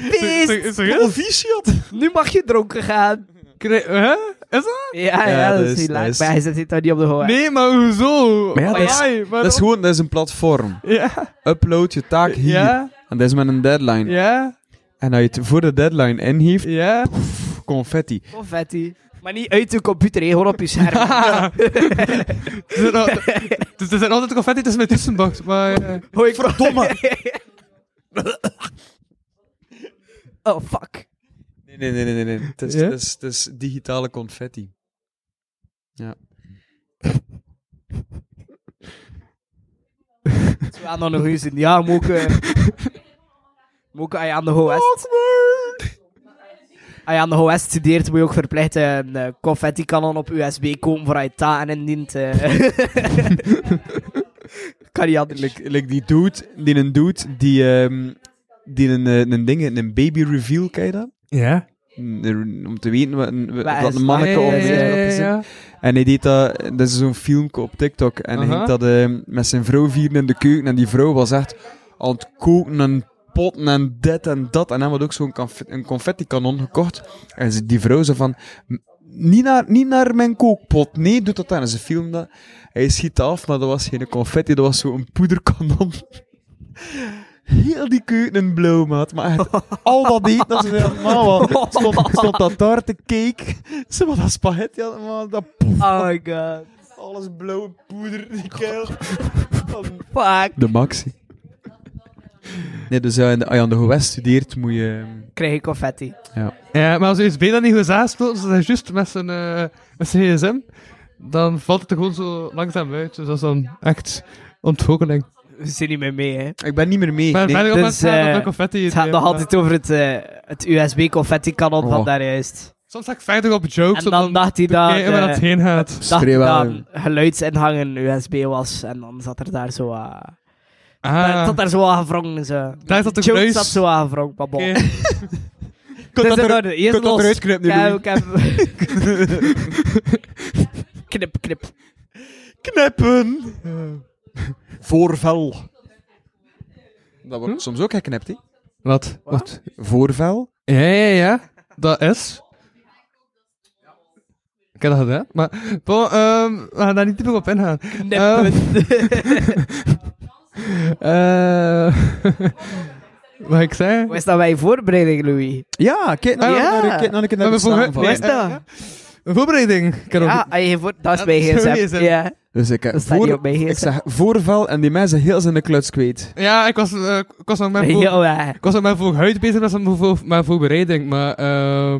Speaker 2: Beest!
Speaker 3: Ser- Serieus?
Speaker 2: Nu mag je dronken gaan.
Speaker 3: Krij- Hè? Is dat?
Speaker 2: Ja, dus, ja,
Speaker 5: Ja,
Speaker 2: dat
Speaker 5: dat
Speaker 2: is
Speaker 5: is
Speaker 2: hilarisch.
Speaker 5: nice.
Speaker 2: Maar hij zit hier toch niet op de hoogte.
Speaker 3: Nee, maar hoezo?
Speaker 5: Maar ja, dat is-
Speaker 3: Why?
Speaker 5: Dat is
Speaker 3: Waarom?
Speaker 5: gewoon dat is een platform.
Speaker 3: Ja,
Speaker 5: Upload je taak hier.
Speaker 3: ja,
Speaker 5: En dat is met een deadline.
Speaker 3: ja,
Speaker 5: En als je het voor de deadline in heeft,
Speaker 3: ja. Dus
Speaker 5: confetti.
Speaker 2: Confetti. Maar niet uit de computer, hè, gewoon op je scherm.
Speaker 3: Er zit al- dus er zijn altijd confetti tussen mijn tussenbox, maar... eh,
Speaker 2: Hoi, verdomme! oh, fuck.
Speaker 5: Nee, nee, nee, nee. nee. Het, is,
Speaker 3: Ja?
Speaker 5: het, is, het is digitale confetti.
Speaker 2: We gaan dan nog eens in. Ja, moeke. Moeke, als je aan de Hoest. Als je aan de Hoest studeert, moet je ook verplicht een eh, confetti-kanon op USB komen voor als je ta en indient. eh. kan niet anders.
Speaker 5: Like, like die dude, die een dude, die, ehm, die een, eh, een ding, een baby reveal, ken je dat?
Speaker 3: Ja.
Speaker 5: Een- Om te weten wat een,
Speaker 2: Waar
Speaker 5: wat
Speaker 2: is
Speaker 5: een
Speaker 2: het?
Speaker 5: manneke
Speaker 2: Ja,
Speaker 5: of
Speaker 2: ja, ja,
Speaker 5: wat is. En hij deed dat, dat is zo'n filmpje op TikTok. En hij
Speaker 3: Aha.
Speaker 5: ging dat ehm, met zijn vrouw vieren in de keuken. En die vrouw was echt aan het koken en potten en dit en dat. En hij had ook zo'n conf- een confetti-kanon gekocht. En ze- die vrouw zei van, "M- niet naar, niet naar mijn kookpot. Nee, doe dat dan. En ze filmde dat. Hij schiet af, maar dat was geen confetti, dat was zo'n poederkanon. Heel die keuken in blauw, maat. Maar echt, al dat eten dat ze allemaal wat. Stond, stond dat taart, de cake. Ze wat dat spaghetti allemaal. Dat poef,
Speaker 2: Oh my god.
Speaker 5: alles blauw, poeder, die keel.
Speaker 2: Fuck.
Speaker 5: De maxi. Nee, dus ja, in de- als je aan de West studeert, moet je...
Speaker 2: Krijg je confetti.
Speaker 3: Ja, maar als USB dat niet goed aanspeelt, dus dat is juist met zijn, eh, met zijn gsm, dan valt het er gewoon zo langzaam uit. Dus dat is dan echt ontgoocheling.
Speaker 2: We zijn niet meer mee, hè.
Speaker 5: eh, Ik ben niet meer mee.
Speaker 3: Maar
Speaker 5: nee.
Speaker 3: verder op
Speaker 2: dus,
Speaker 3: het gaan,
Speaker 2: eh,
Speaker 3: dat confetti...
Speaker 2: Het gaat nog altijd over het, eh, het USB-confetti-kanon van
Speaker 5: Oh.
Speaker 2: daarjuist.
Speaker 3: Soms ga ik verder op jokes,
Speaker 2: En
Speaker 3: om
Speaker 2: dan
Speaker 3: dan
Speaker 2: dacht hij
Speaker 3: te
Speaker 2: dat...
Speaker 3: kijken waar
Speaker 2: eh,
Speaker 3: dat heen gaat.
Speaker 2: dacht
Speaker 5: Schreeuw
Speaker 2: dat
Speaker 5: aan.
Speaker 2: geluidsinhangen USB was. En dan zat er daar zo... eh daar-
Speaker 3: Ah,
Speaker 2: zat daar zo aan gevrongen. Zo.
Speaker 3: daar zat de
Speaker 2: Joke
Speaker 3: kruis.
Speaker 2: zat zo aan gevrongen, maar bon.
Speaker 3: Oké.
Speaker 2: Het is
Speaker 5: dat
Speaker 2: in
Speaker 5: er-
Speaker 2: orde. Eerst
Speaker 5: kunt dat
Speaker 2: los.
Speaker 5: eruit knippen nu,
Speaker 2: Ik heb-
Speaker 5: Louis.
Speaker 2: ik heb- knip, knip.
Speaker 5: Knippen! Voorvel. Dat wordt soms ook geknipt, hè?
Speaker 3: Wat? Wat?
Speaker 5: Voorvel?
Speaker 3: Ja, ja, ja. Dat is. Ik heb dat gedaan, maar... Bon, ehm, we gaan daar niet te veel op ingaan.
Speaker 2: Knippen.
Speaker 3: Eh wat ik zei?
Speaker 2: Wat is dat bij voorbereiding, Louis?
Speaker 5: Ja, kijk nou
Speaker 2: Ja.
Speaker 5: naar de- kijk nou een keer naar de
Speaker 3: voor-
Speaker 5: staan van.
Speaker 3: nee,
Speaker 2: Wat is dat?
Speaker 3: eh, Een voorbereiding, Karel.
Speaker 2: Ja, als je voor... dat is mijn
Speaker 3: dat is mijn
Speaker 2: gsm.
Speaker 3: gsm.
Speaker 2: Ja,
Speaker 5: Dus ik,
Speaker 2: dat
Speaker 5: heb
Speaker 2: staat niet op
Speaker 5: voor,
Speaker 2: mijn
Speaker 5: ik
Speaker 2: gsm.
Speaker 5: zeg voorvel en die mensen heel zijn de kluts kwijt.
Speaker 3: Ja, ik was, eh, ik was nog met voor,
Speaker 2: Heel waar.
Speaker 3: ik was nog met voor huid bezig, dat was mijn voor, mijn voorbereiding, maar... ehm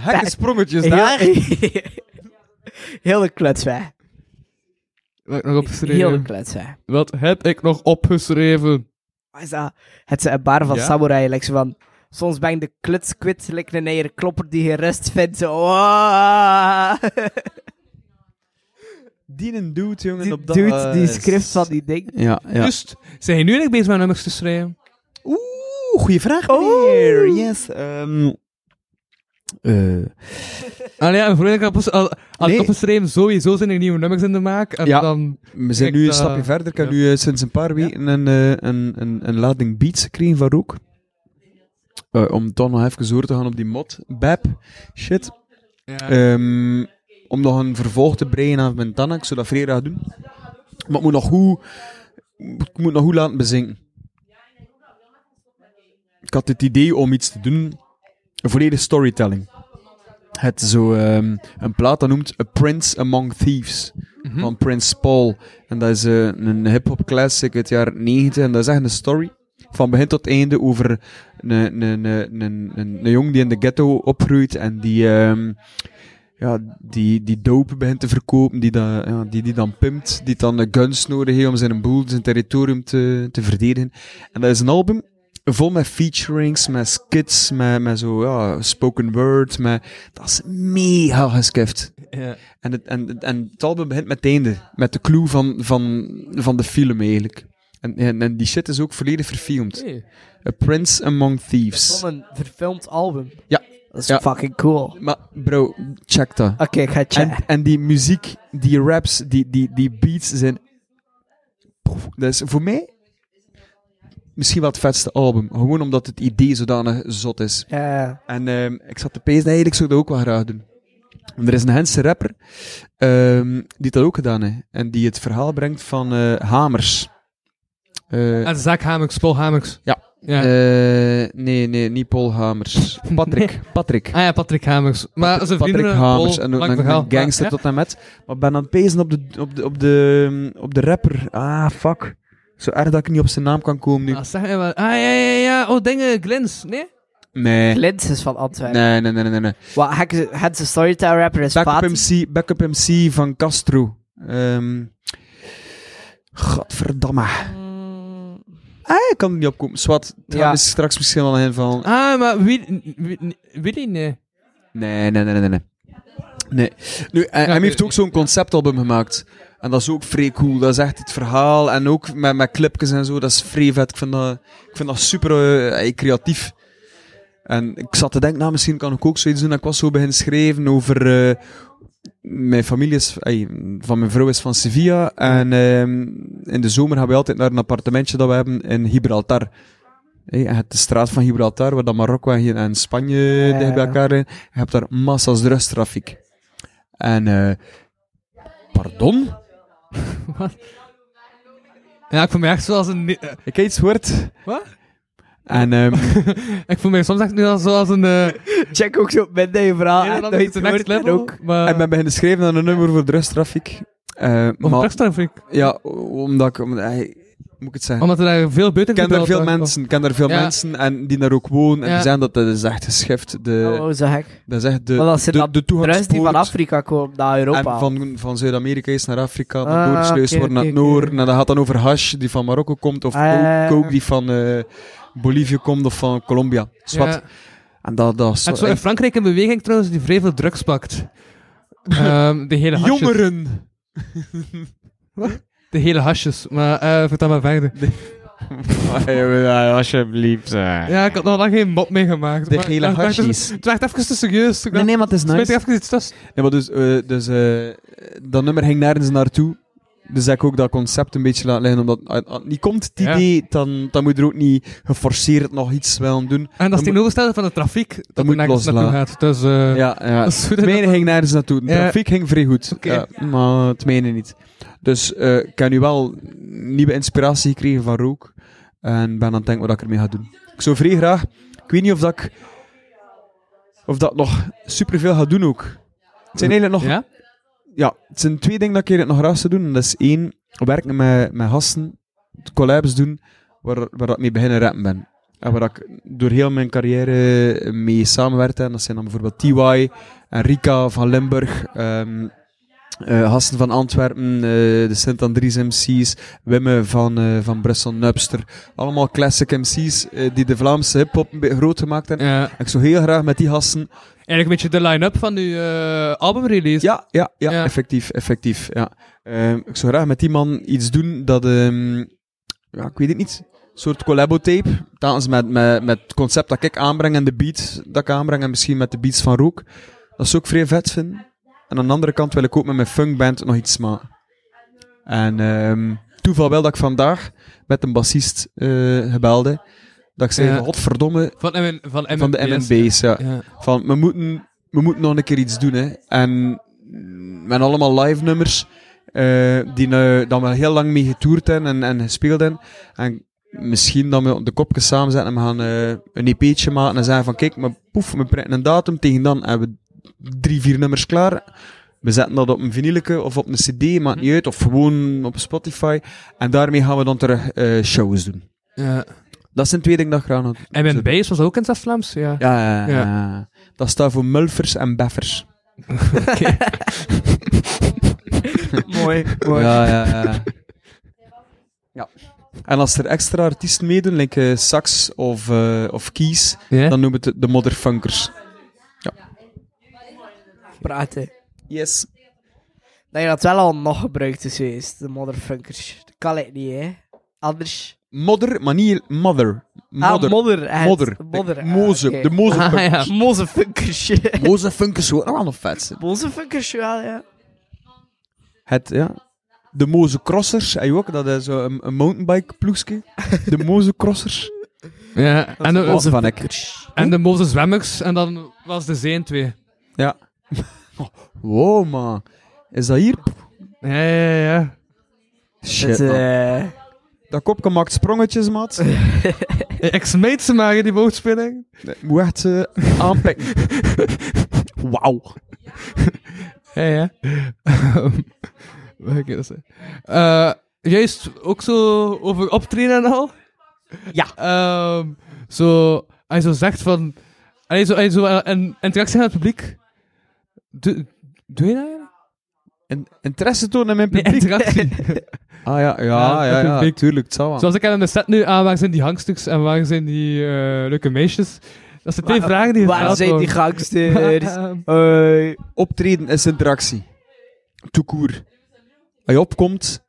Speaker 5: Hekke sprongetjes daar.
Speaker 2: Heel, heel de kluts weg.
Speaker 3: wat heb ik nog
Speaker 2: Heel de
Speaker 3: opgeschreven?
Speaker 2: kluts weg.
Speaker 3: Wat heb ik nog opgeschreven?
Speaker 2: Wat is dat? Het is een bar van
Speaker 3: Ja?
Speaker 2: samurai. Like zo van, soms ben je de kluts kwijt, like een eieren klopper die je rust vindt. Zo, "Waaah."
Speaker 5: Die een dude, jongen,
Speaker 2: die
Speaker 5: op dat...
Speaker 2: dude, die
Speaker 5: eh, Dus-
Speaker 2: script van die ding.
Speaker 5: Ja, ja.
Speaker 3: Just, zijn je nu eigenlijk bezig met nummers te schrijven?
Speaker 5: Oeh, goede vraag, meneer. Yes. ehm, eh,
Speaker 3: Ah ja, mijn vriendin had, opges- had- had
Speaker 5: Nee.
Speaker 3: opgeschreven, sowieso zijn er nieuwe nummers in de maak, en
Speaker 5: Ja.
Speaker 3: dan...
Speaker 5: we zijn
Speaker 3: Kijk,
Speaker 5: nu een
Speaker 3: eh,
Speaker 5: stapje verder. Ik heb
Speaker 3: ja.
Speaker 5: nu eh, sinds een paar weken een, eh, een, een, een lading beats gekregen van Roek. Eh, om toch nog even door te gaan op die mod. Bap. Shit.
Speaker 3: Ja.
Speaker 5: Ehm, om nog een vervolg te brengen aan mijn Tannak. Ik zou dat vrijdag doen. Maar ik moet nog goed, ik moet nog goed laten bezinken. Ik had het idee om iets te doen. Een volledige storytelling. Het zo ehm, een plaat dat noemt A Prince Among Thieves. Van Prince Paul. En dat is eh, een hip-hop classic uit het jaar 90. En dat is echt een story. van begin tot einde over een, een, een, een, een, een jong die in de ghetto opgroeit en die, ehm, ja, die, die dope begint te verkopen, die, dan ja, die, die dan pimpt, die dan eh, guns nodig heeft om zijn boel, zijn territorium te, te verdedigen. En dat is een album vol met featurings, met skits, met, met zo, ja, spoken word, met, dat is mega geskift.
Speaker 3: Ja.
Speaker 5: En het, en, en het album begint met het einde. Met de clue van, van, van de film, eigenlijk. En, en, en die shit is ook volledig verfilmd. A Prince Among Thieves.
Speaker 2: Van een verfilmd album.
Speaker 5: Ja.
Speaker 2: Dat is
Speaker 5: Ja.
Speaker 2: fucking cool. Oké,
Speaker 5: Maar bro, check dat.
Speaker 2: ik ga checken.
Speaker 5: En, en die muziek, die raps, die, die, die beats zijn... Poef, Dat is voor mij misschien wel het vetste album. Gewoon omdat het idee zodanig zot is.
Speaker 2: Ja.
Speaker 5: En ehm, ik zat te pezen, hey, ik zou dat ook wel graag doen. En er is een Hense rapper ehm, die dat ook gedaan heeft. En die het verhaal brengt van eh, hamers. Eh,
Speaker 3: En Zaak Hamerks, Paul Hamerks.
Speaker 5: Ja.
Speaker 3: Ah, ja.
Speaker 5: eh, nee, nee, niet Paul Hamers. Patrick. Patrick.
Speaker 3: ah ja, Patrick Hamerks. Maar zijn vrienden...
Speaker 5: Patrick
Speaker 3: Paul,
Speaker 5: Hamers. En ook
Speaker 3: lang
Speaker 5: een, een
Speaker 3: verhaal.
Speaker 5: gangster
Speaker 3: Ja.
Speaker 5: tot en met. Maar ik ben aan het pezen op de, op, de, op, de, op de rapper. Ah, fuck. Zo erg dat ik niet op zijn naam kan komen nu.
Speaker 3: Ah, zeg maar wel. Ah, ja, ja, ja. Oh, dingen, Glens. Nee?
Speaker 5: Nee. Nee,
Speaker 2: Lint is van Antwerpen.
Speaker 5: nee, nee, nee. nee, nee.
Speaker 2: Wat, Hek- het is storytell rapper is
Speaker 5: Backup
Speaker 2: Fatih.
Speaker 5: MC, backup MC van Castro. Ehm Godverdamme. Ah, ik kan er niet opkomen. Swat, daar
Speaker 2: Ja.
Speaker 5: is straks misschien wel een van.
Speaker 3: Ah, maar Willy... Willy, Willy nee.
Speaker 5: Nee, nee, nee, nee, nee. Nee. Nu, en, hij
Speaker 3: oké.
Speaker 5: heeft ook zo'n conceptalbum gemaakt. En dat is ook vrij cool. Dat is echt het verhaal. En ook met, met clipjes en zo. Dat is vrij vet. Ik vind dat, ik vind dat super eh, eh, creatief. En ik zat te denken, nou, misschien kan ik ook zoiets doen. En Ik was zo beginnen schrijven over... eh, mijn familie is... ey, van mijn vrouw is van Sevilla. En ehm, in de zomer gaan we altijd naar een appartementje dat we hebben in Gibraltar. Hey, en het de straat van Gibraltar, waar dan Marokko en, en Spanje eh, dicht bij elkaar liggen. Je hebt daar massa's drugstrafiek. En... eh, pardon?
Speaker 3: Ja, ik voel me echt zoals een... ni- eh,
Speaker 5: Ik heb iets gehoord.
Speaker 3: Wat?
Speaker 5: En... ehm,
Speaker 3: Ik voel me soms echt nu als- zoals een... eh,
Speaker 2: Check ook zo met dat je verhaal. en dat je
Speaker 3: Nederlander
Speaker 2: het
Speaker 3: de next
Speaker 2: hoort en
Speaker 3: level.
Speaker 2: ook.
Speaker 3: Maar...
Speaker 5: ik ben beginnen schrijven aan een nummer voor drugstrafiek. Eh,
Speaker 3: Of
Speaker 5: maar-
Speaker 3: Blackstar, vind ik.
Speaker 5: Ja, omdat ik... Omdat, ey, moet ik het zeggen?
Speaker 3: Omdat er daar veel buiten
Speaker 5: Ik ken daar
Speaker 3: gebeld
Speaker 5: veel
Speaker 3: wordt.
Speaker 5: mensen, ik ken daar veel
Speaker 3: Ja.
Speaker 5: mensen en die daar ook wonen en
Speaker 3: Ja.
Speaker 5: die zeggen dat dat is echt geschift. De,
Speaker 2: Oh, zo hek.
Speaker 5: dat is echt Eh, de,
Speaker 2: Maar dat zijn
Speaker 5: de,
Speaker 2: dan
Speaker 5: de
Speaker 2: Druis die van
Speaker 5: toegangspoort.
Speaker 2: Afrika komen naar
Speaker 5: En
Speaker 2: Europa.
Speaker 5: van, van Zuid-Amerika is naar Afrika, dan
Speaker 2: Ah,
Speaker 5: doorgesluist
Speaker 2: oké,
Speaker 5: worden naar het
Speaker 2: oké, oké.
Speaker 5: noorden. En dat gaat dan over hash die van Marokko komt, of
Speaker 2: Ah,
Speaker 5: coke-
Speaker 2: ja, ja.
Speaker 5: coke die van eh, Bolivia komt, of van Colombia. Zwat.
Speaker 3: Ja.
Speaker 5: En dat, dat is
Speaker 3: En zo in Frankrijk een beweging trouwens die vrij veel drugs pakt. Ehm, de hele hasjes.
Speaker 5: Jongeren!
Speaker 3: De hele hasjes. Maar eh vertel maar verder.
Speaker 5: Alsjeblieft.
Speaker 3: Ja, ik had nog lang geen mop meegemaakt.
Speaker 5: De
Speaker 3: maar-
Speaker 5: hele
Speaker 3: maar ik dacht
Speaker 5: hasjes.
Speaker 3: even- Het werd even te serieus. Ik
Speaker 5: Nee,
Speaker 3: dacht,
Speaker 5: nee, maar het is
Speaker 3: smijt
Speaker 5: nice.
Speaker 3: er even iets tussen.
Speaker 5: Nee, maar dus, eh, dus eh, dat nummer ging nergens naartoe. Dus heb ik ook dat concept een beetje laten liggen. Omdat als als het niet komt, het
Speaker 3: Ja.
Speaker 5: idee, dan, dan moet je er ook niet geforceerd nog iets willen doen.
Speaker 3: En dat is
Speaker 5: moet-
Speaker 3: tegenovergestelde van de trafiek. Dat,
Speaker 5: moet
Speaker 3: er nergens naartoe
Speaker 5: loslaten.
Speaker 3: gaat. Dus, eh,
Speaker 5: Ja, ja.
Speaker 3: dat is goed.
Speaker 5: Het mijne ging nergens naartoe. De
Speaker 3: Ja.
Speaker 5: trafiek ging vrij goed.
Speaker 3: Oké.
Speaker 5: Ja, maar het mijne niet. Dus eh, ik heb nu wel nieuwe inspiratie gekregen van rook. En ben aan het denken wat ik ermee ga doen. Ik zou vrij graag... Ik weet niet of dat ik... Of dat nog superveel ga doen ook. Het zijn eigenlijk nog...
Speaker 3: Ja?
Speaker 5: ja, het zijn twee dingen dat ik hier nog graag zou doen. En dat is één, werken met, met gasten, collabs doen, waar, waar ik mee beginnen rappen ben. En waar ik door heel mijn carrière mee samenwerkte. En dat zijn dan bijvoorbeeld TY, en Rika van Limburg, ehm eh, gasten van Antwerpen, eh, de Sint Andries MC's, Wimme van, eh, van Brussel Nubster. Allemaal classic MC's eh, die de Vlaamse hip-hop een beetje groot gemaakt hebben.
Speaker 3: Ja.
Speaker 5: En ik zou heel graag met die gasten
Speaker 3: Eigenlijk een beetje de line-up van uw eh, albumrelease.
Speaker 5: ja, ja, ja,
Speaker 3: Ja.
Speaker 5: effectief, effectief, ja. Ehm, ik zou graag met die man iets doen dat, ehm, ja, ik weet het niet, een soort collabo-tape. Telkens met, met, met het concept dat ik aanbreng en de beat dat ik aanbreng en misschien met de beats van Rook. Dat zou ik vrij vet vinden. En aan de andere kant wil ik ook met mijn funkband nog iets maken. En ehm, toeval wel dat ik vandaag met een bassist eh gebelde. Dat ik zei,
Speaker 3: Ja.
Speaker 5: van, godverdomme,
Speaker 3: Van, M van,
Speaker 5: van de
Speaker 3: MNBS.
Speaker 5: M&B's, ja
Speaker 3: Ja.
Speaker 5: van we moeten, we moeten nog een keer iets doen. Hè. En met allemaal live nummers eh, die nou, dan wel heel lang mee getoerd hebben en, en gespeeld hebben. En misschien dat we de kopjes samen zetten en we gaan eh, een EP'tje maken en zeggen van kijk, maar poef, we printen een datum. Tegen dan hebben we drie, vier nummers klaar. We zetten dat op een vinylke of op een cd, maakt niet uit. Of gewoon op Spotify. En daarmee gaan we dan terug eh, shows doen.
Speaker 3: Ja.
Speaker 5: Dat zijn twee dingen dat ik graag had.
Speaker 3: En mijn bijs was ook in het Vlaams. Ja.
Speaker 5: Ja, ja, ja, ja. Dat staat voor mulfers en beffers.
Speaker 2: mooi, mooi.
Speaker 5: Ja, ja, ja. ja. En als er extra artiesten meedoen, like eh, sax of, eh, of keys,
Speaker 3: Ja?
Speaker 5: dan noemen we het de modderfunkers.
Speaker 2: Praten.
Speaker 5: Yes.
Speaker 2: Ik denk dat het wel al nog gebruikt is geweest, de motherfuckers. Dat kan ik niet, hè. Anders...
Speaker 5: Modder, maar niet mother. Modder.
Speaker 2: Ah, modder. echt.
Speaker 5: Modder.
Speaker 2: modder.
Speaker 5: Like
Speaker 2: ah,
Speaker 5: Moze.
Speaker 2: oké.
Speaker 5: De mozefunkers.
Speaker 3: Ah, ja.
Speaker 2: Mozefunkers.
Speaker 5: Mozefunkers hoor, nog wel nog vet. zijn.
Speaker 2: Mozefunkers, ja, ja.
Speaker 5: Het, ja. De mozecrossers. En je ook, dat is zo een, een mountainbike ploegske. De mozecrossers.
Speaker 3: ja. En, de,
Speaker 5: Wat van ik.
Speaker 3: en de Moze zwemmers. En dan was de Zeen twee.
Speaker 5: Ja. Oh, Wow, man. Is dat hier?
Speaker 3: Ja, ja, ja.
Speaker 5: Shit,
Speaker 2: Het,
Speaker 5: man.
Speaker 2: eh,
Speaker 3: Ah.
Speaker 5: Dat kopje maakt sprongetjes, maat.
Speaker 3: Ik smijt ze maar, die woordspeling.
Speaker 5: Moet echt eh, aanpikken. Wauw.
Speaker 3: Ja, ja. Wat ga ik eerst zeggen? Eh, juist, ook zo over optreden en al.
Speaker 2: Ja.
Speaker 3: Ehm, zo, hij zo zegt van... Hij zo, hij zo eh, een interactie met het publiek. Doe, doe je dat eigenlijk?
Speaker 5: In- interesse tonen in mijn
Speaker 3: Nee,
Speaker 5: publiek.
Speaker 3: interactie.
Speaker 5: ah ja,
Speaker 3: Ja,
Speaker 5: ja, ja, ja,
Speaker 3: publiek.
Speaker 5: tuurlijk, het zal wel.
Speaker 3: Zoals ik aan de set nu, aan waar zijn die hangstuks en waar zijn die eh, leuke meisjes? Dat zijn twee
Speaker 2: Waar-
Speaker 3: vragen die
Speaker 2: Waar
Speaker 3: gesteld
Speaker 2: zijn die eh,
Speaker 3: worden.
Speaker 2: gangsters?
Speaker 3: Ehm,
Speaker 2: Hoi.
Speaker 5: Eh, Optreden is interactie. Toekoer. Als je opkomt,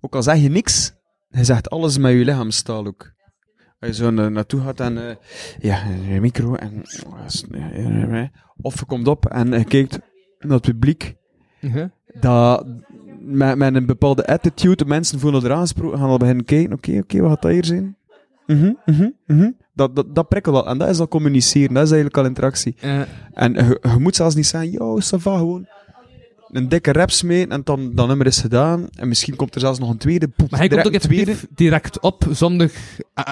Speaker 5: ook al zeg je niks, je zegt alles met je lichaamstaal ook. Als je zo na- naartoe gaat en eh, ja, je micro en eh, of je komt op en je kijkt naar het publiek
Speaker 3: ja.
Speaker 5: dat met, met een bepaalde attitude, de mensen voelen er aangesproken, gaan al beginnen kijken, oké, oké, wat gaat dat hier zijn? Mhm, mhm, mhm. Dat, dat, dat prikkelt al. En dat is al communiceren, dat is eigenlijk al interactie.
Speaker 3: Eh,
Speaker 5: En je, je moet zelfs niet zeggen, yo, ça va, gewoon een dikke rap smeten en dan dat nummer is gedaan. En misschien komt er zelfs nog een tweede. Poep,
Speaker 3: maar hij komt
Speaker 5: direct
Speaker 3: ook
Speaker 5: een tweede.
Speaker 3: effectief direct op, zonder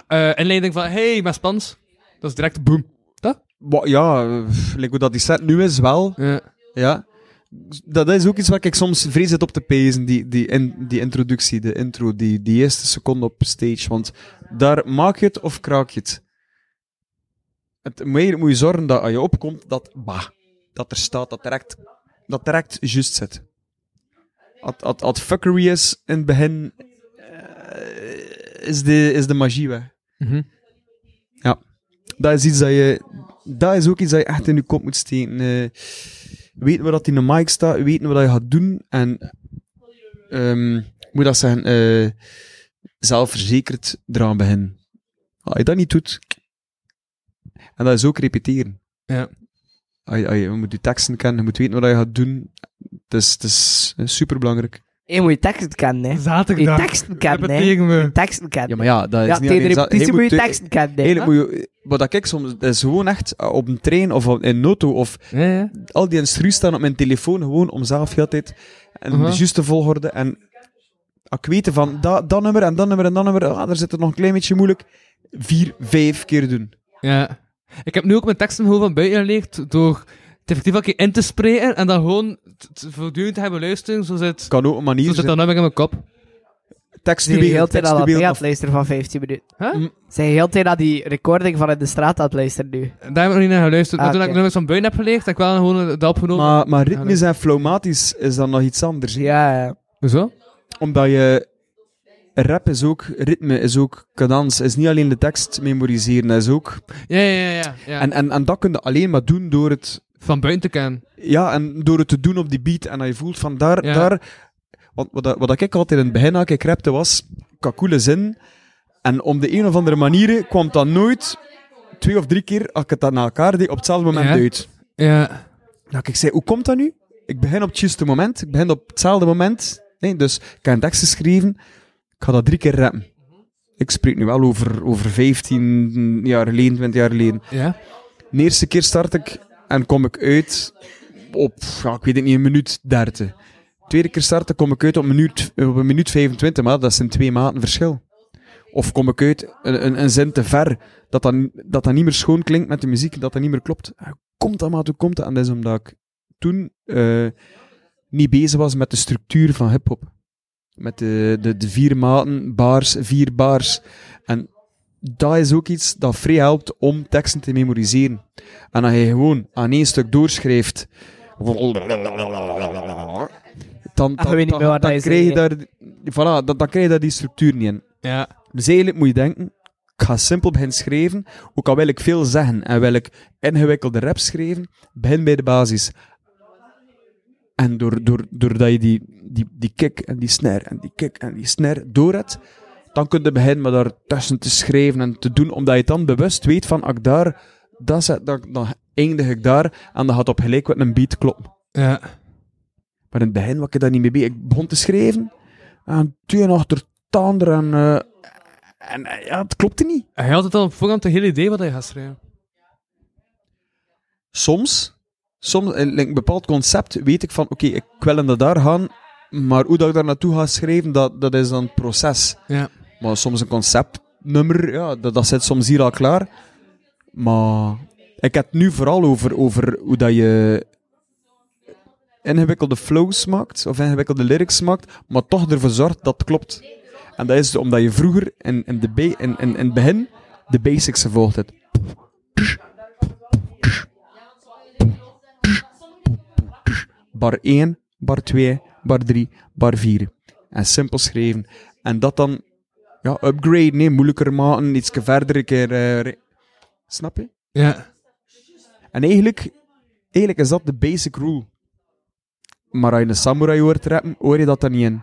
Speaker 3: eh, eh, inleiding van... Hey, ik ben Spans. Dat is direct boom.
Speaker 5: Wa- ja, eh, like hoe dat die set nu is, wel.
Speaker 3: Ja.
Speaker 5: Ja. Dat is ook iets waar ik soms vrees zit op te pezen, die, die, in, die introductie, de intro, die, die eerste seconde op stage. Want daar maak je het of kraak je het. het meer moet je zorgen dat als je opkomt, dat, bah, dat er staat, dat direct, dat direct juist zit. Als- Als als fuckery is in het begin, eh, is, de, is de magie weg.
Speaker 3: Mhm.
Speaker 5: Ja. Dat is iets dat je... Dat is ook iets dat je echt in je kop moet steken. Eh, weten waar dat in de mic staat, weten wat je gaat doen en... ehm, hoe moet dat zeggen? eh, zelfverzekerd eraan beginnen. Ah, Als je dat niet doet... En dat is ook repeteren.
Speaker 3: Ja.
Speaker 5: Als je, als je, je moet je teksten kennen, je moet weten wat je gaat doen. Het is, het is eh, superbelangrijk.
Speaker 2: Je moet je teksten kennen, hè. Je
Speaker 3: Zaterdag.
Speaker 2: teksten kennen,
Speaker 3: Heb het
Speaker 2: hè.
Speaker 3: tegen me.
Speaker 2: Teksten kennen.
Speaker 5: maar ja, dat
Speaker 2: Ja, tegen de repetitie moet je teksten kennen, hè.
Speaker 5: Eigenlijk moet je, wat dat ik soms, dat is gewoon echt eh, op een trein of op- in een auto of
Speaker 3: Ja, ja.
Speaker 5: al die instru's staan op mijn telefoon gewoon om zelf heel de tijd en
Speaker 3: Aha.
Speaker 5: de juiste volgorde en als ik weet van dat, dat nummer en dat nummer en dat nummer, ah, daar zit het nog een klein beetje moeilijk, vier, vijf keer doen.
Speaker 3: Ja. Ik heb nu ook mijn teksten gewoon van buiten geleerd door het effectief een keer in te spreken en dan gewoon t- t- voortdurend te hebben luisteren. Zo zit,
Speaker 5: Kan ook een
Speaker 3: zo
Speaker 5: manier
Speaker 3: zit
Speaker 5: zijn.
Speaker 3: dat nummer in mijn kop.
Speaker 2: Die je
Speaker 5: Tekstdubeel,
Speaker 2: heel de tijd al aan het
Speaker 5: tekstdubeel,
Speaker 2: aan het luisteren van 15 minuten.
Speaker 3: Huh?
Speaker 2: Mm. Zijn je heel de tijd naar die recording van in de straat aan het luisteren nu?
Speaker 3: Daar heb ik nog niet naar geluisterd.
Speaker 2: Ah,
Speaker 3: maar toen ik
Speaker 2: oké.
Speaker 3: nummers van buiten heb geleerd, heb ik wel gewoon eh, dat opgenomen.
Speaker 5: maar, maar ritmisch en flowmatisch is dan nog iets anders. hè.
Speaker 2: Ja, ja.
Speaker 3: Hoezo?
Speaker 5: Omdat je... Rap is ook ritme, is ook cadans, is niet alleen de tekst memoriseren, dat is ook...
Speaker 3: Ja, ja, ja. ja, ja.
Speaker 5: En, en, en dat kun je alleen maar doen door het
Speaker 3: Van buiten te kennen.
Speaker 5: Ja, en door het te doen op die beat en dat je voelt van daar,
Speaker 3: Ja.
Speaker 5: daar. Want wat, dat- wat dat ik altijd in het begin had, ik rapte was, ik had coole zin. En om de een of andere manier kwam dat nooit, twee of drie keer, als ik het dan na elkaar deed, op hetzelfde moment
Speaker 3: Ja.
Speaker 5: uit.
Speaker 3: Ja.
Speaker 5: Dat ik zei, hoe komt dat nu? Ik begin op het juiste moment, ik begin op hetzelfde moment. Nee, dus ik heb een tekst geschreven, ik ga dat drie keer rappen. Ik spreek nu wel over, over 15 jaar geleden, 20 jaar geleden.
Speaker 3: Ja.
Speaker 5: De eerste keer start ik en kom ik uit op, ja, ik weet het niet, een minuut 30. Tweede keer starten kom ik uit op, minuut, op een minuut 25, maar dat zijn twee maten verschil. Of kom ik uit een, een, een zin te ver, dat dan, dat dan niet meer schoon klinkt met de muziek, dat dat niet meer klopt. Ja, Hoe komt dat, maat? Hoe komt dat? En dat is omdat ik toen eh, niet bezig was met de structuur van hip-hop. Met de, de, de vier maten, bars, vier bars. En dat is ook iets dat vrij helpt om teksten te memoriseren. En als je gewoon aan één stuk doorschrijft. Dan, dan,
Speaker 2: Ah, weet niet
Speaker 5: dan-
Speaker 2: meer wat
Speaker 5: dan
Speaker 2: hij
Speaker 5: krijg je
Speaker 2: zei.
Speaker 5: daar, voilà, dan, dan krijg je daar die structuur niet in.
Speaker 3: Ja.
Speaker 5: Dus eigenlijk moet je denken, ik ga simpel beginnen schrijven, ook al wil ik veel zeggen en wil ik ingewikkelde rap schrijven, begin bij de basis. En door, door, doordat je die, die, die kick en die snare en die kick en die snare door hebt, dan kun je beginnen met daar tussen te schrijven en te doen, omdat je het dan bewust weet van, als ik daar, dat zet, dan, dan eindig ik daar en dan gaat op gelijk wat een beat kloppen.
Speaker 3: Ja.
Speaker 5: Maar in het begin was ik daar niet mee bezig. Ik begon te schrijven. En toen achter het ander. En, eh, en eh, ja, het klopte niet.
Speaker 3: Hij had het al op voorhand een heel idee wat hij gaat schrijven.
Speaker 5: Soms, soms in een bepaald concept, weet ik van... Oké, ik wil hem dat daar gaan. Maar hoe dat ik daar naartoe ga schrijven, dat, dat is dan een proces.
Speaker 3: Ja.
Speaker 5: Maar soms een conceptnummer, ja, dat, dat zit soms hier al klaar. Maar ik heb het nu vooral over, over hoe dat je ingewikkelde flows maakt, of ingewikkelde lyrics maakt, maar toch ervoor zorgt dat het klopt. En dat is omdat je vroeger in, in, de ba- in, in, in het begin de basics gevolgd hebt. Bar 1, bar 2, bar 3, bar 4. En simpel schrijven. En dat dan ja, upgrade, nee, moeilijker maken, iets verder, een keer... eh, re- Snap je?
Speaker 3: Ja.
Speaker 5: En eigenlijk, eigenlijk is dat de basic rule. Maar als je een samurai hoort rappen, hoor je dat dan niet in.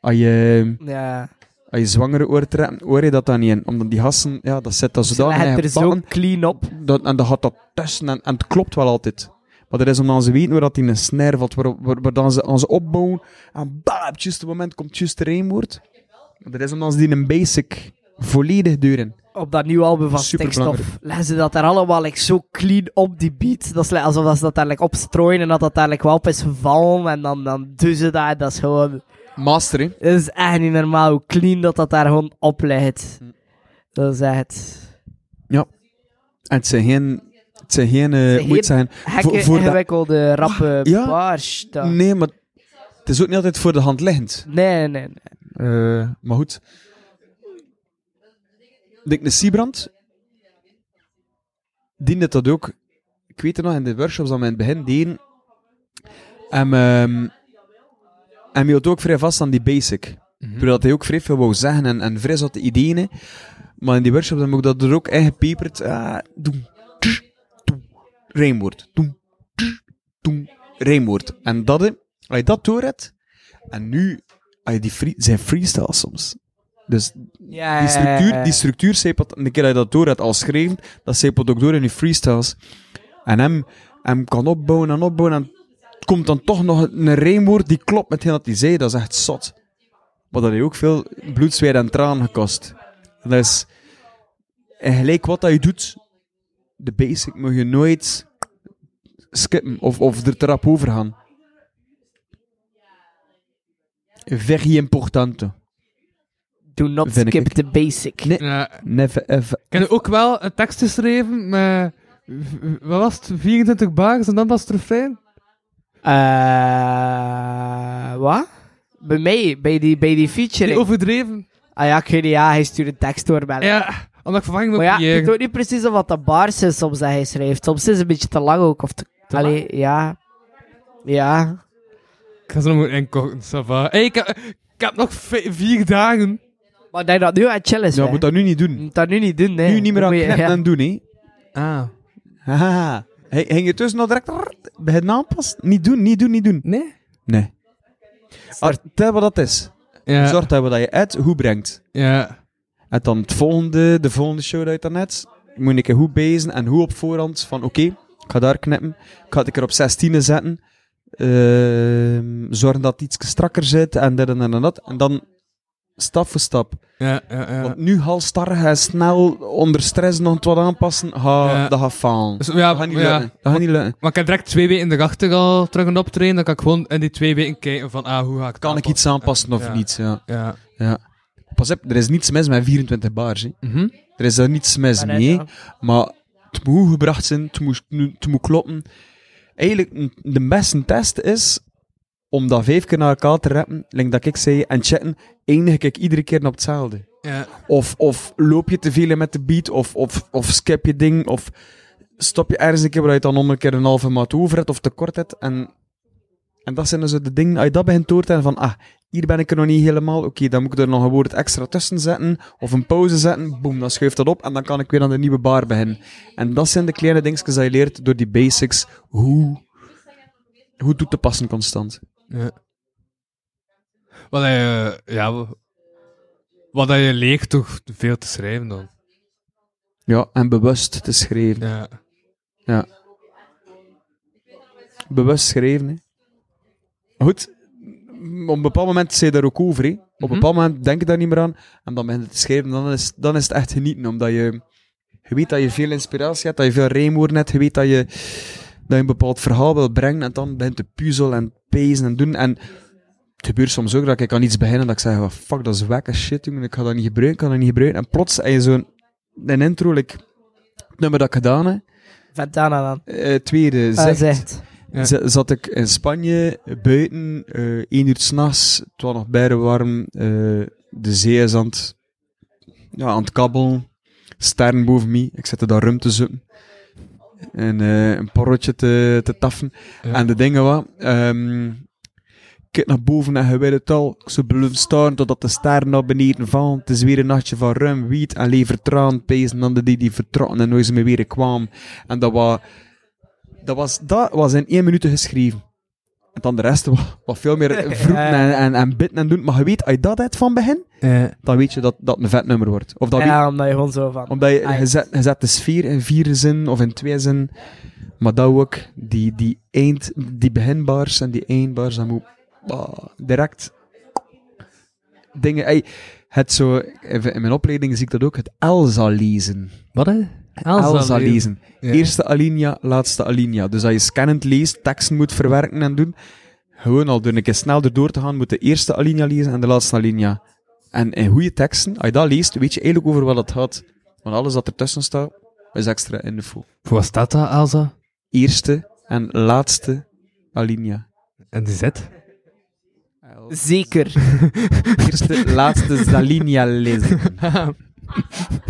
Speaker 5: Als je,
Speaker 2: Ja.
Speaker 5: als je zwangere hoort rappen, hoor je dat dan niet in. Omdat die gasten, ja, dat zit dat
Speaker 2: Ze
Speaker 5: zodanig
Speaker 2: leggen het
Speaker 5: in
Speaker 2: er zo
Speaker 5: gebakken,
Speaker 2: clean op.
Speaker 5: dat, en dat gaat dat tussen en, en het klopt wel altijd. Maar dat is omdat ze weten waar dat in een snare valt, waar, waar, waar dan ze aan ze opbouwen. En bam, op het juiste moment komt het juiste rijmwoord. Dat is omdat ze die een basic volledig duren.
Speaker 2: Op dat nieuwe album van
Speaker 5: Superbelangrijk.
Speaker 2: Stikstof. Leggen ze dat daar allemaal like, zo clean op die beat. Dat is like, alsof dat ze dat daar like, opstrooien en dat dat daar like, wel op is gevallen. En dan, dan doen ze dat. Dat is gewoon...
Speaker 5: Master, hè?
Speaker 2: Het is echt niet normaal hoe clean dat dat daar gewoon op ligt. Dat is echt...
Speaker 5: En het zijn geen... Het zijn geen... eh,
Speaker 2: zijn
Speaker 5: moet je het zeggen?
Speaker 2: Hekke,
Speaker 5: voor dat- Ah,
Speaker 2: ingewikkelde, rappe
Speaker 5: Ja.
Speaker 2: bars. dat-
Speaker 5: Nee, maar het is ook niet altijd voor de hand liggend.
Speaker 2: Nee, nee, nee.
Speaker 5: Eh, maar goed. Dick de Siebrand diende dat ook. Ik weet het nog, in de workshops dat we in het begin deden. En, ehm en hield ook vrij vast aan die basic. Doordat hij ook vrij veel wou zeggen en, en vrij zat de ideeën. in. Maar in die workshops heb ik dat er ook in gepeperd. Ah, doen, tsch, doen, rijmwoord. Doen, tsch, doen, rijmwoord. En dat, hè, als je dat door hebt, en nu ah, die free, zijn freestyle soms. Dus
Speaker 2: Ja,
Speaker 5: die
Speaker 2: ja, ja,
Speaker 5: structuur,
Speaker 2: ja.
Speaker 5: die structuur sepelt, en de keer dat je dat door hebt al schreven, dat sepelt ook door in die freestyles. En hem, hem kan opbouwen en opbouwen en het komt dan toch nog een rijmwoord die klopt met wat hij zei. Dat is echt zot. Maar dat heeft ook veel bloed, zweet en traan gekost. En dat is... En gelijk wat dat je doet, de basic moet je nooit skippen of, of er te rap over gaan. Very importante.
Speaker 2: Do not
Speaker 5: Vind ik
Speaker 2: skip
Speaker 5: ik.
Speaker 2: the basic.
Speaker 5: Nee.
Speaker 3: ja.
Speaker 5: Never ever.
Speaker 3: Ik heb ook wel een tekst geschreven met... v- Wat was het? 24 bars en dan was het refrein?
Speaker 2: Eh, wat? Bij mij, bij die, bij die featuring.
Speaker 3: Die overdreven.
Speaker 2: Ah ja, ik weet niet, ja, hij stuurt een tekst door mij.
Speaker 3: Ja, omdat ik vervanging
Speaker 2: maar
Speaker 3: moet
Speaker 2: ja, ik weet
Speaker 3: creëren.
Speaker 2: ook niet precies of wat de bars zijn soms dat hij schrijft. Soms is het een beetje te lang ook. Of te, Allee, ja. Ja.
Speaker 3: Ik ga ze nog moeten inkorten, ça va. Hey, ik, heb, ik heb nog vi- vier dagen.
Speaker 2: Maar ik denk dat nu aan het chill is.
Speaker 5: Ja,
Speaker 2: hè.
Speaker 5: moet dat nu niet doen.
Speaker 2: Moet dat nu niet doen, hè.
Speaker 5: Nu niet
Speaker 2: Dan
Speaker 5: meer aan
Speaker 2: moet je-
Speaker 5: knippen
Speaker 2: ja.
Speaker 5: en doen, hè.
Speaker 3: Ah.
Speaker 5: Haha. Hij- Hing je tussen nog direct rrrt, bij het aanpassen? Niet doen, niet doen, niet doen.
Speaker 3: Nee?
Speaker 5: Nee. Ah, Tel wat dat is.
Speaker 3: Ja.
Speaker 5: Zorg dat wat je uit hoe brengt.
Speaker 3: Ja.
Speaker 5: En dan het volgende, de volgende show dat je dan net. Moet ik hoe bezen en hoe op voorhand van oké, ik ga daar knippen. Ik ga het een keer op 16 zetten. Ehm, zorgen dat het iets strakker zit en dit en dat en dat. En dan stap voor stap.
Speaker 3: Ja, ja, ja.
Speaker 5: Want nu halstarrig en snel onder stress nog het wat aanpassen, ga,
Speaker 3: Ja.
Speaker 5: dat gaat falen.
Speaker 3: Dus, ja,
Speaker 5: Dat gaat niet
Speaker 3: ja.
Speaker 5: lukken. Dat gaat niet lukken.
Speaker 3: Maar ik heb direct twee weken in de achter al terug een optreden. Dan kan ik gewoon in die twee weken kijken van, ah, hoe ga ik het
Speaker 5: Kan ik iets aanpassen of
Speaker 3: Ja.
Speaker 5: niet? Ja.
Speaker 3: Ja.
Speaker 5: Pas op, er is niets mis met 24 bars. Hè.
Speaker 3: Mhm.
Speaker 5: Er is daar niets mis
Speaker 2: Maar
Speaker 5: mee.
Speaker 2: ja.
Speaker 5: Maar het moet gebracht zijn, het moet, het moet kloppen. Eigenlijk, de beste test is om dat vijf keer naar elkaar te rappen, like dat ik zei, en chatten, eindig ik iedere keer op hetzelfde.
Speaker 3: Ja.
Speaker 5: Of, of loop je te veel in met de beat, of, of, of skip je ding, of stop je ergens een keer waar je dan om een keer een halve maat over hebt of tekort hebt. En, en dat zijn dus de dingen, als je dat begint door te hebben van, ah, hier ben ik er nog niet helemaal, oké, dan moet ik er nog een woord extra tussen zetten, of een pauze zetten, boem, dan schuift dat op en dan kan ik weer aan de nieuwe bar beginnen. En dat zijn de kleine dingetjes die je leert door die basics, hoe, hoe toe te passen constant.
Speaker 3: Ja. Wat je, ja, wa- wat dat je leert toch veel te schrijven dan.
Speaker 5: Ja, en bewust te schrijven.
Speaker 3: Ja.
Speaker 5: Ja. Bewust schrijven, hè. Goed, m- op een bepaald moment zei je daar ook over, hè. Op een
Speaker 3: Mhm.
Speaker 5: bepaald moment denk ik daar niet meer aan. En dan begin je te schrijven, dan is, dan is het echt genieten. Omdat je, je weet dat je veel inspiratie hebt, dat je veel rijmwoorden hebt. Je weet dat je, dat je een bepaald verhaal wil brengen. En dan begint te puzzelen en pezen en doen. En het gebeurt soms ook dat ik aan iets begin en dat ik zeg, "Wat fuck, dat is wekker shit, jongen. Ik ga dat niet gebruiken, ik kan dat niet gebruiken. En plots heb je zo'n een intro, like, het nummer dat ik gedaan heb.
Speaker 2: Ventana dan.
Speaker 5: Eh, tweede,
Speaker 2: Ah,
Speaker 5: zegt,
Speaker 2: zegt.
Speaker 3: Ja.
Speaker 5: Z- zat ik in Spanje, buiten, eh één uur s'nachts, het was nog bijna warm, eh, de zee is aan het, ja, aan het kabbelen, sterren boven mij, ik zette daar rum te zoeken. En eh, een porrotje te, te taffen.
Speaker 3: Ja.
Speaker 5: En de dingen wat. ehm kijk naar boven en je weet het al. Ik zou blijven staan totdat de sterren naar beneden vallen. Het is weer een nachtje van rum, wiet en levertraan. Pezen aan de die die vertrokken en nooit meer weer kwamen. En dat was dat was, dat was in één minuut geschreven. En dan de rest wat, wat veel meer vroeten en, en, en bitten en doen. Maar je weet, als je dat hebt van begin,
Speaker 3: Ja.
Speaker 5: dan weet je dat dat een vet nummer wordt. Of dat weet-
Speaker 2: Ja, omdat je gewoon zo van...
Speaker 5: omdat je,
Speaker 2: Ah, ja.
Speaker 5: je, zet, je zet de sfeer in vier zin of in twee zin. Maar dat ook, die, die, eind, die beginbars en die eindbars, dat moet bah, direct dingen... Ey, het zo, in in mijn opleiding zie ik dat ook, het Elsa lezen.
Speaker 3: Wat hè?
Speaker 5: Elsa lezen.
Speaker 3: Ja.
Speaker 5: Eerste alinea, laatste alinea. Dus als je scannend leest, teksten moet verwerken en doen, gewoon al door een keer snel erdoor te gaan, moet de eerste alinea lezen en de laatste alinea. En in goede teksten, als je dat leest, weet je eigenlijk over wat het gaat. Want alles dat ertussen staat, is extra info.
Speaker 3: Voor wat staat dat, Elsa?
Speaker 5: Eerste en laatste alinea.
Speaker 3: En die zet?
Speaker 2: Zeker.
Speaker 5: Eerste, laatste alinea lezen.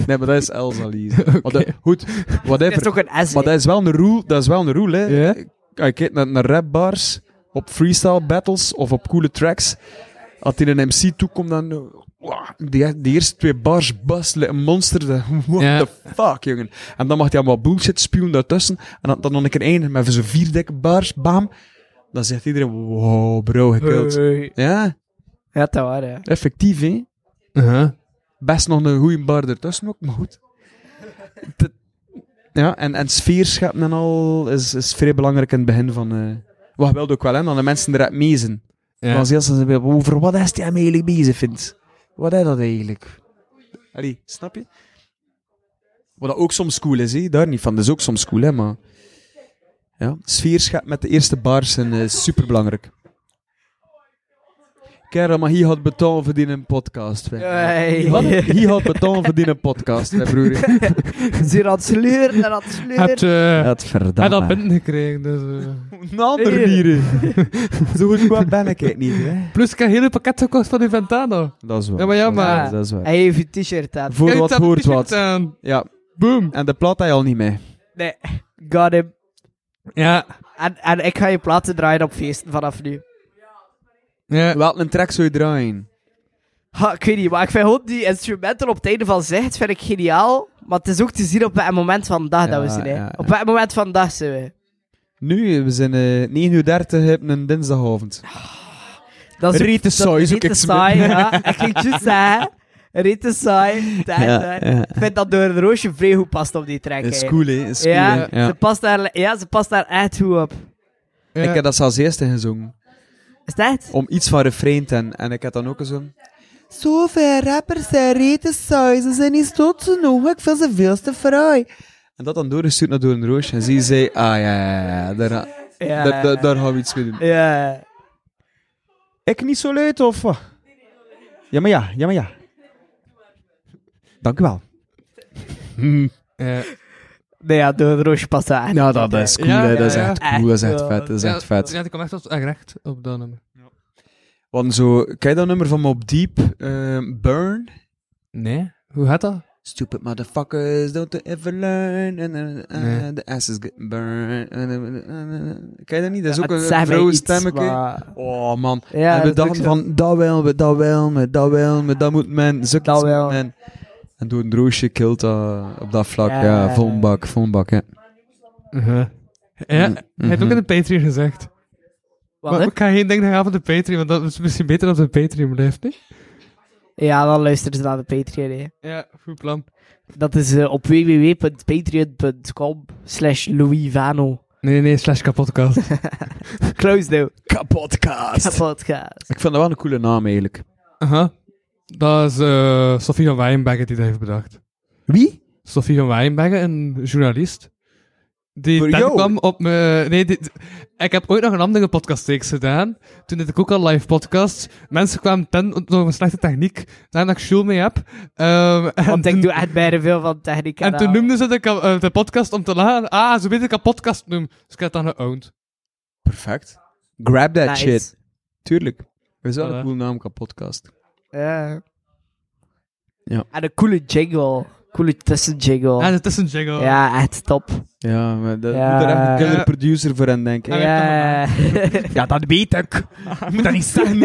Speaker 5: Nee, maar dat is Elsa lezen. Maar dat- goed,
Speaker 2: Het is
Speaker 5: whatever.
Speaker 2: toch een essay.
Speaker 5: Maar dat is wel een rule, dat is wel een rule, hè.
Speaker 3: Ja.
Speaker 5: Als je kijkt naar, naar rapbars, op freestyle battles of op coole tracks, als die een MC toekomt, dan... eh, wah, die, die eerste twee bars bustelen, een monster, dan- what
Speaker 3: Ja.
Speaker 5: the fuck, jongen. En dan mag hij allemaal bullshit spuwen daartussen, en dan, dan nog een keer eindigen met zo'n vier dikke bars, bam. Dan zegt iedereen, wow, bro,
Speaker 2: Eh.
Speaker 5: gekild. Ja,
Speaker 2: Ja, dat waar, ja.
Speaker 5: effectief, hè.
Speaker 3: Uh-huh.
Speaker 5: Best nog een goede bar ertussen ook, maar goed. Het- ja, en, en sfeer scheppen en al is, is vrij belangrijk in het begin van... eh wat je wilt ook wel, hè, dat de mensen eruit meezen.
Speaker 3: Ja.
Speaker 5: Dan zeggen ze weer, over wat is die hem eigenlijk bezig, vindt? Wat is dat eigenlijk? Allee, snap je? Wat dat ook soms cool is, hè? daar niet van. Dat is ook soms cool, hè, maar... Ja, sfeer scheppen met de eerste bars zijn eh, superbelangrijk. Kerel, maar hier had betaal verdienen een podcast. hè.
Speaker 2: Hey.
Speaker 5: Wat? Hier had betaal verdienen een podcast, hè, broer.
Speaker 2: Zeer aan het sleuren, aan het
Speaker 3: Heb
Speaker 2: sleuren.
Speaker 3: je
Speaker 5: Het
Speaker 3: heb eh, dat
Speaker 5: verdamme.
Speaker 3: binnen gekregen, dus... eh.
Speaker 5: Een ander Zo goed qua ben ik het niet, hè.
Speaker 3: Plus, ik heb een hele pakket gekocht van die Ventana.
Speaker 5: Dat is waar.
Speaker 3: Ja, maar ja, maar...
Speaker 5: Dat is waar.
Speaker 2: Hij heeft je t-shirt aan.
Speaker 5: Voor
Speaker 3: Kijk,
Speaker 5: wat
Speaker 3: dat
Speaker 5: hoort
Speaker 3: t-shirt
Speaker 5: wat.
Speaker 3: aan.
Speaker 5: Ja,
Speaker 3: Boom.
Speaker 5: en de plaat had je al niet mee.
Speaker 2: Nee, got him.
Speaker 3: Ja.
Speaker 2: En, en ik ga je platen draaien op feesten vanaf nu.
Speaker 3: Ja.
Speaker 5: Wel een track zou je draaien.
Speaker 2: Ha, ik weet niet, maar ik vind gewoon die instrumenten op het einde van zicht vind ik geniaal. Maar het is ook te zien op het moment van de dag dat we
Speaker 5: Ja,
Speaker 2: zijn. hè.
Speaker 5: ja, ja.
Speaker 2: Op het moment van de dag zijn we.
Speaker 5: Nu, we zijn eh 9.30 uur een dinsdagavond.
Speaker 2: Dat ook-
Speaker 5: Rete
Speaker 2: dat-
Speaker 5: saai, zoek
Speaker 2: rete
Speaker 5: ik ze
Speaker 2: saai, ja. Ik ging het juist zeggen. Rete saai. Daar, daar. Ik vind dat door een roosje vrij goed past op die track.
Speaker 5: Het is
Speaker 2: hè.
Speaker 5: cool, hè. Het is cool,
Speaker 2: Ja,
Speaker 5: hè. Ja.
Speaker 2: Ze past daar, ja, ze past daar echt goed op.
Speaker 3: Ja.
Speaker 5: Ik heb dat als eerste gezongen.
Speaker 2: Is dat? het?
Speaker 5: Om iets van refrein te hebben. En ik heb dan ook gezongen.
Speaker 9: Zoveel rappers zijn reten saai. Ze zijn niet tot te nog. Ik vind ze veel te fraai.
Speaker 5: En dat dan doorgestuurd naar Doorn Roosje. En ze zei, ah ja, ja, ja, daar,
Speaker 2: Ja.
Speaker 5: daar, daar, daar gaan we iets mee doen.
Speaker 2: Ja.
Speaker 5: Ik niet zo luid, of wat? Ja, maar ja, ja, maar ja. Dank u wel.
Speaker 3: Ja.
Speaker 2: Nee, ja, door een roosje past daar echt
Speaker 5: Ja,
Speaker 2: goed
Speaker 5: dat
Speaker 2: op, hè.
Speaker 5: is cool,
Speaker 3: Ja,
Speaker 5: hè.
Speaker 3: ja,
Speaker 5: dat is
Speaker 3: ja.
Speaker 5: echt cool, dat is echt
Speaker 2: Echt
Speaker 5: vet, dat is
Speaker 3: Ja,
Speaker 5: echt vet.
Speaker 3: Ja, ik kom echt op, echt recht op dat nummer.
Speaker 5: Want zo, ken je dat nummer van Mob Deep? eh, Burn?
Speaker 3: Nee? Hoe gaat dat?
Speaker 5: Stupid motherfuckers, don't ever learn. And, uh, uh,
Speaker 3: Nee.
Speaker 5: The asses get burned. And, uh, uh, uh. Ken je dat niet? Dat is ook
Speaker 2: Het
Speaker 5: een
Speaker 2: zei mij
Speaker 5: vrouwen
Speaker 2: iets,
Speaker 5: stemmetje.
Speaker 2: maar-
Speaker 5: Oh man.
Speaker 2: Ja,
Speaker 5: en we
Speaker 2: dat
Speaker 5: dachten
Speaker 2: is ook zo.
Speaker 5: van, dat wel, we, dat wel, me, dat wel, me, dat moet men, zoek
Speaker 2: Dat
Speaker 5: dat
Speaker 2: wel.
Speaker 5: wel. Men. En door een roosje kilt dat op dat vlak.
Speaker 2: Ja.
Speaker 5: Ja, vol een bak, vol een bak, ja. Mhm.
Speaker 3: Uh-huh. Ja,
Speaker 5: Mm-hmm.
Speaker 3: hij heeft ook in de Patreon gezegd.
Speaker 2: Wat,
Speaker 3: maar
Speaker 2: hè?
Speaker 3: ik ga geen denken gaan van de Patreon, want dat is misschien beter dat het de Patreon blijft, nee?
Speaker 2: Ja, dan luisteren ze naar de Patreon. hè.
Speaker 3: Ja, goed plan.
Speaker 2: Dat is eh, op www.patreon.com slash Louisvano.
Speaker 3: Nee, nee, slash kapotcast.
Speaker 2: Close now.
Speaker 5: Kapotcast.
Speaker 2: De podcast.
Speaker 5: Ik vond dat wel een coole naam eigenlijk.
Speaker 3: Aha. Dat is eh Sophie van Wijnbergen die dat heeft bedacht.
Speaker 5: Wie?
Speaker 3: Sophie van Wijnbergen, een journalist. Die
Speaker 5: Voor
Speaker 3: daar
Speaker 5: jou?
Speaker 3: kwam op me. Nee, dit- ik heb ooit nog een andere podcastreeks gedaan. Toen deed ik ook al live podcasts. Mensen kwamen ten door een slechte techniek. Daar dat ik Jules mee heb. Ehm, en
Speaker 2: Want
Speaker 3: toen-
Speaker 2: ik doe echt bijna veel van techniek.
Speaker 3: En toen noemden ze de, ka- eh, de podcast om te lachen. Ah, zo weet ik een podcast noem. Dus ik heb het dan geowned.
Speaker 5: Perfect. Grab that
Speaker 2: Nice.
Speaker 5: shit. Tuurlijk. We is wel
Speaker 3: Voilà.
Speaker 5: een coole naam, kapotcast.
Speaker 2: Ja.
Speaker 5: Ja.
Speaker 2: En een coole jingle. Coole tussenjingle.
Speaker 3: Ja, het is een jingle.
Speaker 2: Oh. Ja, echt top.
Speaker 5: Ja, maar dat
Speaker 2: Ja.
Speaker 5: moet er echt een killer producer voor aan denken.
Speaker 3: Ja,
Speaker 2: Ja.
Speaker 5: Ja, dat weet ik. moet dat niet zeggen.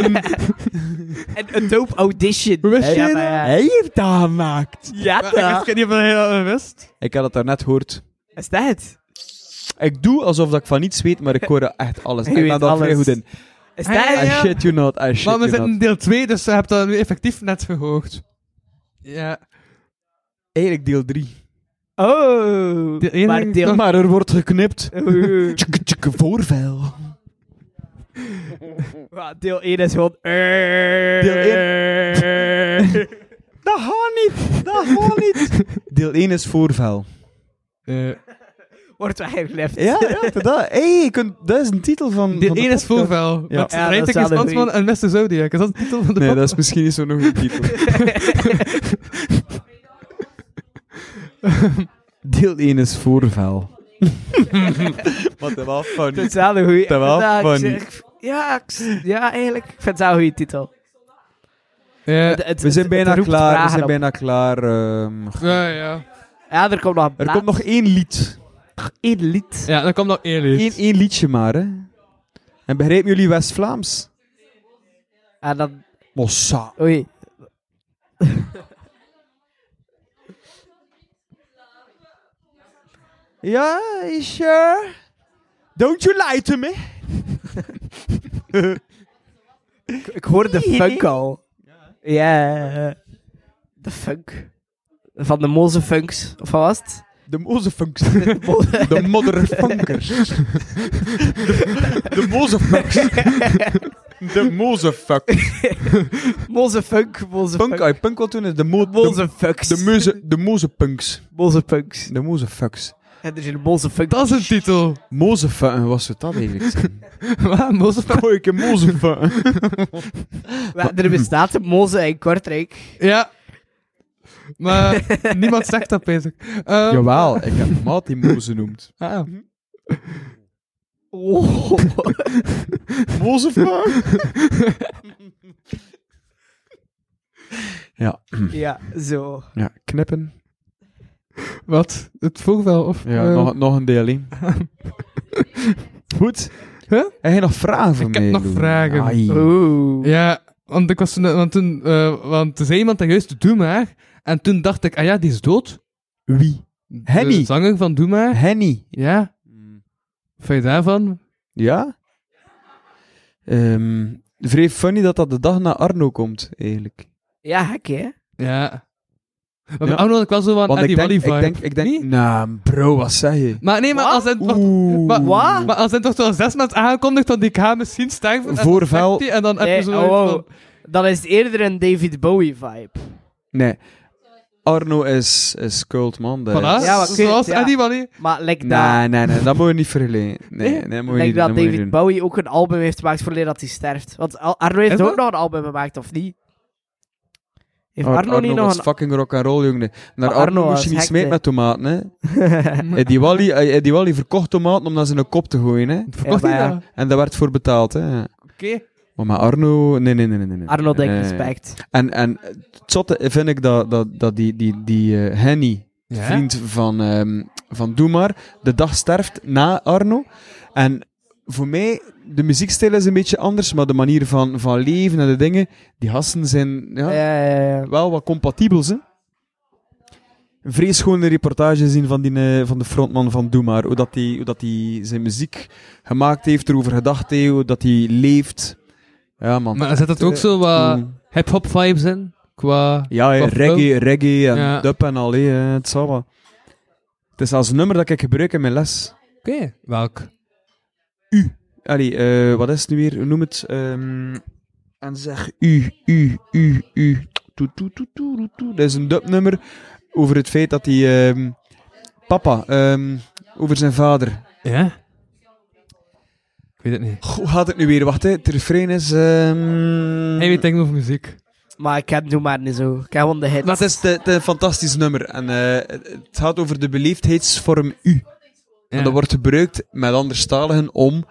Speaker 2: en een dope audition.
Speaker 3: Hoe wist
Speaker 2: Hè?
Speaker 3: je
Speaker 2: ja,
Speaker 3: dat?
Speaker 2: maar ja.
Speaker 5: Hij heeft dat gemaakt.
Speaker 2: Ja,
Speaker 3: Maar Ik
Speaker 2: toch?
Speaker 3: weet niet of hij dat wist.
Speaker 5: Ik had het daarnet gehoord.
Speaker 2: Is dat het?
Speaker 5: Ik doe alsof dat ik van niets weet, maar ik hoor echt alles.
Speaker 2: Je
Speaker 5: Ik ben
Speaker 2: weet
Speaker 5: daar
Speaker 2: alles.
Speaker 5: vrij goed in.
Speaker 2: Is
Speaker 3: Ah,
Speaker 2: dat
Speaker 3: ja,
Speaker 5: I
Speaker 2: het?
Speaker 3: ja.
Speaker 5: shit you not, I shit
Speaker 3: Maar we
Speaker 5: you
Speaker 3: zitten
Speaker 5: not.
Speaker 3: in deel 2, dus je hebt dat nu effectief net gehoord. Ja.
Speaker 5: Eigenlijk deel 3.
Speaker 2: Oh.
Speaker 3: De ene-
Speaker 2: maar deel...
Speaker 5: Maar er wordt geknipt.
Speaker 2: Oeh.
Speaker 5: Tjek, tjek, voorvel.
Speaker 2: Ja, Deel 1 is gewoon... eh.
Speaker 5: Deel 1. dat gaat niet. Dat gaat niet. Deel 1 is voorvel.
Speaker 3: Eh,
Speaker 2: Wordt weggeknipt.
Speaker 5: Ja, ja dat, hey, je kunt, dat is een titel van.
Speaker 3: deel
Speaker 5: van de
Speaker 3: 1 is
Speaker 5: podcast.
Speaker 3: voorvel.
Speaker 5: Ja.
Speaker 3: Met
Speaker 2: Ja, dat
Speaker 3: Rijtek
Speaker 2: is wel
Speaker 3: is
Speaker 2: een
Speaker 3: Antman en Mr. Zodiac. Is dat de titel van de
Speaker 5: Nee, dat
Speaker 3: podcast?
Speaker 5: is misschien niet zo'n goede titel. Deel 1 is voorvel. Wat een wel fun.
Speaker 2: Ik vind het wel een goeie.
Speaker 5: Dat wel
Speaker 2: Ja, ik
Speaker 5: funny.
Speaker 2: zeg- ik- ja, ik s- ja, eigenlijk. Ik vind het wel een goede titel.
Speaker 3: Ja,
Speaker 2: Het- het-
Speaker 5: We zijn
Speaker 2: het- het
Speaker 5: bijna
Speaker 2: roept
Speaker 5: klaar. We
Speaker 2: vragen
Speaker 5: zijn
Speaker 2: op.
Speaker 5: bijna klaar. ehm.
Speaker 3: ja, ja.
Speaker 2: Ja, er komt nog een
Speaker 5: er komt nog één lied.
Speaker 2: één lied.
Speaker 3: Ja, dan komt nog één
Speaker 5: Eén,
Speaker 3: lied.
Speaker 5: één liedje maar. Hè. En begrijpen jullie West-Vlaams?
Speaker 2: En dan...
Speaker 5: Mossa.
Speaker 2: Oei.
Speaker 5: Ja, you sure? Don't you lie to me.
Speaker 2: Ik, ik hoor de funk al. Ja. De funk. Van de Moze Funks. Of wat was het?
Speaker 5: De mozefunks. De modderfunkers. De, de mozefucks. De mozefuck.
Speaker 2: Moze Funk. Moze
Speaker 5: Punk,
Speaker 2: Funk.
Speaker 5: uit punk wat toen is de mo... De,
Speaker 2: Moze Funks.
Speaker 5: de meuze... De mozepunks.
Speaker 2: Moze Funks.
Speaker 5: De mozefucks.
Speaker 2: En er is een Moze Funk.
Speaker 3: Dat is een titel.
Speaker 5: Mozefucken, was het dat eigenlijk?
Speaker 3: Wat? Mozefunk?
Speaker 5: Gooi ik een mozefucken.
Speaker 2: Ja, er bestaat een Moze in Kortrijk.
Speaker 3: Ja. Maar niemand zegt dat Ehm, bezig.
Speaker 5: Jawel, ik heb maat die moze noemt.
Speaker 3: ah,
Speaker 2: Oh.
Speaker 5: Mozefuck? Ja.
Speaker 2: ja, zo.
Speaker 5: ja, knippen.
Speaker 3: Wat? Het voorvel? Of,
Speaker 5: Ja,
Speaker 3: eh,
Speaker 5: nog, nog een deel hè. Goed.
Speaker 3: Huh?
Speaker 5: Heb je nog vragen voor
Speaker 3: Ik
Speaker 5: mij?
Speaker 3: heb nog
Speaker 5: Lou?
Speaker 3: vragen.
Speaker 5: Ai.
Speaker 2: Oeh.
Speaker 3: Ja, want ik was toen... Want, toen, eh, want er zei iemand dat juist, doe maar. En toen dacht ik, ah ja, die is dood.
Speaker 5: Wie?
Speaker 3: De
Speaker 5: Henny.
Speaker 3: zanger van Doe maar.
Speaker 5: Henny.
Speaker 3: Ja. Wat Vind je daarvan?
Speaker 5: Mm. Ja? Ehm vrij funny dat dat de dag na Arno komt, eigenlijk.
Speaker 2: Ja, gek hè?
Speaker 3: Ja. Maar
Speaker 5: Ja.
Speaker 3: Arno had ik wel zo van "Ah,
Speaker 5: Want
Speaker 3: Eddie
Speaker 5: ik denk,
Speaker 3: Wally
Speaker 5: ik
Speaker 3: vibe.
Speaker 5: denk, ik denk,
Speaker 3: Niet?
Speaker 5: nou bro, wat zeg je?
Speaker 3: Maar nee, maar als hij... wacht,
Speaker 5: Oeh.
Speaker 3: Maar,
Speaker 2: Wat?
Speaker 3: maar als hij toch wel zes maanden aankondigt, dan die ik ga misschien sterven. en dan
Speaker 5: Voorvel.
Speaker 3: zegt hij, En dan heb je
Speaker 2: Nee,
Speaker 3: zo
Speaker 2: oh,
Speaker 3: iets
Speaker 2: oh.
Speaker 3: van-
Speaker 2: Dat is eerder een David Bowie vibe.
Speaker 5: Nee. Arno is, is cult man. dat
Speaker 3: Voilà.
Speaker 5: is-
Speaker 2: Ja, maar oké,
Speaker 3: Zoals
Speaker 2: ja.
Speaker 3: Eddie Wally.
Speaker 2: Maar like dat,
Speaker 5: Nee, nee, nee, dat moet je niet verlenen. Nee, nee, dat moet je
Speaker 2: like
Speaker 5: niet
Speaker 2: dat
Speaker 5: doen, dat moet je
Speaker 2: David
Speaker 5: niet doen.
Speaker 2: Bowie ook een album heeft gemaakt voordat dat hij sterft. Want Al- Arno heeft
Speaker 3: Is
Speaker 2: ook
Speaker 3: dat?
Speaker 2: nog een album gemaakt, of niet? Heeft
Speaker 5: Ar-
Speaker 2: Arno, niet nog
Speaker 5: was
Speaker 2: een...
Speaker 5: fucking rock and roll, jongen. Naar
Speaker 2: Maar Arno
Speaker 5: Arno moest
Speaker 2: was
Speaker 5: je niet
Speaker 2: gek,
Speaker 5: smijten
Speaker 2: hè.
Speaker 5: met tomaten, hè? Eddie Wally, eh, Eddie Wally verkocht tomaten om dat ze in een kop te gooien. Hè?
Speaker 3: Verkocht
Speaker 2: Ja,
Speaker 3: hij
Speaker 2: maar ja.
Speaker 3: dat?
Speaker 5: En daar werd voor betaald. Hè? Eh.
Speaker 3: Oké.
Speaker 5: Oh, Maar met Arno... Nee, nee, nee. nee, nee, nee.
Speaker 2: Arno, denk
Speaker 5: Nee.
Speaker 2: respect.
Speaker 5: En, en het zotte vind ik dat, dat, dat die, die, die eh, Henny,
Speaker 3: Ja?
Speaker 5: vriend van, ehm van Doe Maar, de dag sterft na Arno. En voor mij, de muziekstijl is een beetje anders, maar de manier van, van leven en de dingen, die gasten zijn ja,
Speaker 2: Ja, ja, ja.
Speaker 5: wel wat compatibel. Hè? Een vrees schone reportage zien van, die, eh, van de frontman van Doe Maar. Hoe dat die- hoe dat hij zijn muziek gemaakt heeft, erover gedacht heeft, hoe dat hij leeft. Ja, man.
Speaker 3: Maar zet dat ook zo wat
Speaker 5: Mm.
Speaker 3: hip-hop vibes in? Qua...
Speaker 5: Ja, hè,
Speaker 3: Of
Speaker 5: reggae, reggae en
Speaker 3: Ja.
Speaker 5: dub en al, hè, eh, het zal wel. Het is als nummer dat ik gebruik in mijn les.
Speaker 3: Oké, welk?
Speaker 5: Allee, eh, wat is het nu weer? Hoe noem het? Ehm, en zeg u, u, u, u. Toe, toe, toe, toe, toe, toe. Dat is een dubnummer over het feit dat hij... ehm, papa, ehm, over zijn vader.
Speaker 3: Ja? Ik weet het niet.
Speaker 5: Goh, Hoe gaat het nu weer? Wacht, hè. het refrein is... ehm,
Speaker 3: Hij weet denk ik over muziek.
Speaker 2: Maar ik ken Doe Maar niet zo. Ik ken gewoon de hits.
Speaker 5: Maar het is de- de- een fantastisch nummer. En, eh, het gaat over de beleefdheidsvorm u.
Speaker 3: Ja.
Speaker 5: En dat wordt gebruikt met anderstaligen om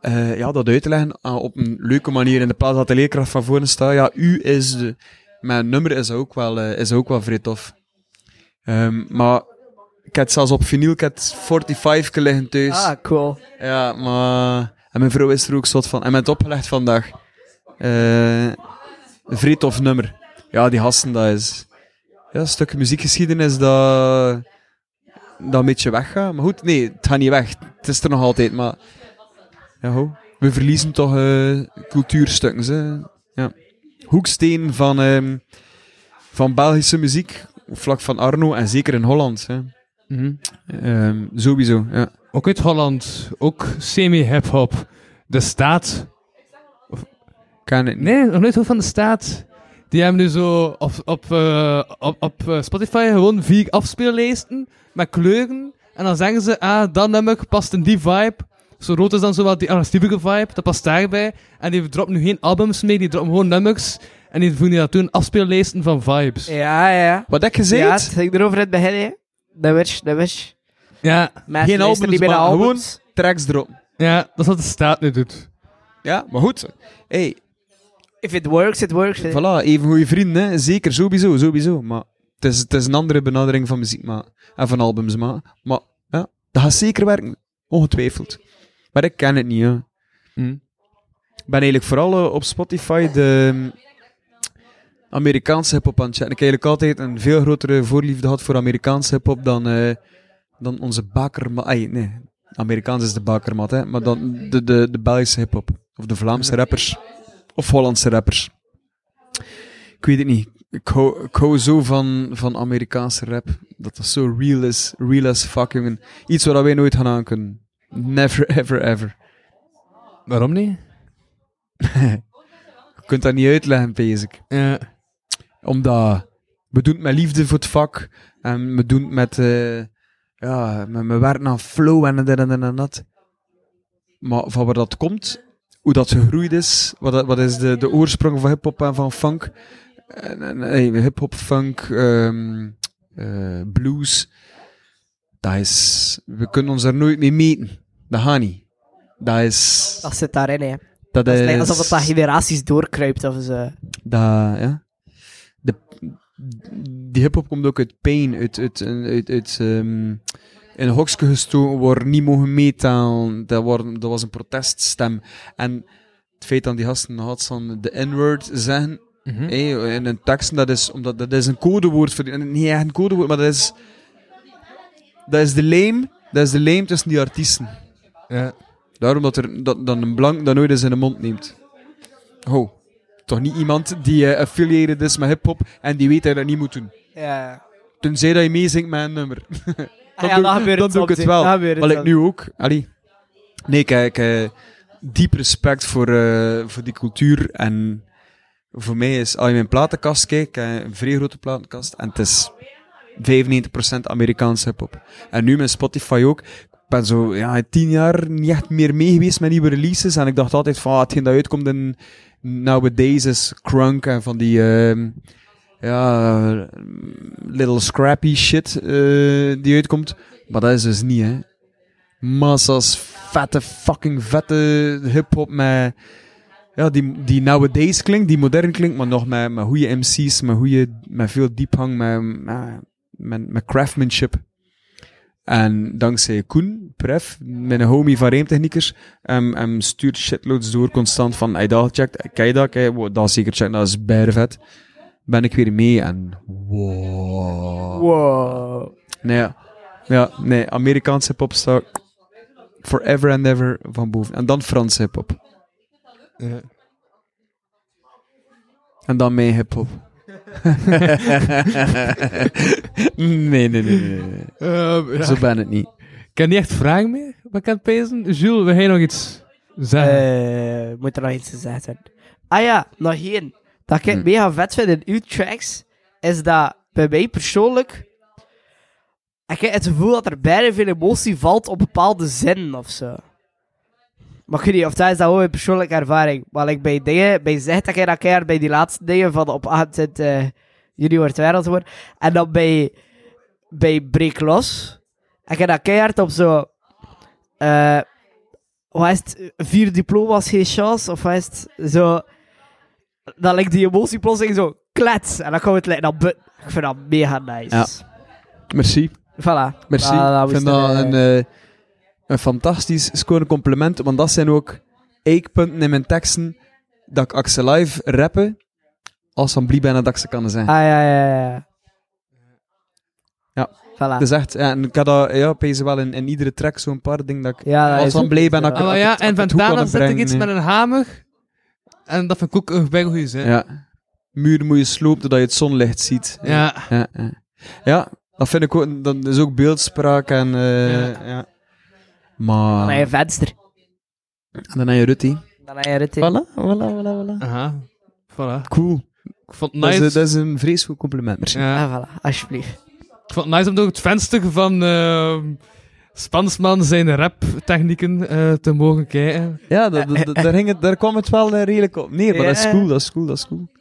Speaker 5: eh, ja, dat uit te leggen aan- op een leuke manier. In de plaats dat de leerkracht van voren staat, ja, u is de... Mijn nummer is ook wel, eh, is ook wel vrij tof. Ehm, maar ik heb het zelfs op vinyl, ik heb het 45 liggen thuis.
Speaker 2: Ah, cool.
Speaker 5: Ja, maar... En mijn vrouw is er ook zot van. En met opgelegd vandaag. Eh een vrij tof nummer. Ja, die gasten, dat is... Ja, een stuk muziekgeschiedenis dat... Dat een beetje weggaat. Maar goed, nee, het gaat niet weg. Het is er nog altijd, maar... Ja, ho. We verliezen toch eh, cultuurstukken, hè. Ja. Hoeksteen van, ehm, van Belgische muziek. op vlak van Arno, en zeker in Holland. Hè.
Speaker 3: Mhm.
Speaker 5: Ehm, sowieso, ja.
Speaker 3: Ook uit Holland. Ook semi-hip-hop. De staat.
Speaker 5: Kan het niet.
Speaker 3: Nee, nog nooit gehoord van de staat. Die hebben nu zo op, op, eh, op, op eh, Spotify gewoon vier afspeellijsten met kleuren. En dan zeggen ze, ah, dat nummer past in die vibe. Zo rood is dan zo wat die artistieke vibe, dat past daarbij. En die droppen nu geen albums meer, die droppen gewoon nummers. En die voegen dat toen afspeellijsten van vibes.
Speaker 2: Ja, ja.
Speaker 5: Wat heb ik gezegd?
Speaker 2: Ja, het ging erover in het begin, hè. Dat wist, dat wist.
Speaker 3: Ja,
Speaker 2: Mensen
Speaker 5: Geen
Speaker 2: luisteren
Speaker 5: albums,
Speaker 2: niet meer naar
Speaker 5: maar
Speaker 2: albums.
Speaker 5: tracks erop.
Speaker 3: ja, dat is wat de staat nu doet.
Speaker 5: Ja, maar goed. Hey,
Speaker 2: If it works, it works. hè.
Speaker 5: voilà, even goede vrienden, hè. zeker, sowieso, sowieso. Maar het is, het is een andere benadering van muziek maar, en van albums, maar, maar ja, dat gaat zeker werken, ongetwijfeld. Maar ik ken het niet, hè.
Speaker 3: Hm.
Speaker 5: Ik ben eigenlijk vooral eh, op Spotify de mm, Amerikaanse hip-hop aan het checken. Ik heb eigenlijk altijd een veel grotere voorliefde gehad voor Amerikaanse hip-hop dan, eh, dan onze bakermat. Ai, nee, Amerikaans is de bakermat, hè, maar dan de, de, de Belgische hip-hop. Of de Vlaamse rappers. Of Hollandse rappers. Ik weet het niet. Ik hou, ik hou zo van, van Amerikaanse rap. Dat dat zo real is. Real as fuck, jongen. Iets waar wij nooit gaan aan kunnen. Never, ever, ever.
Speaker 3: Waarom niet?
Speaker 5: Je kunt dat niet uitleggen, pees ik.
Speaker 3: Ja.
Speaker 5: Omdat we doen het met liefde voor het vak. En we doen het met, eh, ja, met mijn werk aan flow en dit en dat en dat. Maar van waar dat komt, hoe dat gegroeid is, wat, dat- wat is de, de oorsprong van hip-hop en van funk. En, en, hey, hip-hop, funk, ehm, eh, blues. Dat is, we kunnen ons daar nooit mee meten. Dat gaat niet. Dat is.
Speaker 2: Dat zit daarin, hè.
Speaker 5: Dat,
Speaker 2: Dat is
Speaker 5: is
Speaker 2: lijkt alsof het dat generaties doorkruipt. Of zo.
Speaker 5: dat, ja. De, die hip-hop komt ook uit pijn, uit, uit, uit, uit, ehm, in een hokje gestoken worden, niet mogen meetellen. Dat, worden, dat was een proteststem. En het feit dat die gasten had van de N-word zeggen
Speaker 3: Mhm.
Speaker 5: hé, in een tekst, dat is, omdat, dat is een codewoord voor die, niet echt een codewoord, maar dat is, dat is de leem, dat is de leem tussen die artiesten.
Speaker 3: Ja.
Speaker 5: Daarom dat, er, dat, dat een blank dat nooit eens in de mond neemt. Ho. Toch niet iemand die eh, affiliated is met hip-hop en die weet dat hij dat niet moet doen.
Speaker 2: Ja.
Speaker 5: Tenzij dat je meezingt met een nummer.
Speaker 2: Ah, ja,
Speaker 5: doe-
Speaker 2: dat gebeurt
Speaker 5: dan doe
Speaker 2: soms,
Speaker 5: ik het
Speaker 2: hè.
Speaker 5: wel.
Speaker 2: Dat gebeurt
Speaker 5: Wat ik
Speaker 2: soms.
Speaker 5: nu ook. Allee. Nee, kijk, eh diep respect voor, eh, voor die cultuur. En voor mij is, als je mijn platenkast kijkt, eh, een vrij grote platenkast. En het is 95% Amerikaans hip-hop. En nu met Spotify ook. Ik ben zo ja, tien jaar niet echt meer mee geweest met nieuwe releases. En ik dacht altijd van, ah, hetgeen dat uitkomt in nowadays is crunk en van die... ehm, ja, little scrappy shit eh, die uitkomt. Maar dat is dus niet, hè. Massa's vette, fucking vette hip-hop met Ja, die, die nowadays klinkt, die modern klinkt, maar nog met, met goede MC's, met, goede, met veel diepgang, met, met, met, met craftsmanship. En dankzij Koen, Pref, mijn homie van Reemtechniekers, hem, hem stuurt shitloads door constant van, hij dat gecheckt, kijk dat, kijk, wow, dat is zeker check, dat is bijna vet. Ben ik weer mee en wow.
Speaker 2: Wow.
Speaker 5: Nee, ja. ja, nee, Amerikaanse popstar, forever and ever van boven. En dan Franse hip-hop.
Speaker 3: Ja.
Speaker 5: En dan mijn hip-hop. nee, nee, nee, nee, nee.
Speaker 3: Eh, ja.
Speaker 5: Zo ben het niet.
Speaker 3: Ik heb niet echt vragen meer wat ik aan het pezen. Jules, wil jij nog iets zeggen?
Speaker 2: Eh, moet er nog iets gezegd worden? Ah ja, nog één. Dat ik het mega vet vind in uw tracks, is dat bij mij persoonlijk... Ik heb het gevoel dat er bijna veel emotie valt op bepaalde zinnen of zo. Maar ik weet niet, of dat is dat ook een persoonlijke ervaring. Maar ik bij dingen, bij zeg dat ik dat keer bij die laatste dingen van op 28 eh, juni wordt wereld worden. En dan bij, bij Breek Los, ik heb dat keihard op zo... eh, wat is het, eh, vier diploma's, geen chance, of wat is het, zo... Dan lijkt die emotie plotseling zo, klets, en dan kan het lijken op but. Ik vind dat mega nice.
Speaker 5: Ja. Merci.
Speaker 2: Voilà.
Speaker 5: Merci.
Speaker 3: Nou,
Speaker 2: Ah,
Speaker 5: ik vind
Speaker 2: moest
Speaker 5: dat
Speaker 2: er,
Speaker 5: een,
Speaker 2: eh,
Speaker 5: eh, een fantastisch schoon compliment, want dat zijn ook eikpunten in mijn teksten dat ik Axel Live rappen als van Blie bijna dat ik ze kan zijn.
Speaker 2: Ah, ja, ja, ja, ja.
Speaker 5: Ja. Dus-
Speaker 2: Voilà.
Speaker 5: Dat is echt, ja, en ik had dat, ja, pees wel in, in iedere track zo'n paar dingen dat ik
Speaker 2: ja, dat
Speaker 5: als
Speaker 2: is
Speaker 5: van
Speaker 2: ook
Speaker 5: blij
Speaker 2: iets,
Speaker 5: ben dat ik
Speaker 3: Ah,
Speaker 5: er-
Speaker 3: maar ja, en
Speaker 5: het
Speaker 3: van
Speaker 5: goed
Speaker 3: daarna
Speaker 5: kan
Speaker 3: zet ik
Speaker 5: brengen,
Speaker 3: iets
Speaker 5: nee.
Speaker 3: met een hamer. En dat vind ik ook een bijgoed hè.
Speaker 5: Ja. eh, Muur moet je slopen zodat je het zonlicht ziet.
Speaker 3: Ja.
Speaker 5: Ja, ja. Ja, dat vind ik ook, dat is ook beeldspraak en, eh,
Speaker 3: Ja.
Speaker 5: ja. Maar,
Speaker 2: Dan heb je venster.
Speaker 5: en dan heb je Rutti.
Speaker 2: Dan heb je het in.
Speaker 5: Voilà, voilà, voilà, voilà.
Speaker 3: Aha. Voilà.
Speaker 5: Cool.
Speaker 3: Ik vond het
Speaker 5: Dat, is,
Speaker 3: nice.
Speaker 5: dat is een vreselijk compliment, merci.
Speaker 3: Ja.
Speaker 2: Ah, voilà. Alsjeblieft.
Speaker 3: Ik vond het nice om door het venster van ehm, Spansman zijn rap-technieken eh, te mogen kijken.
Speaker 5: Ja, dat, dat- dat- daar, hing het, daar kwam het wel eh, redelijk op neer, maar dat is
Speaker 2: Ja.
Speaker 5: cool, dat is cool, dat is cool.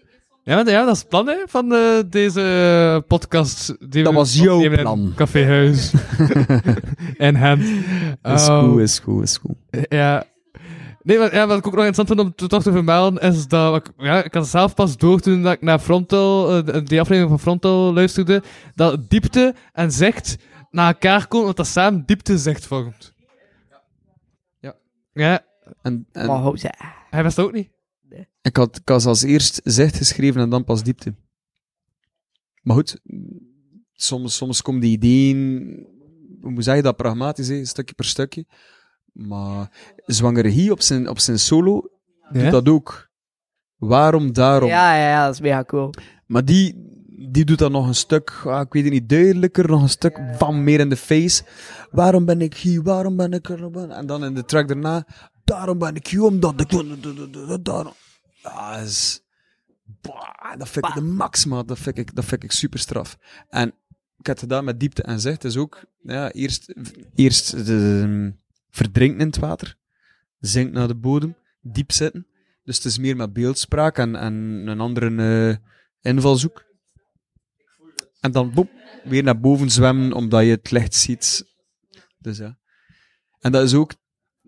Speaker 3: Ja, want, ja dat is het plan hè, van eh, deze podcast. Die
Speaker 5: Dat
Speaker 3: we
Speaker 5: was jouw
Speaker 3: opnemen in
Speaker 5: plan.
Speaker 3: Caféhuis. en Ehm, hem.
Speaker 5: Dat is cool, is cool, is cool.
Speaker 3: Ja. Nee, maar, ja, wat ik ook nog interessant vind om te, toch te vermelden, is dat ik, ja, ik kan zelf pas door toen dat ik naar Frontal, eh, die aflevering van Frontal luisterde, dat diepte en zegt naar elkaar komen, want dat samen diepte zegt vormt.
Speaker 5: Ja.
Speaker 3: Ja,
Speaker 5: En, en
Speaker 2: Maar hoe ze...
Speaker 3: hij wist dat ook niet.
Speaker 5: ik, had, ik had als eerst zicht geschreven en dan pas diepte. Maar goed, soms, soms komen die ideeën, hoe moet je dat, pragmatisch, hè, stukje per stukje. Maar zwangere hier op zijn, op zijn solo
Speaker 3: Ja?
Speaker 5: doet dat ook. Waarom daarom?
Speaker 2: Ja, ja, ja, dat is mega cool.
Speaker 5: Maar die, die doet dat nog een stuk, ah, ik weet het niet, duidelijker, nog een stuk van meer in de face. Waarom ben ik hier? Waarom ben ik er? En dan in de track daarna, daarom ben ik hier, omdat ik... Daarom. Ah, dat is... Bah, dat vind ik de max, man. Dat vind ik, dat vind ik super straf. En ik heb het gedaan met diepte en zicht. Dus ook, ja, eerst, eerst ehm, de, verdrinken in het water, zinkt naar de bodem, diep zitten. Dus het is meer met beeldspraak en, en een andere... eh, invalzoek. En dan boep, weer naar boven zwemmen omdat je het licht ziet. Dus ja. En dat is ook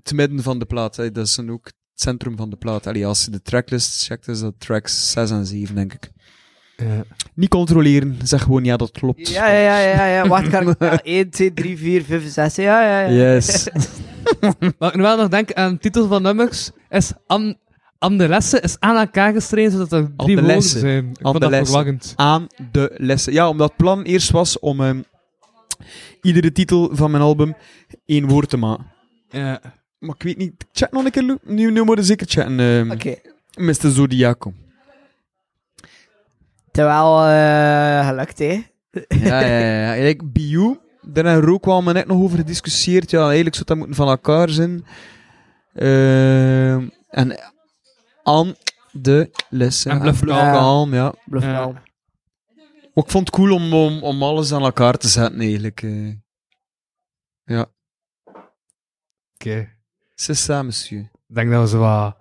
Speaker 5: het midden van de plaat. Hè. Dat is dan ook het centrum van de plaat. Allee, als je de tracklist checkt, is dat tracks 6 en 7, denk ik.
Speaker 3: Ja.
Speaker 5: Niet controleren, zeg gewoon ja, dat klopt.
Speaker 2: Ja, ja, ja, ja, ja. Wacht, kan ik... Ah, ja, 1, 2, 3, 4, 5, 6. Ja, ja, ja.
Speaker 5: Yes.
Speaker 3: Wat ik nu wel nog denk aan de titel van nummers, is am, am de lessen is aan elkaar gestreden, zodat er
Speaker 5: Am
Speaker 3: drie
Speaker 5: de
Speaker 3: woorden
Speaker 5: lessen.
Speaker 3: zijn. Ik
Speaker 5: Am
Speaker 3: vond
Speaker 5: de
Speaker 3: dat
Speaker 5: lessen.
Speaker 3: verwarrend.
Speaker 5: Aan de lessen. Ja, omdat het plan eerst was om ehm, iedere titel van mijn album één woord te maken.
Speaker 3: Ja.
Speaker 5: Maar ik weet niet, chat nog een keer, Lou. Nu, nu moet je zeker chatten, ehm,
Speaker 2: Oké.
Speaker 5: Mr. Zodiaco.
Speaker 2: Terwijl, eh gelukt, hè.
Speaker 5: Ja, ja, ja. ja. Like, Biu, daar en Rook wel maar net nog over gediscussieerd. Ja, eigenlijk zou dat moeten van elkaar zijn. Ehm, en aan de lessen.
Speaker 3: En blijf
Speaker 5: blijf
Speaker 2: kalm.
Speaker 5: kalm, ja.
Speaker 2: Bluff
Speaker 3: Ja.
Speaker 2: wel.
Speaker 5: Maar ik vond het cool om, om, om alles aan elkaar te zetten, eigenlijk. eh.
Speaker 3: Oké.
Speaker 5: C'est ça, monsieur.
Speaker 3: Ik denk dat we zo wat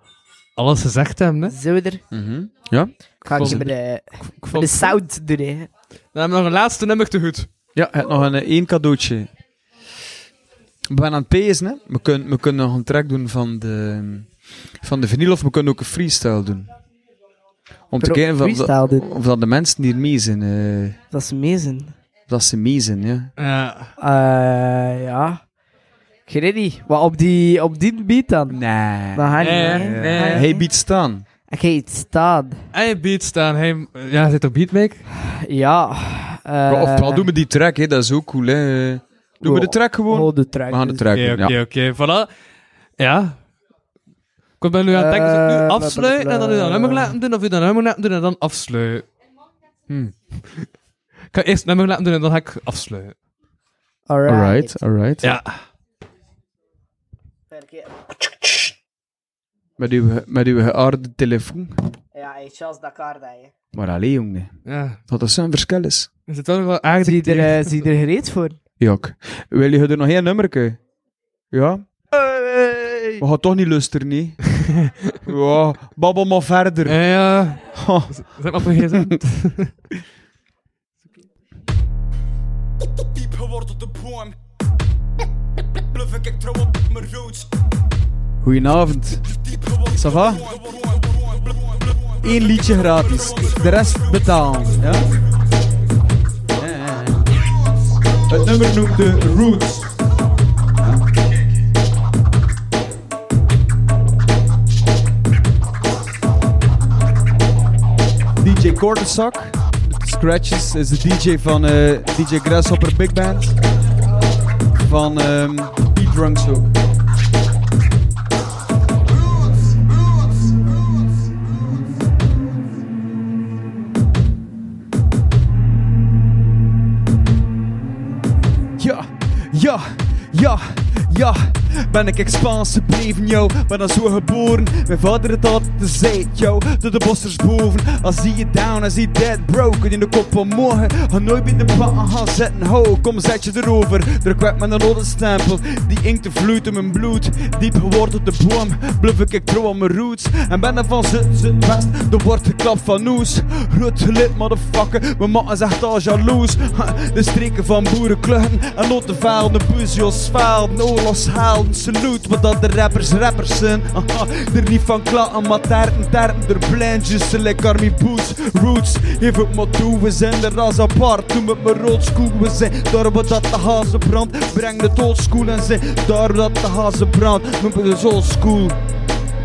Speaker 3: alles gezegd hebben, hè.
Speaker 2: Zo er.
Speaker 5: Mhm. Ja?
Speaker 2: Kan ik
Speaker 3: Vond-
Speaker 2: met de,
Speaker 3: Ik
Speaker 2: met
Speaker 3: vond-
Speaker 2: de sound doen, hè.
Speaker 3: Dan hebben we nog een laatste nummer te goed.
Speaker 5: Ja, je hebt nog een, eh, één cadeautje. We zijn aan het pezen, hè. We kunnen, we kunnen nog een track doen van de... van de vinyl of we kunnen ook een freestyle doen. Om te
Speaker 2: Kunnen ook
Speaker 5: kijken of, dat-
Speaker 2: freestyle doen.
Speaker 5: of dat de mensen hier mee zijn. eh,
Speaker 2: Dat is mezen.
Speaker 5: of dat ze mee zijn, ja.
Speaker 3: Ja.
Speaker 2: Eh ja. Ik weet het niet. Maar op die, op die beat dan?
Speaker 5: Nee.
Speaker 2: Dan ga je
Speaker 3: Nee,
Speaker 2: niet, hè?
Speaker 3: nee.
Speaker 2: Dan ga je
Speaker 5: Hij
Speaker 2: niet.
Speaker 5: biedt staan.
Speaker 2: Ik ga iets staan.
Speaker 3: Hij beat staan. Hij, ja, zit op beatmake.
Speaker 2: Ja. eh,
Speaker 5: of wel doen we die track, hè, dat is ook cool. Hè. Doen we de track gewoon?
Speaker 2: Gewoon de track.
Speaker 5: We gaan de
Speaker 2: dus.
Speaker 5: track
Speaker 3: Oké,
Speaker 5: doen,
Speaker 3: oké,
Speaker 5: ja.
Speaker 3: oké. Voilà. Ja. Ik ben nu aan het denken, zou ik nu
Speaker 2: Eh,
Speaker 3: afsluiten en dan u dat nummer laten doen, of u dat nummer laten doen en dan afsluiten?
Speaker 2: Hm.
Speaker 5: Hmm.
Speaker 3: Ik ga eerst het nummer laten doen en dan ga ik afsluiten.
Speaker 2: Alright.
Speaker 5: Alright, alright.
Speaker 3: Ja.
Speaker 5: Met uw, met uw geaarde telefoon.
Speaker 2: Ja, hey, Charles Dakar, dat je.
Speaker 5: Maar alleen, jongen.
Speaker 3: Ja.
Speaker 5: Dat dat zo'n verschil is.
Speaker 3: Er zit wel nog wel aardig
Speaker 2: Zie je
Speaker 3: tegen.
Speaker 2: er, eh, zie je er gereed voor?
Speaker 5: Jok. Wil je er nog één nummerke? Ja? We gaan toch niet luisteren, nee. ja, babbel maar verder.
Speaker 3: Ja, ja.
Speaker 2: Oh.
Speaker 5: Ha.
Speaker 3: Zet maar op een gsm.
Speaker 7: Dieper wordt op de boom. Bluff ik, ik trouw op mijn roots.
Speaker 5: Goedenavond. Ça va? Eén liedje gratis. De rest betalen. Ja? Ja, ja, ja. Het nummer noemt de Roots. DJ Kortesak. Scratches is de DJ van eh, DJ Grasshopper Big Band. Van ehm Beat Drunks ook. Ja, ja, ja, ja. Ben ik Spaanse breven, yo. Ben al zo geboren. Mijn vader het altijd gezegd, yo. Door de bossers boven. Als zie je down, als zie dead broken. In de kop van morgen. Ga nooit meer de pakken gaan zetten, ho. Kom, zet je erover. Druk weg met een rode stempel. Die inkt vloeit in mijn bloed. Diep geworteld de boom. Bluff ik, ik trouw aan mijn roots. En ben er van zut, zut, west. Er wordt geklapt van noes. Rood gelid, motherfucker. Mijn man is echt al jaloers. Ha, De streken van boerenkluchten en notenvaal, de buzios faal, oorlogs halen, salut, wat dat de rappers rappers zijn. Aha, er niet van klappen, maar taarten, taarten, er blindjes, ze like army boots, roots, even het maar toe, we zijn de ras apart, noem het maar rood school, we zijn daar wat dat de hazen brandt, breng de doodschool en zijn daar wat dat de hazen brandt, noem het dus old school.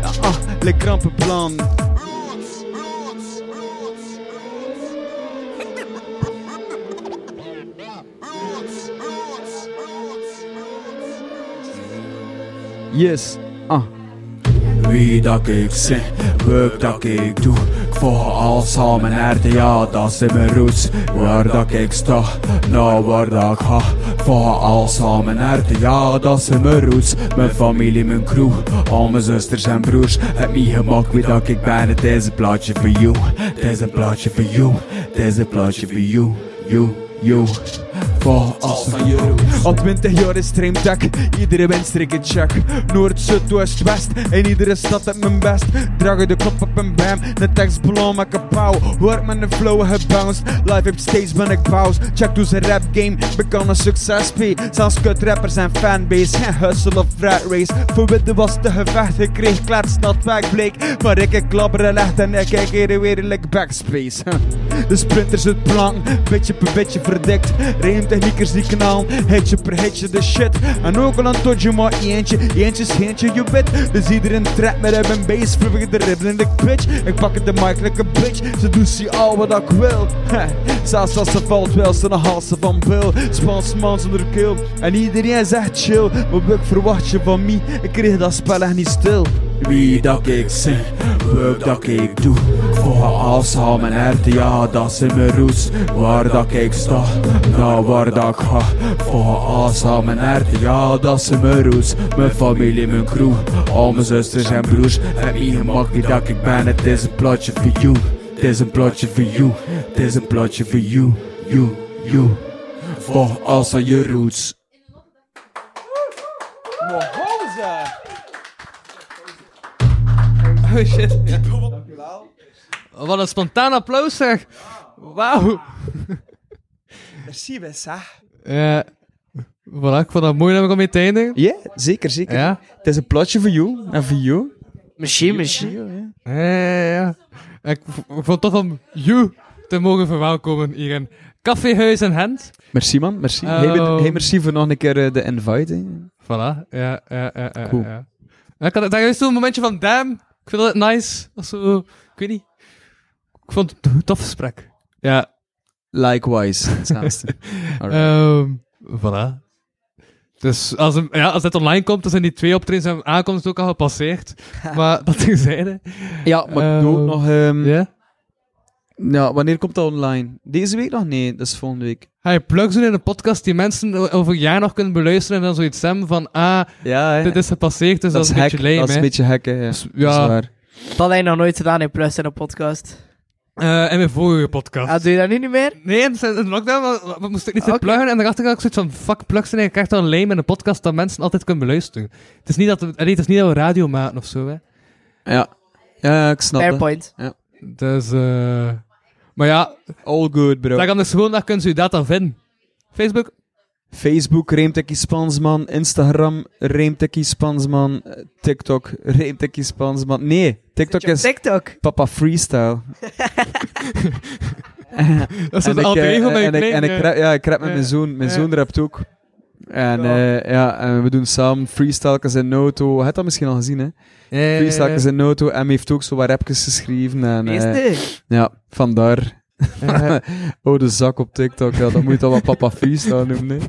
Speaker 5: Ja, ah, le krampenplan. Yes, ah.
Speaker 9: Wie dat ik zing, wat dat ik doe. Ik volg al samen herten, ja, dat zijn mijn roots. Waar dat ik sta, nou waar dat ik ga. Ik Volg al samen herten, ja, dat zijn mijn roots. Mijn familie, mijn crew, al mijn zusters en broers. Het mij gemak wie dat ik ben, het is een plaatje voor jou. Het is een plaatje voor jou, het is een plaatje voor jou, jou, jou. Volg als van jou.
Speaker 5: Al 20 jaar is streamtak, iedere windstreek een check. Noord, Zuid, Oost, West, in iedere stad heb mijn best. Dragen de klop op een bam, de tekst blauw, maar kapauw. Hoort met een flow gebounced, live op stage ben ik boos. Check doe zijn rap game, bekan een succes P. Zelfs kut rappers en fanbase, geen hustle of rat race. Voor witte was de gevecht, ik kreeg klets dat wegbleek. Maar ik ik klabberen legt en ik eh, kijk hier weer like backspace. huh. De sprinters het plank, beetje per beetje verdikt. Reemtechniekers die knallen, hitje per hitje de shit. En ook al een totje maar eentje, eentje is eentje je wit. Dus iedereen trekt met hem een bass, vlug ik de ribbel in de bitch. Ik pak het de mic like een bitch, ze doet zie al wat ik wil. Huh. Zelfs als ze valt wel, ze de halsen van Bill. Spaans man zonder keel, en iedereen zegt chill. Maar wat verwacht je van mij? Ik kreeg dat spel echt niet stil.
Speaker 9: Wie dat ik zing, wat dat ik doe. Voor als al mijn herten, ja, dat zijn mijn roots. Waar dat ik sta, nou waar dat ik ga. Voor als al mijn herten, ja, dat zijn mijn roots. Mijn familie, mijn crew, al mijn zusters en broers. En wie gemak wie dat ik ben, het is een plotje voor jou. Het is een plotje voor jou, het is een plotje voor jou, jou, jou. Voor als al je roots.
Speaker 3: Oh shit. Ja. Wat een spontaan applaus zeg. Wauw.
Speaker 5: Merci, Wessa.
Speaker 3: Ja. Voilà, ik vond dat mooi dat ik al mee te eindigen.
Speaker 5: Ja, zeker, zeker.
Speaker 3: Ja.
Speaker 5: Het is een plotje voor jou en voor jou.
Speaker 2: Misschien, misschien.
Speaker 3: Ja, ja, ja. Ik v- vond het tof om you te mogen verwelkomen hier in Café Huis en Hand.
Speaker 5: Merci man, merci.
Speaker 3: Oh.
Speaker 5: Hey, ben- hey, merci voor nog een keer eh, de invite. hè.
Speaker 3: Voilà, ja, ja, ja, ja.
Speaker 5: Cool.
Speaker 3: ja. En Ik had daar juist zo'n momentje van, damn, ik vind dat nice. Of zo, ik weet niet. Ik vond het een tof gesprek. Ja,
Speaker 5: Likewise. Het naaste. Alright.
Speaker 3: ehm voilà. Dus als, hem, ja, als het online komt, dan zijn die twee optredens en aankomst ook al gepasseerd. maar dat terzijde.
Speaker 5: ja, maar ik doe ook
Speaker 3: ehm,
Speaker 5: nog... ehm,
Speaker 3: Ja?
Speaker 5: ja, wanneer komt dat online? Deze week nog? Nee, dat is volgende week.
Speaker 3: Ga je plugs doen in een podcast die mensen o- over een jaar nog kunnen beluisteren en dan zoiets hebben van, ah,
Speaker 5: Ja, hè.
Speaker 3: dit is gepasseerd, dus dat, is een
Speaker 5: hack,
Speaker 3: beetje lame,
Speaker 5: Dat is
Speaker 3: hè.
Speaker 5: een beetje hack, hè. Ja.
Speaker 3: Dus,
Speaker 5: Dat is
Speaker 3: ja.
Speaker 5: waar.
Speaker 2: Dat had hij nog nooit gedaan in Plus in een podcast.
Speaker 3: Eh, en mijn vorige podcast.
Speaker 2: Ah, doe je dat nu niet meer?
Speaker 3: Nee, in de in de lockdown wa- wa- wa- moest ik niet te
Speaker 2: Oké.
Speaker 3: pluggen. En daarachter had ik zoiets van, fuck, plugs zijn eigenlijk echt al lame in een podcast dat mensen altijd kunnen beluisteren. Het is niet dat, we- allee, het is niet dat we radio maken of zo, hè.
Speaker 5: Ja. ja, ik snap
Speaker 2: Fair
Speaker 5: dat.
Speaker 2: point.
Speaker 3: Dus, eh Maar ja,
Speaker 5: All good, bro.
Speaker 3: daar kan dus gewoon, daar kunnen ze je data vinden. Facebook,
Speaker 5: Facebook, Reemtekkie Spansman. Instagram, Reemtekkie Spansman. Eh, TikTok, Reemtekkie Spansman. Nee,
Speaker 2: Zit
Speaker 5: TikTok
Speaker 2: je op
Speaker 5: is
Speaker 2: TikTok.
Speaker 5: Papa Freestyle.
Speaker 3: dat is
Speaker 5: En
Speaker 3: het
Speaker 5: ik,
Speaker 3: alter
Speaker 5: eh,
Speaker 3: ego
Speaker 5: en
Speaker 3: met je
Speaker 5: ik- En ik
Speaker 3: kleine-
Speaker 5: rap, ja, ik rap met
Speaker 3: eh,
Speaker 5: mijn zoon. Mijn
Speaker 3: eh.
Speaker 5: zoon rapt ook. En,
Speaker 3: Ja.
Speaker 5: eh, ja, en we doen samen freestyles in Noto. Je hebt dat misschien al gezien, hè?
Speaker 3: Eh,
Speaker 5: Freestyles in Noto. En hij heeft ook zo wat rapjes geschreven. En, eh,
Speaker 2: Meeste.
Speaker 5: ja, vandaar. oh, de zak op TikTok. Ja, dan moet je dat wel Papa Freestyle noemen, hè.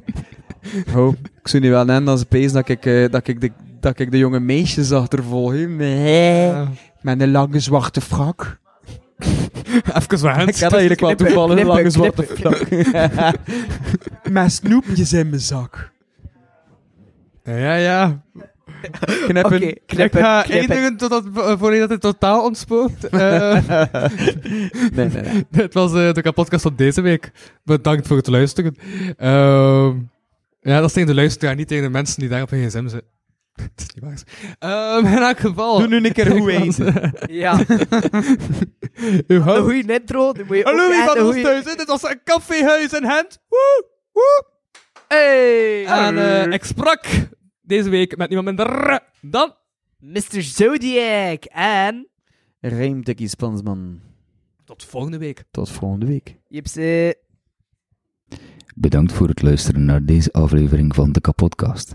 Speaker 5: Oh, ik zou niet wel nemen als pees dat ik, eh, dat, ik de, dat ik de jonge meisjes achtervolg. hè. Nee.
Speaker 3: Ja.
Speaker 5: Met een lange zwarte frak.
Speaker 3: Even waar.
Speaker 5: Ik had eigenlijk wel
Speaker 3: Knippen,
Speaker 5: toevallig een lange
Speaker 3: knippen,
Speaker 5: zwarte frak. Met snoepjes in mijn zak.
Speaker 3: Ja, ja.
Speaker 5: Knippen.
Speaker 2: Oké,
Speaker 3: ik ga
Speaker 2: knippen, knippen.
Speaker 3: eindigen totdat, eh, voordat het totaal ontspoort. Eh,
Speaker 5: nee, nee, nee.
Speaker 3: Dit was eh, de podcast van deze week. Bedankt voor het luisteren. Ehm, ja, dat is tegen de luisteraar, niet tegen de mensen die daar op hun gsm zitten. Het is niet waar. Ehm, in elk geval...
Speaker 5: Doe nu een keer hoe
Speaker 3: Ik was,
Speaker 5: eten.
Speaker 3: eh,
Speaker 2: Ja,
Speaker 3: uw
Speaker 2: een
Speaker 3: host,
Speaker 2: goede intro. Die moet je ook
Speaker 3: Louis
Speaker 2: echt
Speaker 3: van
Speaker 2: een
Speaker 3: ons
Speaker 2: goeie-
Speaker 3: thuis. Dit was een koffiehuis en hand. Woe! Woe!
Speaker 2: Hey!
Speaker 3: En eh, ik sprak deze week met niemand minder dan...
Speaker 2: Mr. Zodiac en...
Speaker 5: Rijmdikkie Spansman.
Speaker 3: Tot volgende week.
Speaker 5: Tot volgende week.
Speaker 2: Jipse.
Speaker 10: Bedankt voor het luisteren naar deze aflevering van de Kapodcast.